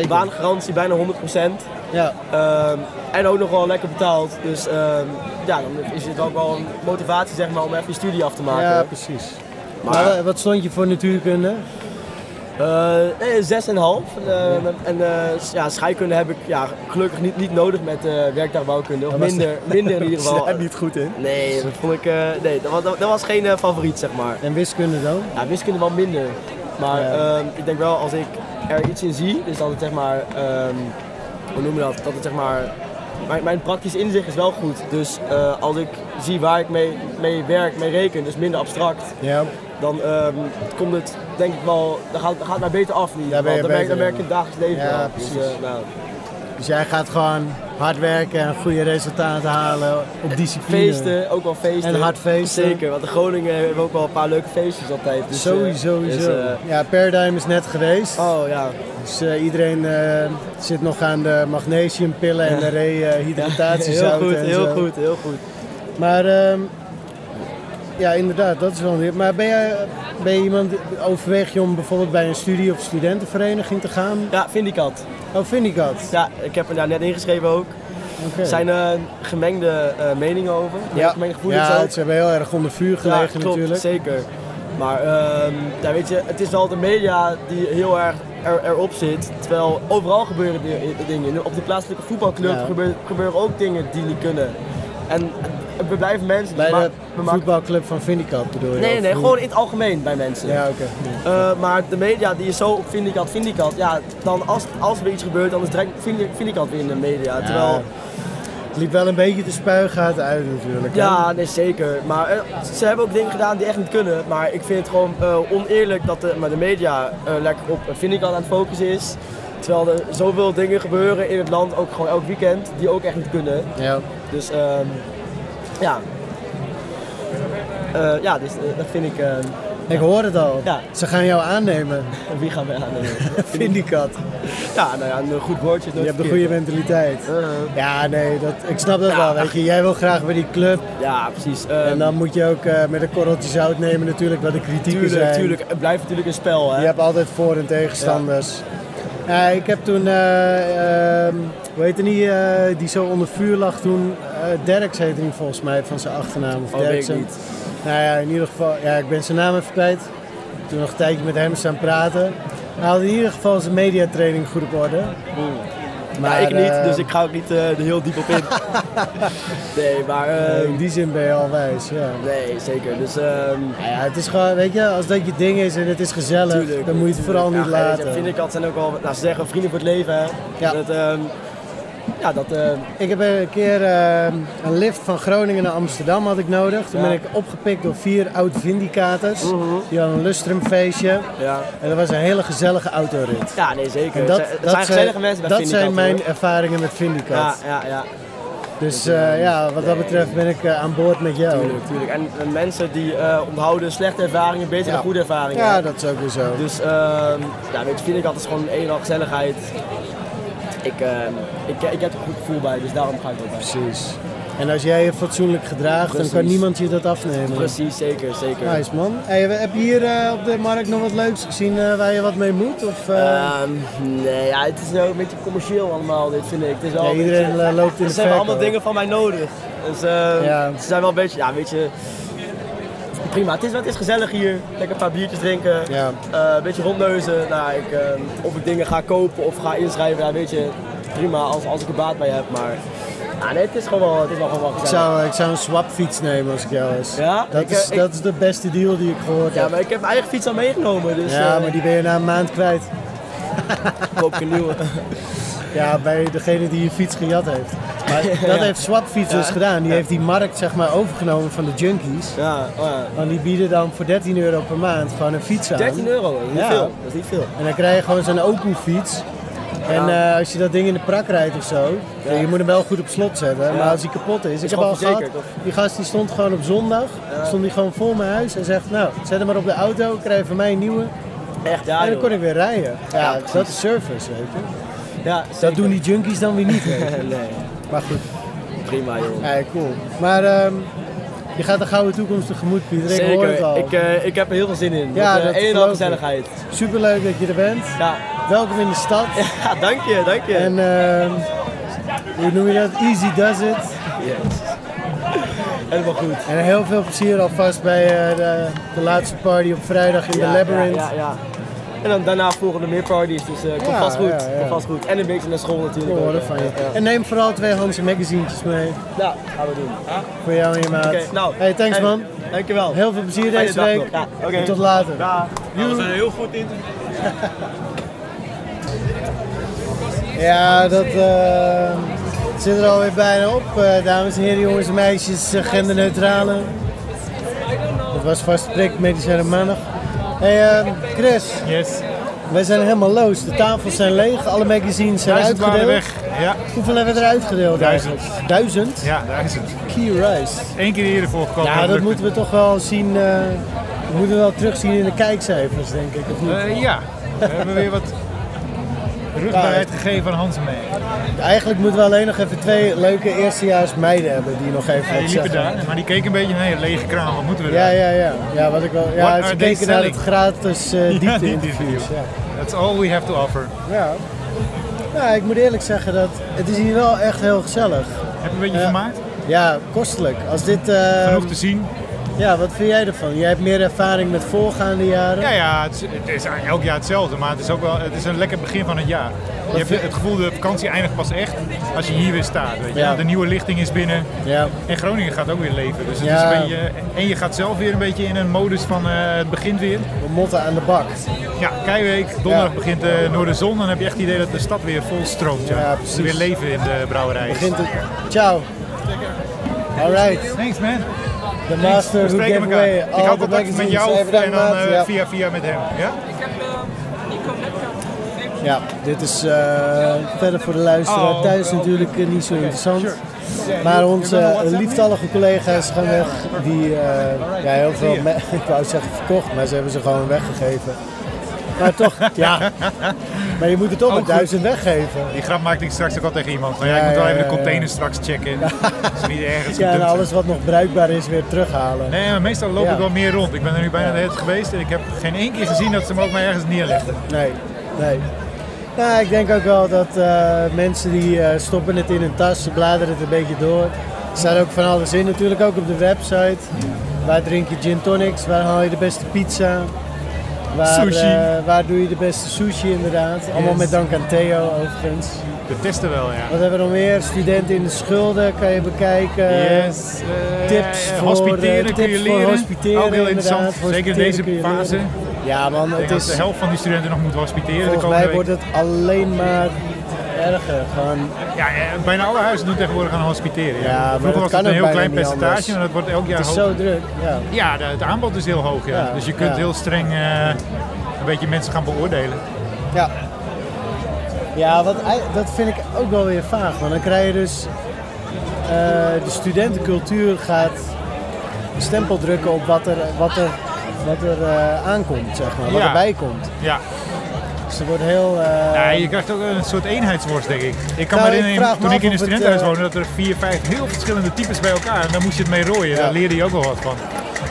Baangarantie bijna 100%. Ja. en ook nog wel lekker betaald. Dus ehm, ja, dan is het ook wel een motivatie zeg maar, om even je studie af te maken. Ja, precies. Maar- Maar, eh, wat stond je voor natuurkunde? Eh, nee, zes en een half. En, eh, en eh, ja, scheikunde heb ik ja, gelukkig niet, niet nodig met eh werktuigbouwkunde. Of Dat was- <laughs> minder, minder <laughs> in ieder was geval. daar niet goed in? Nee, dat vond ik, eh, nee, dat, was- dat, dat was geen eh, favoriet, zeg maar. En wiskunde dan? Ja, wiskunde wel minder. Maar Ja. ehm, ik denk wel, als ik er iets in zie, dus dat het zeg maar, ehm, hoe noem je dat? Dat het zeg maar, mijn, mijn praktisch inzicht is wel goed. Dus eh, als ik zie waar ik mee, mee werk, mee reken, dus minder abstract, Ja. dan ehm, komt het denk ik wel, dan gaat, dan gaat het mij beter af. in ieder Daar ben je geval. dan, merk, beter dan merk ik in. het dagelijks leven Ja, wel. Dus, eh, precies. nou, Dus jij gaat gewoon hard werken en goede resultaten halen op discipline. Feesten, ook wel feesten. En hard feesten. Zeker, want in Groningen hebben we ook wel een paar leuke feestjes altijd. Dus, eh, sowieso, sowieso. dus, eh, ja, Paradigm is net geweest. Oh ja. Dus eh, iedereen eh, zit nog aan de magnesiumpillen en <laughs> Ja. de rehydratatiezout. heel goed, en heel zo. goed, heel goed. Maar ehm, ja, inderdaad, dat is wel een Maar ben jij ben je iemand, overweeg je om bijvoorbeeld bij een studie of studentenvereniging te gaan? Ja, Vindicat. Oh, Vindicat. Ja, ik heb hem daar net ingeschreven ook. Oké. Er zijn eh, gemengde eh, meningen over, ja. gemengde gevoelens ja ook. ze hebben heel erg onder vuur Ja, gelegen klopt, natuurlijk. zeker. Maar ehm, ja, weet je, het is wel de media die heel erg er, erop zit. Terwijl overal gebeuren di- dingen. Op de plaatselijke voetbalclub Ja. gebeuren, gebeuren ook dingen die niet kunnen. En eh, we blijven mensen. Bij maar- de we maken- voetbalclub van Vindicat bedoel je? Nee, Of nee, hoe? gewoon in het algemeen bij mensen. Ja, oké. Eh, maar de media die is zo op Vindicat, Vindicat. Ja, dan als, als er iets gebeurt, dan is direct Vindi- Vindicat weer in de media. Ja, Terwijl, Het liep wel een beetje de spuigaten uit natuurlijk. hè? ja, nee zeker. Maar eh, ze hebben ook dingen gedaan die echt niet kunnen. Maar ik vind het gewoon eh, oneerlijk dat de, maar de media eh, lekker op Vindicat aan het focussen is. Terwijl er zoveel dingen gebeuren in het land, ook gewoon elk weekend, die ook echt niet kunnen. Ja. Dus ehm, ja. Eh, ja, dus eh, dat vind ik... ehm, Ik hoor het al. Ja. Ze gaan jou aannemen. Wie gaan we aannemen? <laughs> Vindicat. Ja, nou ja, eh, een goed woordje. Je is nooit hebt de verkeerd. goede mentaliteit. Uh-huh. Ja, nee, dat, ik snap dat wel. Weet je. Jij wil graag bij die club. Ja, precies. Um, en dan moet je ook eh, met een korreltje zout nemen natuurlijk wat de kritieken Tuurlijk, zijn. tuurlijk. Het blijft natuurlijk een spel, hè? Je hebt altijd voor- en tegenstanders. Ja, ik heb toen, eh, ehm, hoe heet die, eh, die zo onder vuur lag toen? eh Derks heette hij volgens mij van zijn achternaam. Of Oh, weet ik Derksen. niet. Nou ja, in ieder geval, ja, ik ben zijn naam even kwijt. Toen nog een tijdje met hem staan praten. Hij had in ieder geval zijn mediatraining goed op orde. Maar ik niet, eh, dus ik ga ook niet eh, er heel diep op <laughs> in. nee, maar... Nee, ehm, in die zin ben je al wijs, ja. Nou Nee, zeker. Dus, ehm ja, het is gewoon, weet je, als dat je ding is en het is gezellig, tuurlijk, dan moet je het tuurlijk. vooral Ja, niet en weet je, laten. Vindicat zijn ook al... Nou, ze zeggen vrienden voor het leven, hè? Ja. Dat, ehm, ja, dat... ehm, Ik heb een keer eh, een lift van Groningen naar Amsterdam had ik nodig. Toen Ja. Mhm. ben ik opgepikt door vier oud-vindicators. Die hadden een lustrumfeestje. ja. En dat was een hele gezellige autorit. ja, nee, zeker. En dat, Het zijn- het zijn gezellige mensen bij dat zijn Vindicat, mijn hoor. ervaringen met Vindicat. Ja, ja, ja. Dus eh, ja, wat dat betreft ben ik eh, aan boord met jou. Tuurlijk, tuurlijk. En, en mensen die eh, onthouden slechte ervaringen beter Ja. dan goede ervaringen. Ja, dat is ook weer zo. Dus ehm ja, weet je, vind ik altijd gewoon een en al gezelligheid. Ik, ehm, ik, ik heb er een goed gevoel bij, dus daarom ga ik ook bij. Precies. En als jij je fatsoenlijk gedraagt, dan kan Precies. niemand je dat afnemen. Precies, zeker, zeker. Nice man. Hey, we- heb je hier eh, op de markt nog wat leuks gezien eh, waar je wat mee moet? Of, eh, Ehm, nee, ja, het is nou een beetje commercieel allemaal, dit vind ik. Het is wel, Ja, iedereen, weet je, eh, loopt in de <laughs> Ze hebben allemaal verkoop. dingen van mij nodig. Dus ehm, Ja. ze zijn wel een beetje, ja, weet je... Prima, het is, het is gezellig hier. Lekker een paar biertjes drinken. Ja. Eh, een beetje rondneuzen. Nou, ik, ehm, of ik dingen ga kopen of ga inschrijven, ja, weet je... Prima, als, als ik er baat bij heb, maar... Ja, nee, het is gewoon wel, het is wel gewoon wel Ik gezellig. zou, ik zou een swapfiets nemen als ik jou was. Ja? Dat, Ik, is, eh, ik- dat is de beste deal die ik gehoord Ja, heb. maar ik heb mijn eigen fiets al meegenomen, dus... ja, eh, maar die ben je na een maand kwijt. <laughs> koop ik een nieuwe. Ja, bij degene die je fiets gejat heeft. Maar dat <laughs> Ja. heeft Swapfiets dus Ja. gedaan. Die Ja. heeft die markt zeg maar overgenomen van de junkies. Ja, oh ja. En die bieden dan voor 13 euro per maand gewoon een fiets aan. 13 euro, dat is niet Ja. veel. Dat is niet veel. En dan krijg je gewoon zo'n Oku fiets. En eh, als je dat ding in de prak rijdt of zo, eh, je moet hem wel goed op slot zetten. Maar als hij kapot is, ik heb gewoon al gehad, verzekerd, die gast die stond gewoon op zondag, stond hij gewoon voor mijn huis en zegt, nou, zet hem maar op de auto, krijg je van mij een nieuwe. Echt, ja, en dan joh. kon ik weer rijden. Ja, Ja, dat precies. is service, weet je. Ja, Dat doen die junkies dan weer <laughs> niet, weet je. nee, Maar goed, prima joh. ja, cool. Maar ehm, je gaat de gouden toekomst tegemoet, Pieter. Ik hoor het al. Ik, eh, ik heb er heel veel zin in. Ja, Ja, dat dat en geloof al ik. gezelligheid. Superleuk dat je er bent. Ja. Welkom in de stad. <laughs> ja, dank je, dank je. En ehm, hoe noem je dat? Easy does it. <laughs> Yes. Helemaal goed. En heel veel plezier alvast bij eh, de, de laatste party op vrijdag in Ja, de Labyrinth. Ja, ja, ja. En dan daarna volgen er meer parties, dus eh komt Ja, vast goed. ja, ja. Komt vast goed. En een beetje naar school natuurlijk. We ook, horen eh, van je. ja. En neem vooral twee Hansen magazientjes mee Ja, gaan we doen. voor jou en je maat. Oké, nou. hey, thanks hey, man. Dankjewel. Heel veel plezier Fijne deze dag week. nog. Ja, oké. En tot later. Daag. <laughs> Dat was een heel goed interview. Ja, dat eh, zit er alweer bijna op. eh, dames en heren, jongens en meisjes, eh, genderneutrale. Dat was vast prik, medicijnen maandag. hey, eh, Chris. Yes. Wij zijn helemaal loos. De tafels zijn leeg, alle magazines zijn Duizend waren uitgedeeld. weg, ja. Hoeveel hebben we er uitgedeeld Duizend. eigenlijk? Duizend? Ja, duizend. Key Rice. Eén keer eerder voorgekomen. Ja, dat moeten we toch wel zien. eh we moeten wel terugzien in de kijkcijfers, denk ik. Of niet? Eh, ja, we hebben weer wat rugbaarheid gegeven aan Hans mee. Eigenlijk moeten we alleen nog even twee leuke eerstejaars meiden hebben die nog even Ja, die wat liepen zeggen. daar, maar die keken een beetje naar je lege kraan. Wat moeten we Ja, daar? ja, ja. Ja, wat ik wel, What ja are ze they keken naar het selling? gratis eh <laughs> Ja, diepte-interviews. diepte-interview. Ja. That's all we have to offer. Ja. Nou, ik moet eerlijk zeggen dat het is hier wel echt heel gezellig. Heb je een beetje vermaakt? Ja, kostelijk. Als dit, eh, Genoeg te zien. Ja, wat vind jij ervan? Jij hebt meer ervaring met voorgaande jaren. Ja, ja het, is, het is elk jaar hetzelfde, maar het is ook wel het is een lekker begin van het jaar. Je hebt het gevoel dat de vakantie eindigt pas echt als je hier weer staat. Weet je? Ja. De nieuwe lichting is binnen Ja. en Groningen gaat ook weer leven. Dus het Ja. is een beetje, en je gaat zelf weer een beetje in een modus van eh, het begint weer. We motten aan de bak. Ja, keiweek, donderdag begint eh, de Noorderzon. Dan heb je echt het idee dat de stad weer vol stroomt. Ja. Ja, Er precies. is weer leven in de brouwerij. Begint het. Ciao. Alright. Thanks man. The master We who spreken gave elkaar. away Ik all hou the contact met magazines. jou Even bedankt, en dan maat. eh, Ja. via via met hem. Ja? Ja, dit is eh, verder voor de luisteraar Oh, thuis natuurlijk eh, niet zo interessant. Maar onze eh, lieftallige collega's gaan weg. Die eh, ja, heel veel, me- <laughs> ik wou zeggen verkocht, maar ze hebben ze gewoon weggegeven. Maar <laughs> toch, ja. Maar je moet het toch Oh, maar duizend weggeven. Die grap maakte ik straks ook al tegen iemand. Van, ja, Ja, ik moet wel ja, even de ja, container ja. straks checken. Is niet ergens Ja, en gedumpt. alles wat nog bruikbaar is weer terughalen. Nee, maar meestal loop Ja. ik wel meer rond. Ik ben er nu bijna de hele tijd geweest en ik heb geen één keer gezien dat ze hem ook maar ergens neerlegden. Nee, nee. Nou, ik denk ook wel dat eh, mensen die eh, stoppen het in hun tas, ze bladeren het een beetje door. Er staat ook van alles in, natuurlijk ook op de website. Waar drink je gin tonics? Waar haal je de beste pizza? Waar, Sushi. eh, waar doe je de beste sushi inderdaad? Allemaal Yes. met dank aan Theo overigens. We testen wel, ja. Wat hebben we nog meer? Studenten in de schulden kan je bekijken. Yes, eh, tips voor, eh, hospiteren kun je tips leren. Voor hospiteren, Ook heel interessant, inderdaad. zeker in Hospiteren deze kun je leren. fase. Ja man, Ik denk het dat is... de helft van die studenten nog moet hospiteren de Volgens komende mij week. wordt het alleen maar erger. Gewoon, Ja, eh, bijna alle huizen doen tegenwoordig aan hospiteren. Ja. Ja, maar Vroeger dat was kan het een ook heel bijna klein niet anders. percentage, maar dat wordt elk jaar het is hoger. zo druk. Ja. Ja, de- het aanbod is heel hoog. Ja. Ja, dus je kunt ja. heel streng eh, een beetje mensen gaan beoordelen. Ja, ja wat, ei- dat vind ik ook wel weer vaag. Want dan krijg je dus... eh, de studentencultuur gaat een stempel drukken op wat er, wat er, wat er eh, aankomt, zeg maar. Wat Ja. erbij komt. Ja. Dus er wordt heel... eh, Ja, je krijgt ook een soort eenheidsworst, denk ik. Ik kan Nou, me ik herinneren, vraag me toen af ik in een of het, studentenhuis eh, woonde, dat er vier, vijf heel verschillende types bij elkaar. En daar moest je het mee rooien. Ja. Daar leerde je ook wel wat van.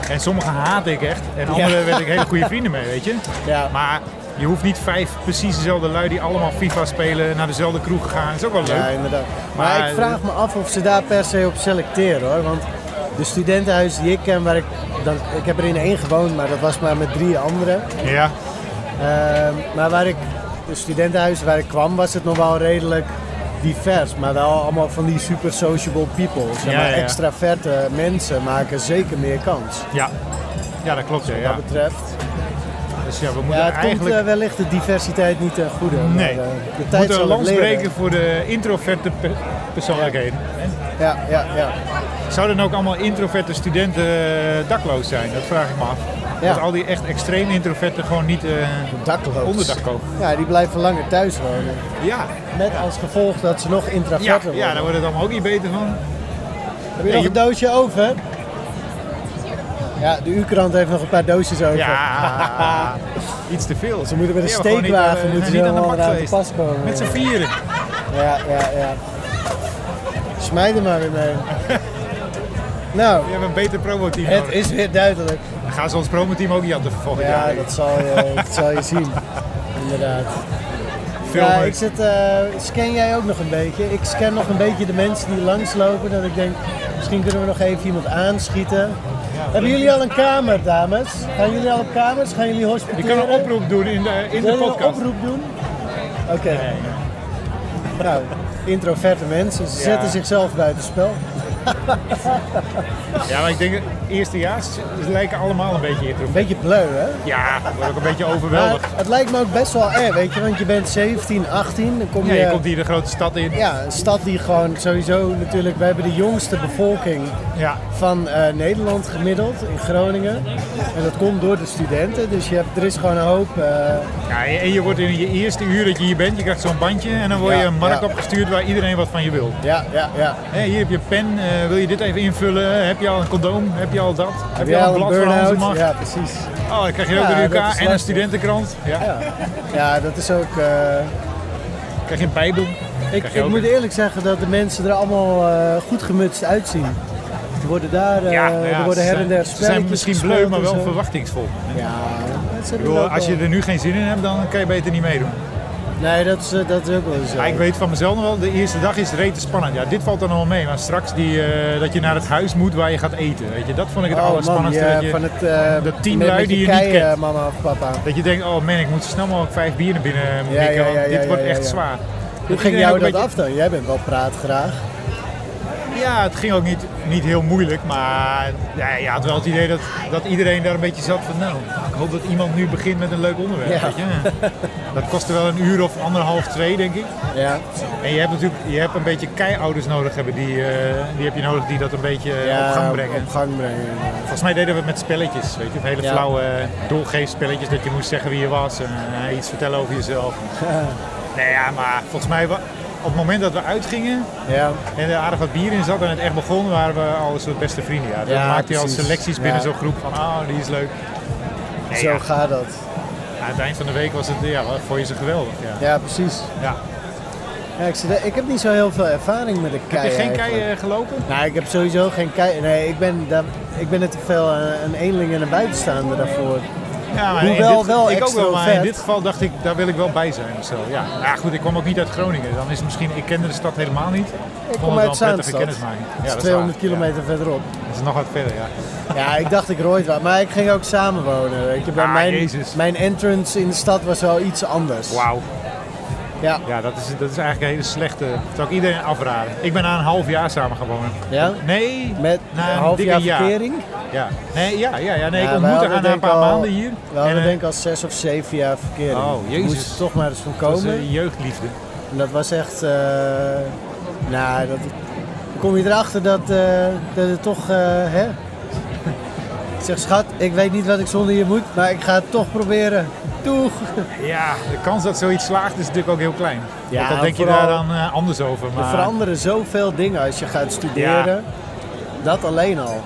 En sommige haatte ik echt. En Ja. andere werd ik hele goede vrienden mee, weet je. <laughs> Ja. Maar je hoeft niet vijf precies dezelfde lui die allemaal FIFA spelen, naar dezelfde kroeg gaan. Dat is ook wel leuk. Ja, inderdaad. Maar, ik vraag me af of ze daar per se op selecteren hoor. Want de studentenhuizen die ik ken, waar ik, dan, ik heb er in één gewoond, maar dat was maar met drie anderen. Ja. Ehm, maar waar ik, de studentenhuizen waar ik kwam, was het nog wel redelijk divers. Maar wel allemaal van die super sociable people. Zeg Ja, maar ja, ja. extraverte mensen maken zeker meer kans. Ja. ja, dat klopt. Ja, Wat ja. dat betreft. Dus ja, we Ja, moeten het komt eigenlijk... eh, wellicht de diversiteit niet ten goede. Nee, maar, eh, de we tijd moeten zal een het lans leren. breken voor de introverte pe- persoonlijkheden. Ja, ja, ja. Zouden ook allemaal introverte studenten eh, dakloos zijn? Dat vraag ik me af. Ja. Dat al die echt extreem introverten gewoon niet eh dakloos. onderdak kopen. Ja, die blijven langer thuis wonen. Ja. Met als gevolg dat ze nog Ja, intraverter worden. ja, daar wordt het allemaal ook niet beter van. Heb je nog een doosje over? Ja, de U-krant heeft nog een paar doosjes over. <laughs> Ja, iets te veel. Ze moeten met een Die hebben gewoon steekwagen niet, eh, moeten ze niet aan de helemaal bak aan de geweest. pas komen. Met z'n vieren. Ja, ja, ja. Smijt er maar weer <laughs> mee. nou. We hebben een beter promoteam Het nodig. is weer duidelijk. Dan gaan ze ons promoteam ook niet aan de volgende Ja, jaar. dat zal <laughs> je, dat zal je zien. Inderdaad. Veel ja, leuk. ik zit, eh, scan jij ook nog een beetje? Ik scan nog een beetje de mensen die langslopen. Dat ik denk, misschien kunnen we nog even iemand aanschieten. Hebben jullie al een kamer, dames? Gaan jullie al op kamers? Gaan jullie Je hospiteren? kan een oproep doen in de, in de Wil je een podcast. oproep doen? Oké. Nou, introverte mensen. Ze Ja. zetten zichzelf buitenspel. Ja, maar ik denk, eerstejaars ze lijken allemaal een beetje introvert. Beetje bleu, hè? Ja, ik word ook een beetje overweldigd. Maar het lijkt me ook best wel erg, weet je, want je bent 17, 18, dan kom Ja, je... je komt hier de grote stad in. Ja, een stad die gewoon sowieso natuurlijk... We hebben de jongste bevolking van eh, Nederland gemiddeld in Groningen. En dat komt door de studenten, dus je hebt, er is gewoon een hoop... eh, Ja, en je wordt in je eerste uur dat je hier bent, je krijgt zo'n bandje en dan word je Ja, een markt ja. opgestuurd waar iedereen wat van je wil. Ja, ja, ja. hier heb je pen, eh, wil je dit even invullen? Heb je al een condoom? Heb je al dat? Heb jij al een blad voor burn-out? onze macht? Ja, precies. Oh, dan krijg je ook Ja, een dat is UK en een lastig. studentenkrant. Ja. Ja. Ja, dat is ook. eh, Krijg je een bijbel? Ik, Krijg je ik ook moet een- eerlijk zeggen dat de mensen er allemaal eh, goed gemutst uitzien. Er worden daar eh, Nou ja, er worden ze her en der zijn- Ze zijn spelletjes misschien gespeeld bleu, maar en wel zo. verwachtingsvol. Ja, Ik bedoel, als je er nu geen zin in hebt, dan kan je beter niet meedoen. Nee, dat is, eh, dat is ook wel zo. ik weet van mezelf nog wel, de eerste dag is rete spannend. Ja, dit valt dan al mee, maar straks die, eh, dat je naar het huis moet waar je gaat eten. Weet je, dat vond ik het Oh, man, allerspannendste. ja, dat je, van het, eh, dat tien met- lui met die je kei, niet kent. eh, mama of papa. Dat je denkt, oh man, ik moet zo snel mogelijk vijf bier naar binnen Ja, mikken, ja, want ja, oh, dit ja, wordt ja, echt ja. zwaar. Hoe ging jou dat af dan? Jij bent wel praatgraag. Ja, het ging ook niet, niet heel moeilijk, maar ja, je had wel het idee dat, dat iedereen daar een beetje zat van, nou, ik hoop dat iemand nu begint met een leuk onderwerp. Ja. Weet je? Dat kostte wel een uur of anderhalf, twee, denk ik. Ja. En je hebt natuurlijk je hebt een beetje keiouders nodig hebben, die, eh, die heb je nodig die dat een beetje eh, Ja, op gang op- brengen. op gang brengen. Volgens mij deden we het met spelletjes, weet je, of hele Ja. flauwe doorgeefspelletjes dat je moest zeggen wie je was en eh, iets vertellen over <laughs> jezelf. Nee, ja, maar volgens mij, wa- op het moment dat we uitgingen Ja. en er aardig wat bier in zat en het echt begon, waren we al een soort beste vrienden. Ja. Dan Ja, maakte je al precies. selecties binnen Ja. zo'n groep van, ah, die is leuk. Nee, Zo ja. gaat dat. Aan het eind van de week was het, ja, wat vond je ze geweldig. Ja. Ja, precies. Ja. Ja, ik, zit- ik heb niet zo heel veel ervaring met de kei. Heb je geen eigenlijk. kei eh, gelopen? Nou, ik heb sowieso geen kei. Nee, ik ben, daar, ik ben net te veel eh, een eenling en een buitenstaander daarvoor. Ja, maar in Hoewel dit- wel ik ook wel, maar in extrovert. dit geval dacht ik, daar wil ik wel bij zijn of zo. Ja, ja goed, ik kwam ook niet uit Groningen. dus Dan is het misschien, ik kende de stad helemaal niet. Ik vond kom het uit wel een Zaanstad. prettige kennismaking. Dat is dat waar. 200 kilometer verderop. Dat is nog wat verder, ja. Ja, ik dacht ik rooid waar, maar ik ging ook samenwonen. Weet je. Bij Ah, mijn, Jezus. mijn entrance in de stad was wel iets anders. Wauw. Ja. Ja, dat is, dat is eigenlijk een hele slechte. Dat zou ik iedereen afraden. Ik ben na een half jaar samen gewonnen. Ja? Nee. Met na een half Nou, dikke jaar jaar. verkering? Ja. Nee, ja, ja, ja. Nee, Ja, ik wij ontmoette hadden haar na een denk paar al- maanden hier. We hadden En, eh, denk ik al zes of zeven jaar verkering. Oh, jezus. Moest het toch maar eens dat was, voorkomen. eh, jeugdliefde. En dat was echt. eh, nou, dat, dan kom je erachter dat, eh, dat het toch. eh, hè? Ik zeg, schat, ik weet niet wat ik zonder je moet, maar ik ga het toch proberen. Doeg! Ja, de kans dat zoiets slaagt is natuurlijk ook heel klein. Ja, Want dan denk je vooral- daar dan eh, anders over. Maar... Er veranderen zoveel dingen als je gaat studeren. Dat alleen al.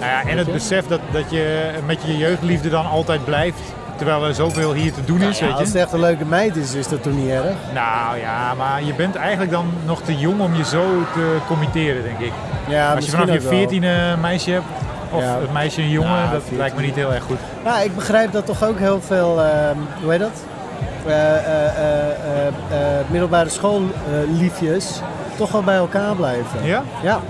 Nou ja, en het besef dat, dat je met je jeugdliefde dan altijd blijft. Terwijl er zoveel hier te doen is, Ja, weet je. als het echt een leuke meid is, is dat toch niet erg? Nou ja, maar je bent eigenlijk dan nog te jong om je zo te committeren, denk ik. Ja, Als je misschien vanaf je ook wel. veertiende meisje hebt, of Ja. het meisje een jongen, Ja, dat 14. lijkt me niet heel erg goed. Nou, ik begrijp dat toch ook heel veel, ehm, hoe heet dat? Eh, eh, eh, eh, eh, middelbare schoolliefjes toch wel bij elkaar blijven. Ja? Ja.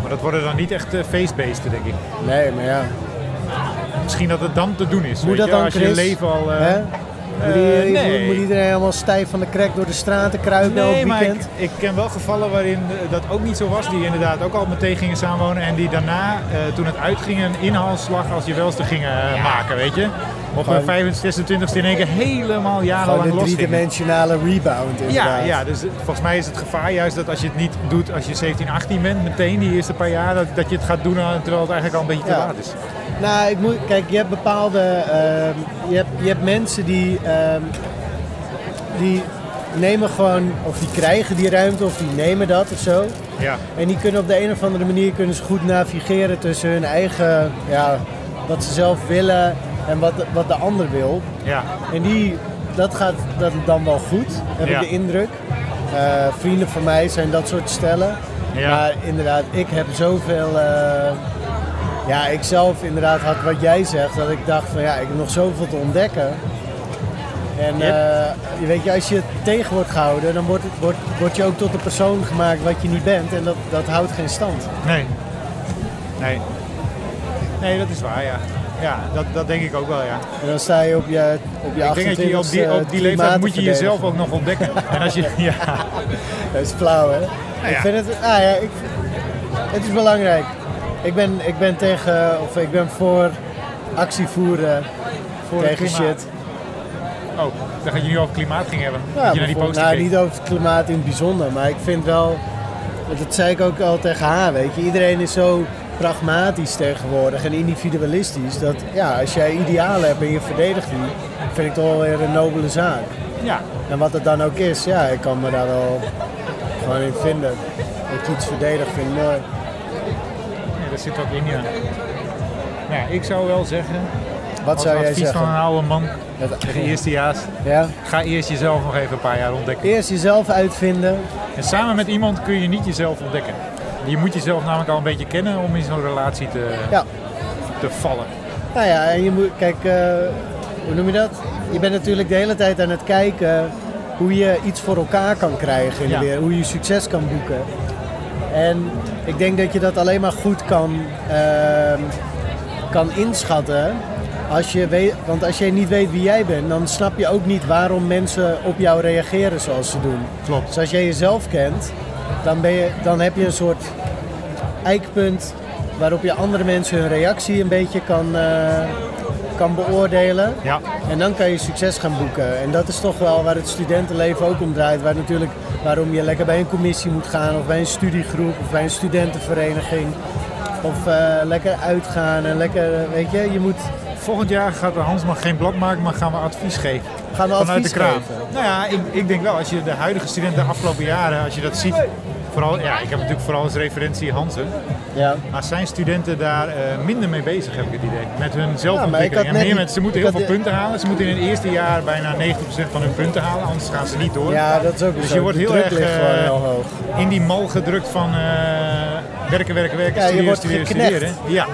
Maar dat worden dan niet echt eh, feestbeesten, denk ik. Nee, maar ja. Misschien dat het dan te doen is, Moet weet dat je, dan, als je Chris? leven al... eh, Hè? Moet, eh, i- nee. moet iedereen helemaal stijf van de krek door de straten kruipen elk Nee, maar ik, weekend? ik ken wel gevallen waarin eh, dat ook niet zo was. Die inderdaad ook al meteen gingen samenwonen. En die daarna, eh, toen het uitging, een inhaalslag als je welste gingen eh, maken, weet je. Op Gewoon- hun 25, 26e in één keer helemaal Gewoon jarenlang een losgingen. driedimensionale rebound Ja, inderdaad. ja, dus eh, volgens mij is het gevaar juist dat als je het niet doet als je 17, 18 bent, meteen die eerste paar jaar, dat, dat je het gaat doen eh, terwijl het eigenlijk al een beetje te Ja. laat is. Nou, ik moet, kijk, je hebt bepaalde. ehm, je, hebt, je hebt mensen die. ehm, die nemen gewoon. of die krijgen die ruimte of die nemen dat of zo. Ja. En die kunnen op de een of andere manier kunnen ze goed navigeren tussen hun eigen. Ja, wat ze zelf willen en wat, de- wat de ander wil. Ja. En die, dat gaat dat dan wel goed, heb Ja. ik de indruk. Eh, vrienden van mij zijn dat soort stellen. Ja. Maar inderdaad, ik heb zoveel. eh, ja, ik zelf inderdaad had wat jij zegt, dat ik dacht van ja, ik heb nog zoveel te ontdekken. En Yep. eh, je weet je, als je het tegen wordt gehouden, dan wordt, het, wordt, word je ook tot de persoon gemaakt wat je niet bent. En dat, dat houdt geen stand. Nee. Nee. Nee, dat is waar, ja. Ja, dat, dat denk ik ook wel, ja. En dan sta je op je, op je eh, Ik denk dat je op die, op die leeftijd moet je jezelf ook nog <laughs> ontdekken. En als je, ja. Nou Dat is flauw, hè? ja. Ik vind het, ah ja, ik, Het is belangrijk. Ik ben, ik ben tegen, of ik ben voor actie voeren Voor het tegen klimaat. shit. Oh, dan gaat je nu over klimaat ging hebben. Ja, dat je naar die bijvoorbeeld- poster nou, keek. niet over het klimaat in het bijzonder, maar ik vind wel, dat zei ik ook al tegen haar, weet je, iedereen is zo pragmatisch tegenwoordig en individualistisch, dat ja, als jij idealen hebt en je verdedigt die, vind ik toch wel weer een nobele zaak. Ja. En wat het dan ook is, ja, ik kan me daar wel gewoon in vinden. Dat je iets verdedigt vind ik mooi. Ja, daar zit wat in, ja. Nou ja, ik zou wel zeggen... Wat als zou jij advies van zeggen? een oude man Het- tegen eerstejaars... Ja? Ga eerst jezelf nog even een paar jaar ontdekken. Eerst jezelf uitvinden. En samen met iemand kun je niet jezelf ontdekken. Je moet jezelf namelijk al een beetje kennen om in zo'n relatie te, Ja. te vallen. Nou ja, en je moet, kijk, eh, hoe noem je dat? Je bent natuurlijk de hele tijd aan het kijken hoe je iets voor elkaar kan krijgen in de Ja. wereld, hoe je succes kan boeken. En ik denk dat je dat alleen maar goed kan, ehm, kan inschatten. Als je weet, want als je niet weet wie jij bent, dan snap je ook niet waarom mensen op jou reageren zoals ze doen. Klopt. Dus als jij jezelf kent, dan, ben je, dan heb je een soort eikpunt waarop je andere mensen hun reactie een beetje kan, eh, kan beoordelen. Ja. En dan kan je succes gaan boeken. En dat is toch wel waar het studentenleven ook om draait. Waar natuurlijk, waarom je lekker bij een commissie moet gaan, of bij een studiegroep, of bij een studentenvereniging. Of eh, lekker uitgaan en lekker, eh, weet je, je moet... Volgend jaar gaat Hans nog geen blad maken, maar gaan we advies geven. Gaan we Vanuit advies de kraam. geven? Nou ja, ik, ik denk wel, als je de huidige studenten de afgelopen jaren, als je dat ziet. Vooral, ja, ik heb natuurlijk vooral als referentie Hansen. Ja. Maar zijn studenten daar eh, minder mee bezig, heb ik het idee. Met hun ik had zelfontwikkeling. en net meer die- met, ze moeten ik heel had veel die- punten halen. Ze moeten in het eerste jaar bijna 90% van hun punten halen, anders gaan ze niet door. Ja, dat is ook Dus zo. je wordt De heel druk erg ligt gewoon eh, heel hoog. in die mal gedrukt van eh, werken, werken, werken, Ja, je studeren, wordt studeren, geknecht. studeren. Ja.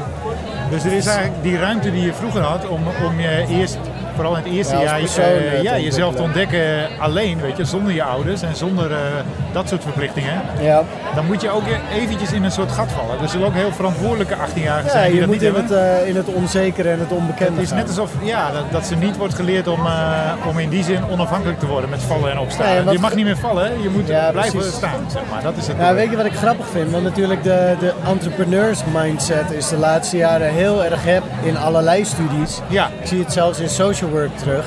Dus er is eigenlijk die ruimte die je vroeger had om, om je eerst, vooral in het eerste Ja, als jaar, persoon, eh, eh, te ja, jezelf te ontwikkelen. ontdekken alleen, weet je, zonder je ouders en zonder eh, dat soort verplichtingen. Ja. Dan moet je ook e- eventjes in een soort gat vallen. Er zullen ook heel verantwoordelijke 18-jarigen Ja, zijn die je dat moet niet in hebben. het, eh, in het onzekere en het onbekende Het is net gaan. alsof ja, dat, dat ze niet wordt geleerd om, eh, om in die zin onafhankelijk te worden met vallen en opstaan. Nee, wat- Je mag niet meer vallen, je moet Ja, blijven precies. staan. Zeg maar. dat is het Ja, weet je wat ik grappig vind? Want natuurlijk de, de entrepreneurs mindset is de laatste jaren heel erg heb in allerlei studies. Ja. Ik zie het zelfs in social work terug.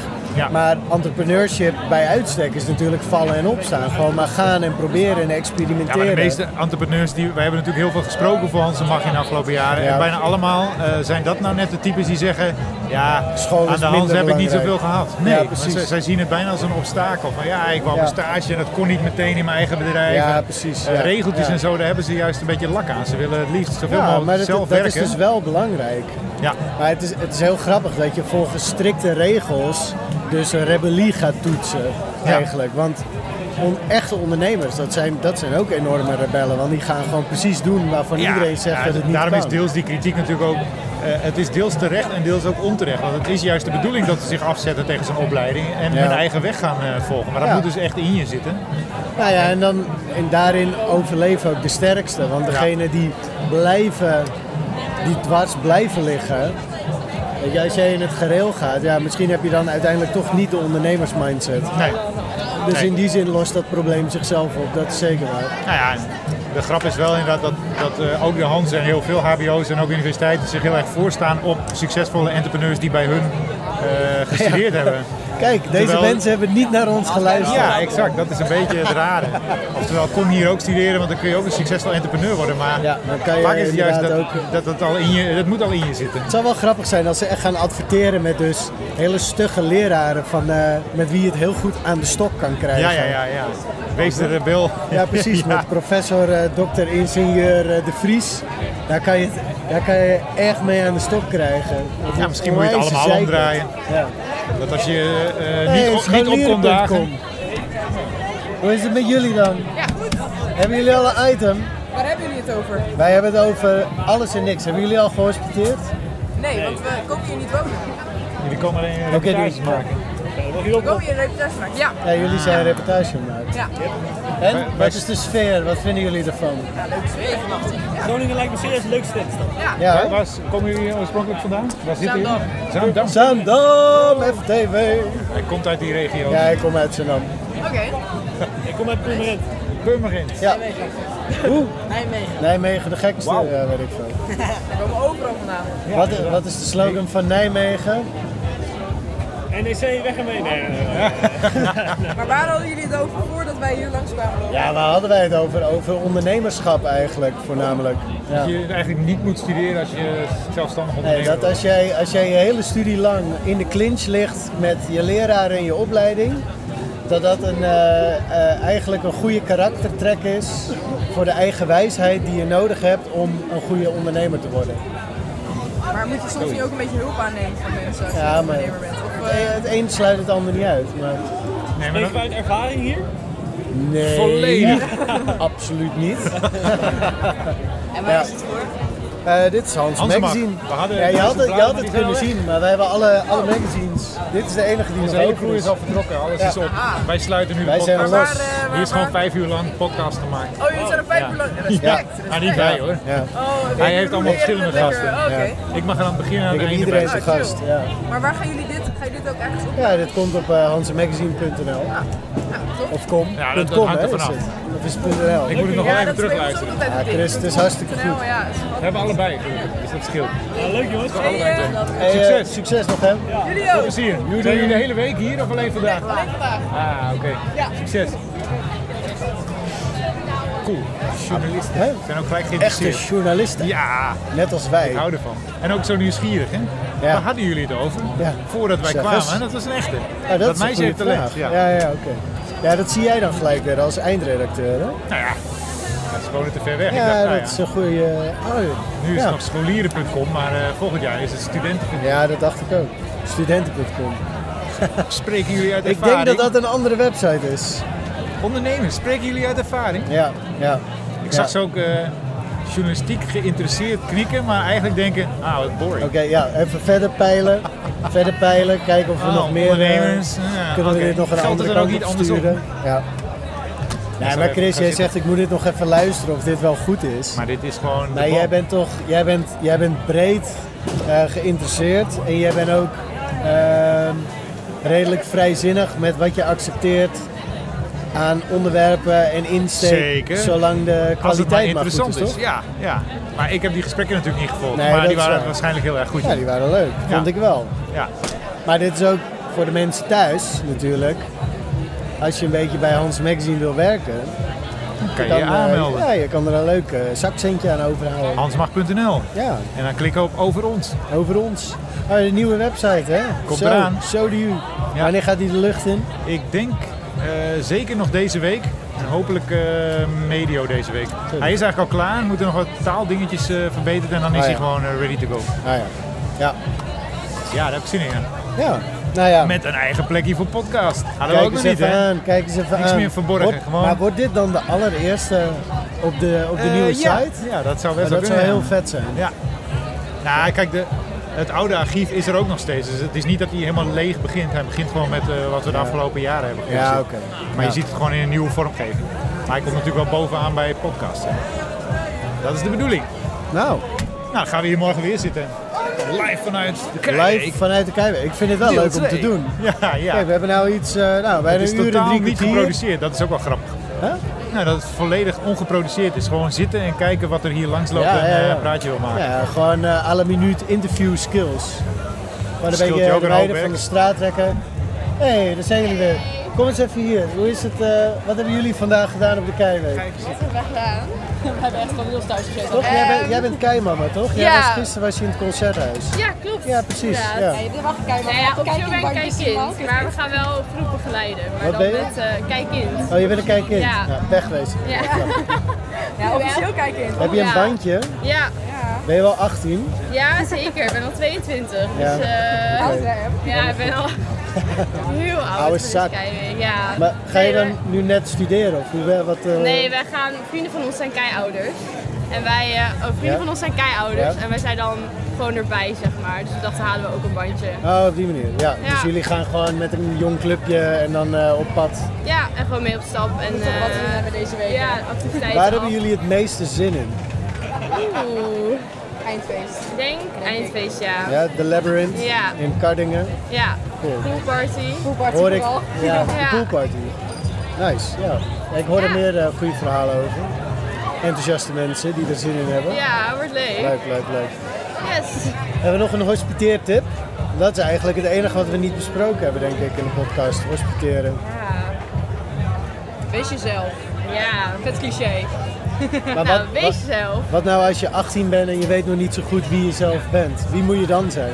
Maar entrepreneurship bij uitstek is natuurlijk vallen en opstaan. Gewoon maar gaan en proberen en Ja, maar experimenteren. de meeste entrepreneurs, die, wij hebben natuurlijk heel veel gesproken voor Hans en Mag in de afgelopen jaren. Ja. En bijna allemaal eh, zijn dat nou net de types die zeggen, ja, School is aan de minder Hans heb ik niet belangrijk. zoveel gehad. Ja, Nee, want precies. zij- zij zien het bijna als een obstakel. Van ja, ik wou Ja. een stage en dat kon niet meteen in mijn eigen bedrijf. Ja, En, precies, eh, ja. regeltjes Ja. en zo, daar hebben ze juist een beetje lak aan. Ze willen het liefst zoveel ja, mogelijk maar dat, zelf dat is werken. dus wel belangrijk. Ja. Maar het is, het is heel grappig dat je volgens strikte regels dus een rebellie gaat toetsen Ja. eigenlijk. Want on- echte ondernemers, dat zijn, dat zijn ook enorme rebellen. Want die gaan gewoon precies doen waarvan Ja, iedereen zegt ja, dat het niet daarom kan. is deels die kritiek natuurlijk ook. eh, het is deels terecht en deels ook onterecht. Want het is juist de bedoeling dat ze zich afzetten tegen zo'n opleiding en Ja. hun eigen weg gaan eh, volgen. Maar dat Ja. moet dus echt in je zitten. Nou ja, en, dan, en daarin overleven ook de sterkste. Want degene die blijven, die dwars blijven liggen. Weet je, als jij in het gereel gaat, ja, misschien heb je dan uiteindelijk toch niet de ondernemersmindset. Nee. Dus Nee. in die zin lost dat probleem zichzelf op, dat is zeker waar. Nou ja, de grap is wel inderdaad dat, dat eh, ook de Hans en heel veel HBO's en ook universiteiten zich heel erg voorstaan op succesvolle entrepreneurs die bij hun eh, <laughs> gestudeerd Ja. hebben. Kijk, deze Terwijl- mensen hebben niet naar ons geluisterd. Ja, exact. Dat is een beetje het rare. Oftewel, kom hier ook studeren, want dan kun je ook een succesvol entrepreneur worden. Maar kan je vaak is het juist dat, inderdaad dat, het al in je, dat moet al in je zitten. Het zou wel grappig zijn als ze echt gaan adverteren met dus hele stugge leraren van, eh, met wie je het heel goed aan de stok kan krijgen. Ja, ja, ja, ja. Wees de rebel. Ja, precies. <laughs> Ja. Met professor, eh dokter, ingenieur eh, De Vries. Daar kan, je het, daar kan je echt mee aan de stok krijgen. Dat Ja, is misschien moet je het onwijze allemaal zeikert. omdraaien. Ja. Dat als je eh, Nee, niet, op, niet op kon dagen. scholieren.com. Hoe is het met jullie dan? Ja, goed. Hebben jullie al een item? Waar hebben jullie het over? Wij hebben het over alles en niks. Hebben jullie al gehospiteerd? Nee, want we komen hier niet wonen. Jullie komen alleen een Oké, doe eens reportage maar. maken. Ah. We komen hier een reportage maken. Ja. Ja, jullie zijn een reportage gemaakt. Ja. En wat is de sfeer? Wat vinden jullie ervan? Ja, leuk sfeer vannacht. Ja. Groningen lijkt me serieus het leukste stad. Ja. Ja, hè? Was, komen jullie oorspronkelijk vandaan? Was dit Zaandam. hier? Zaandam. Zaandam, FTV. Hij komt uit die regio. <laughs> Ja, ik kom uit Zaandam. Oké. Ik kom uit Purmerend. Purmerend. dus- Ja. Hoe? Nijmegen. Nijmegen, de gekste, Wauw. ja, weet ik veel. Daar komen we overal vandaan. wat, eh, wat is de slogan van Nijmegen? <laughs> NEC, E weg ermee. Nee, nee, nee. Maar waar hadden jullie het over voordat wij hier langs kwamen lopen? Ja, waar hadden wij het over? Over ondernemerschap eigenlijk, voornamelijk. Ja. Dat je eigenlijk niet moet studeren als je zelfstandig Nee, ondernemer dat bent. als jij, als jij je hele studie lang in de clinch ligt met je leraar en je opleiding, dat dat een, eh, eh, eigenlijk een goede karaktertrek is voor de eigen wijsheid die je nodig hebt om een goede ondernemer te worden. Maar moet je soms niet ook een beetje hulp aannemen van mensen als je Ja, maar ondernemer bent? Of, het, eh, een- Eh, het een sluit het ander niet uit. Maar... Nee, Even uit ervaring hier. Nee. Volledig. <laughs> Absoluut <laughs> niet. En Ja. waar is het voor? Eh, dit is Hans, Hans Mag. Magazine. We hadden- ja, je had, het- je had die het zijn kunnen al weg. zien, maar wij hebben alle, alle magazines. Dit is de enige die Onze nog hele open crew is al vertrokken, alles Ja. is op. Ah. Wij sluiten nu de Wij zijn podcast. los. Maar waar, eh, Hier is waar gewoon vijf uur lang podcast gemaakt. Oh, jullie zijn er vijf uur lang. Respect. Ja. respect. Maar niet wij hoor. Oh, oké. Hij heeft allemaal Jullie hebben verschillende het lekker, oh, gasten. oké. Ah, Ja. Ik mag er aan het begin en aan Ik het heb einde iedereen bij zijn zijn. gast. Ja. Maar waar gaan jullie dit, gaan jullie dit ook ergens op? ja, dit komt op eh, hansemagazine.nl. Of com. Ja, dat- Punt dat com, hangt hè, er vanaf. is het. Of is het .nl? Ik moet het nog wel even terugluisteren. Ja, Chris, het is hartstikke goed. We hebben allebei gelukkig, dus dat scheelt. leuk jongens. Allebei Hey, eh, toch? Hey, eh, Succes! Succes nog, hè? Jullie ook. Veel plezier. Jullie doen de hele week hier of alleen vandaag? Alleen vandaag. Ah, oké. Ja. Succes. Cool. Journalisten. zijn ook gelijk geïnteresseerd. Echte journalisten. Ja. Net als wij. Ik hou ervan. En ook zo nieuwsgierig, hè? Waar hadden jullie het over? Voordat wij Zeg eens. kwamen, dat was een echte. Ja, Ah, dat, is een meisje goede heeft talent. vraag. Ja, ja, oké. Ja, dat zie jij dan gelijk weer als eindredacteur, hè? Nou ja, ze wonen te ver weg. Ik dacht, Ja, nou dat is een goede... eh, oh, ja. Nu ja. is het nog scholieren.com, maar eh, volgend jaar is het studenten. Ja, dat dacht ik ook. Studenten.com. Spreken jullie uit Ik denk ervaring? dat dat een andere website is. Ondernemers, spreken jullie uit ervaring? Ja, ja. Ik Ja. zag ze ook eh, journalistiek geïnteresseerd knikken, maar eigenlijk denken, ah, wat boring. Oké, ja, even verder peilen. verder peilen, kijken of we Ah, nog meer... eh, ondernemers, ja, kunnen we oké. dit nog een Geldt andere het er kant ook niet op andersom? sturen? Ja. zou Nee, maar even Chris, gaan jij zitten. zegt ik moet dit nog even luisteren of dit wel goed is. Maar dit is gewoon de Maar bal. jij bent toch, jij bent, jij bent breed eh, geïnteresseerd en jij bent ook ehm, redelijk vrijzinnig met wat je accepteert aan onderwerpen en insteek. Zeker. Zolang de Als het maar kwaliteit maar, goed interessant is, toch? Ja, ja, maar ik heb die gesprekken natuurlijk niet gevolgd, Nee, maar dat die is waren waar. waarschijnlijk heel erg goed. Ja, die waren leuk, Ja. vond ik wel. Ja. Maar dit is ook voor de mensen thuis natuurlijk. Als je een beetje bij Hans Magazine wil werken, kan je dan, je eh, aanmelden. ja, je kan er een leuk eh, zakcentje aan overhouden. Hansmag.nl. Ja. En dan klikken op over ons. Over ons. Ah, de nieuwe website, hè? Komt zo, eraan. Zo die u. Wanneer gaat die de lucht in? Ik denk eh, zeker nog deze week. En hopelijk eh, medio deze week. Hij is eigenlijk al klaar. Moeten nog wat taaldingetjes eh verbeterd en dan is Ah, hij ja. gewoon eh, ready to go. Ah, ja. ja. Ja, daar heb ik zin in. ja. Ja, nou ja. Met een eigen plekje voor podcast. Hadden we kijk ook nog eens niet, even hè? aan. Kijk eens even Niks aan. meer verborgen, Wordt- gewoon. Maar wordt dit dan de allereerste op de, op de Eh, nieuwe ja. site? Ja, dat zou wel Dat best wel zou kunnen, heel ja. vet zijn. Ja. Nou, kijk, de, het oude archief is er ook nog steeds. Dus het is niet dat hij helemaal leeg begint. Hij begint gewoon met eh, wat we de Ja. afgelopen jaren hebben Ja, geïnvesteerd. oké. Maar Ja. je ziet het gewoon in een nieuwe vormgeving. Maar hij komt natuurlijk wel bovenaan bij podcasts. hè. Dat is de bedoeling. Nou. Nou, dan gaan we hier morgen weer zitten. Live vanuit de Kijk. Live vanuit de Keiweek. Ik vind het wel Deel leuk om te twee. doen. <laughs> Ja, ja. Kijk, we hebben nou iets, eh nou, Het bijna is een uur en totaal drie niet kwartier. geproduceerd. Dat is ook wel grappig. Nou, dat het volledig ongeproduceerd is. Gewoon zitten en kijken wat er hier langs loopt Ja, en ja, eh, ja. een praatje wil maken. Ja, gewoon eh à la minuut interview skills. Maar dan Scheelt ben je je ook de een hoop rijder werk. van de straat trekken. Hé, hey, daar zijn jullie weer. Kom eens even hier. Hoe is het, eh, wat hebben jullie vandaag gedaan op de Keiweek? Wat hebben we gedaan? We hebben echt van ons thuis gezeten. Toch? Jij bent, jij bent keimama, toch? Jij ja. was, gisteren was je in het concerthuis. Ja, klopt. Ja, precies. Ja. Nee, Dit mag ik kijken. Nou ja, op Kijk zo'n in werk bankjes, kijkkind, man. maar we gaan wel groepen geleiden. Maar Wat dan ben je? met eh kijkkind. Oh, je bent een kijkkind? Ja. Nou, weg wezen. Ja. <laughs> <laughs> Ja, officieel kijkkind. Heb je een Ja. bandje? Ja. Ben je wel 18? Ja, zeker. Ik ben al 22. Ja. Dus, eh, Oud, hè? ja, ik ben al heel oud. Oude voor de zak. Skyway, Ja. Maar ga je Nee, dan nu net studeren? Of hoe, eh, wat, eh, Nee, wij gaan, vrienden van ons zijn keiouders. En wij, eh, oh, vrienden Ja. van ons zijn keiouders. Ja. En wij zijn dan gewoon erbij, zeg maar. Dus we dachten, halen we ook een bandje. Oh, op die manier. Ja. Ja. Dus jullie gaan gewoon met een jong clubje en dan eh, op pad. Ja, en gewoon mee op stap. En, Moeten we wat doen hebben deze week? Ja, activiteiten. Waar hebben af. jullie het meeste zin in? Oeh. Eindfeest. Ik denk eindfeest, ja. Ja, de Labyrinth Ja. in Cardingen. Ja. Cool. Poolparty. Hoor ik? Ja, de poolparty. Nice, ja. Ik hoor er meer eh, goede verhalen over. Enthousiaste mensen die er zin in hebben. Ja, wordt leuk. Leuk, leuk, leuk. Yes. Hebben we nog een hospiteertip? Dat is eigenlijk het enige wat we niet besproken hebben, denk ik, in de podcast. <laughs> Hospiteren. Wees jezelf. Ja. Vet cliché. Maar nou, wat- wees wat- jezelf. Wat nou als je 18 bent en je weet nog niet zo goed wie je zelf bent? Wie moet je dan zijn?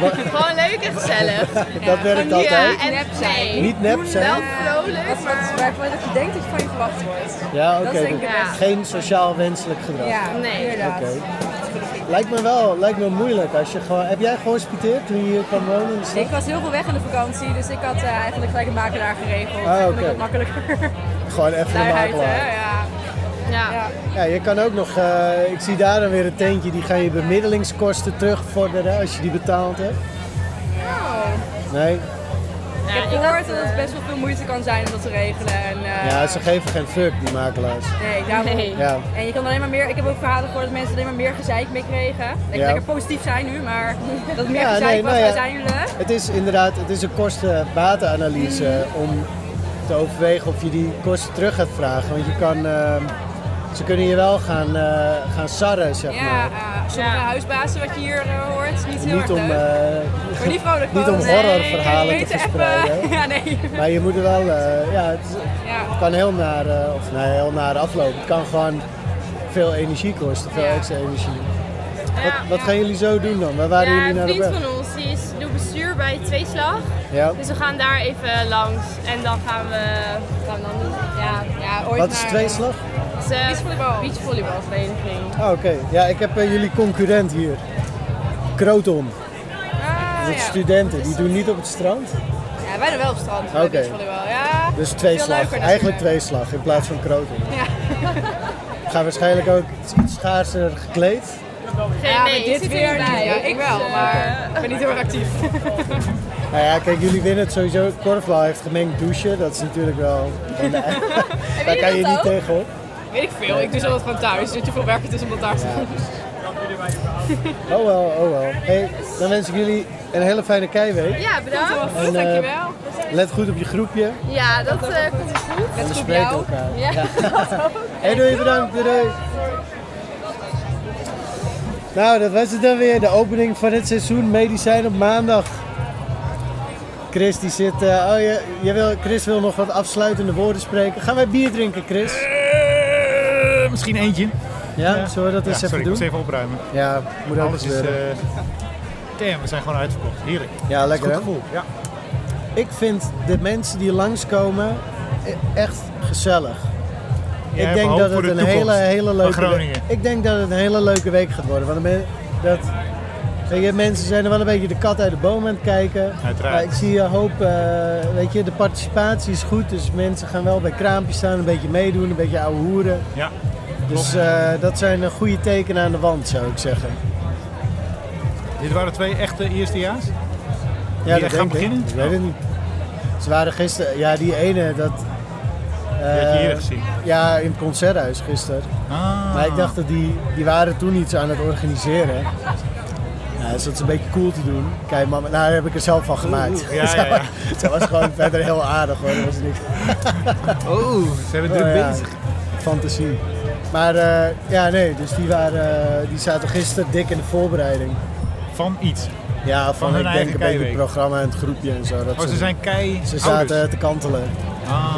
Wat- <laughs> Gewoon leuk en gezellig. <laughs> Dat werkt altijd. Ja, en nep zijn. Niet nep zijn. Wel vrolijk. Dat is wat- waarvan dat je denkt dat je van je verwacht wordt. Ja, Dat oké. dus is denk ik het beste. Geen sociaal wenselijk gedrag. Ja, nee. inderdaad. Oké. Lijkt me wel, lijkt me moeilijk. Als je gewoon, heb jij gehospiteerd toen je hier kwam wonen in de stad? Ik was heel veel weg in de vakantie, dus ik had eh, eigenlijk gelijk een makelaar geregeld. Ah, Dat vond oké. ik wat makkelijker. Gewoon even de Luiheid, makelaar. hè? Ja. Ja. Ja, je kan ook nog, eh, ik zie daar dan weer een tentje, die gaan je bemiddelingskosten terugvorderen als je die betaald hebt. Nee? ik heb gehoord dat het best wel veel moeite kan zijn om dat te regelen. En, eh, Ja, ze geven geen fuck, die makelaars. Nee, daarom. Nee. Ja. En je kan alleen maar meer, ik heb ook verhalen gehoord dat mensen alleen maar meer gezeik mee kregen. Ik Ja. lekker positief zijn nu, maar <laughs> dat het meer Ja, gezeik nee, was nou ja. uiteindelijk. Het is inderdaad, het is een kosten-batenanalyse om te overwegen of je die kosten terug gaat vragen. Want je kan, eh, ze kunnen je wel gaan, eh, gaan sarren, zeg Ja, maar. eh, sommige huisbazen wat je hier eh, hoort, is niet heel Niet erg om, leuk. eh, maar niet <laughs> vrolijk niet om van, horrorverhalen nee, te beter verspreiden. even- <laughs> ja, nee. Maar je moet er wel, eh, ja, het, is- Ja. het kan heel naar, eh, of nee, heel naar aflopen. Het kan gewoon veel energie kosten, veel extra energie. Wat, wat gaan jullie zo doen dan? Waar waren Ja, jullie een naar de vriend weg? van ons die is, doet bestuur bij Tweeslag. Ja. Dus we gaan daar even langs en dan gaan we... Gaan we dan, ja, ja, ooit Wat is naar- tweeslag? Het is, eh, beachvolleybalvereniging. Ah, Oké, ja, ik heb eh, jullie concurrent hier. Kroton. dat is studenten, die doen niet op het strand. Ja, wij doen wel op strand. Oké. Oké. Ja. Dus Ah, Veel tweeslag, leuker eigenlijk natuurlijk. tweeslag in plaats van kroton. Ja. Ik ga waarschijnlijk ook iets schaarser gekleed. Geen nee, ik zit dit er weer niet niet. bij. Ja, ik Ik, wel, eh, maar ik ben niet heel erg actief. Nou ja, kijk, jullie winnen het sowieso. Korfbal heeft gemengd douchen, dat is natuurlijk wel... Daar kan je dat niet ook? tegen hoor. Weet ik veel, ik doe zo wat gewoon thuis. Dat je veel werk het is om dat daar te doen. Oh wel, oh wel. Hey, dan wens ik jullie een hele fijne keiweek. Ja, bedankt. En, eh, Let goed op je groepje. Ja, dat eh, komt goed. En we spreken elkaar. Ja. <laughs> <laughs> Oh. Hey, doei, bedankt. Doei, doei. Nou, dat was het dan weer. De opening van het seizoen Medicijn op maandag. Chris die zit... eh, oh, je, je wil, Chris wil nog wat afsluitende woorden spreken. Gaan wij bier drinken, Chris? Eh, misschien eentje. Ja, zullen we dat Ja, eens even sorry, ik doen? moest even opruimen. Ja, moet ook Alles is... gebeuren. eh, damn, we zijn gewoon uitverkocht. Heerlijk. Ja, Dat is lekker, hè? goed gevoel. Ja. Ik vind de mensen die langskomen e- echt gezellig. Jij ik hebt denk hoop dat voor het de een toekomst hele, hele van leuke Groningen. we- Ik denk dat het een hele leuke week gaat worden. Want de men- dat, weet je, mensen zijn er wel een beetje de kat uit de boom aan het kijken. Uiteraard. Maar ik zie een hoop, eh, weet je, de participatie is goed. Dus mensen gaan wel bij kraampjes staan, een beetje meedoen, een beetje ouwe hoeren. Ja. Dus eh, dat zijn een goede tekenen aan de wand, zou ik zeggen. Dit waren twee echte eerstejaars? Ja, dat die gaan denk ik. beginnen? Ik weet het niet. Ze waren gisteren, ja, die ene, dat. je eh, eerder gezien? Ja, in het concerthuis gisteren. Ah. Maar ik dacht dat die, die waren toen iets aan het organiseren. Ja, dus dat is een beetje cool te doen. Kijk, mama, nou daar heb ik er zelf van gemaakt. Oeh, ja, ja, <laughs> ja. Ze was gewoon verder heel aardig hoor, dat was <laughs> niks. Oh, ze hebben druk Oh, ja. bezig. Fantasie. Maar eh, ja, nee, dus die, waren, eh, die zaten gisteren dik in de voorbereiding. Van iets? Ja, van, Van hun ik denk eigen een beetje het keiweek. programma en het groepje en zo. Dat Oh, ze zijn kei- Ze zaten ouders. te kantelen. Ah.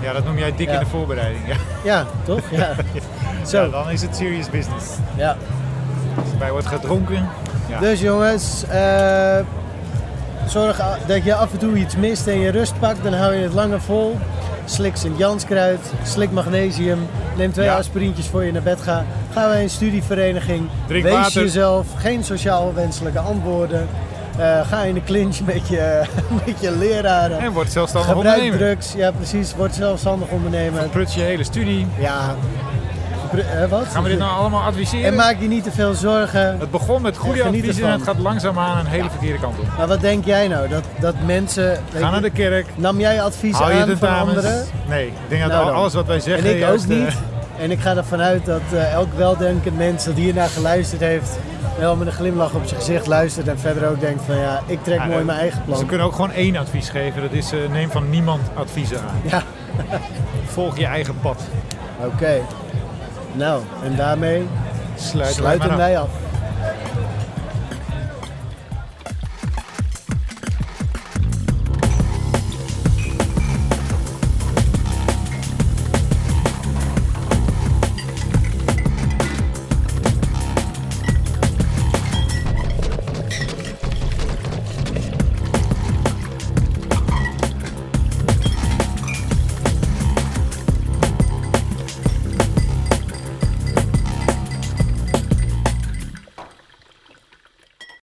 Ja, dat noem jij dik Ja. in de voorbereiding. Ja, Ja, toch? <laughs> Ja. Zo. dan is het serious business. Ja. Als erbij wordt gedronken. Ja. Dus jongens, eh, zorg a- dat je af en toe iets mist en je rust pakt, dan hou je het langer vol. Slik Sint-Janskruid, slik magnesium, neem twee Ja. aspirintjes voor je naar bed gaat. Ga naar een studievereniging, Drink wees water. jezelf, geen sociaal wenselijke antwoorden. Eh, ga in de clinch met je, <laughs> met je leraren. En word zelfstandig Gebruik ondernemer. drugs, ja precies, word zelfstandig ondernemer. Verprut je hele studie. Ja. Verpru- eh, wat? Gaan we dit nou allemaal adviseren? En maak je niet te veel zorgen. Het begon met goede Geniet adviezen en ervan. het gaat langzaamaan een hele verkeerde kant op. Maar wat denk jij nou? Dat, dat mensen... weet je, naar de kerk. Nam jij advies Hou je aan van tentamens? anderen? Nee, ik denk dat Nou al- dan. alles wat wij zeggen En ik juist, ook eh, niet. En ik ga ervan uit dat eh, elk weldenkend mens dat hiernaar geluisterd heeft... wel met een glimlach op zijn gezicht luistert en verder ook denkt van ja, ik trek mooi eh, mijn eigen plan. Ze kunnen ook gewoon één advies geven. Dat is eh, neem van niemand adviezen aan. Ja. Volg je eigen pad. Oké. Nou, en daarmee Sluiten wij sluiten maar af. wij af.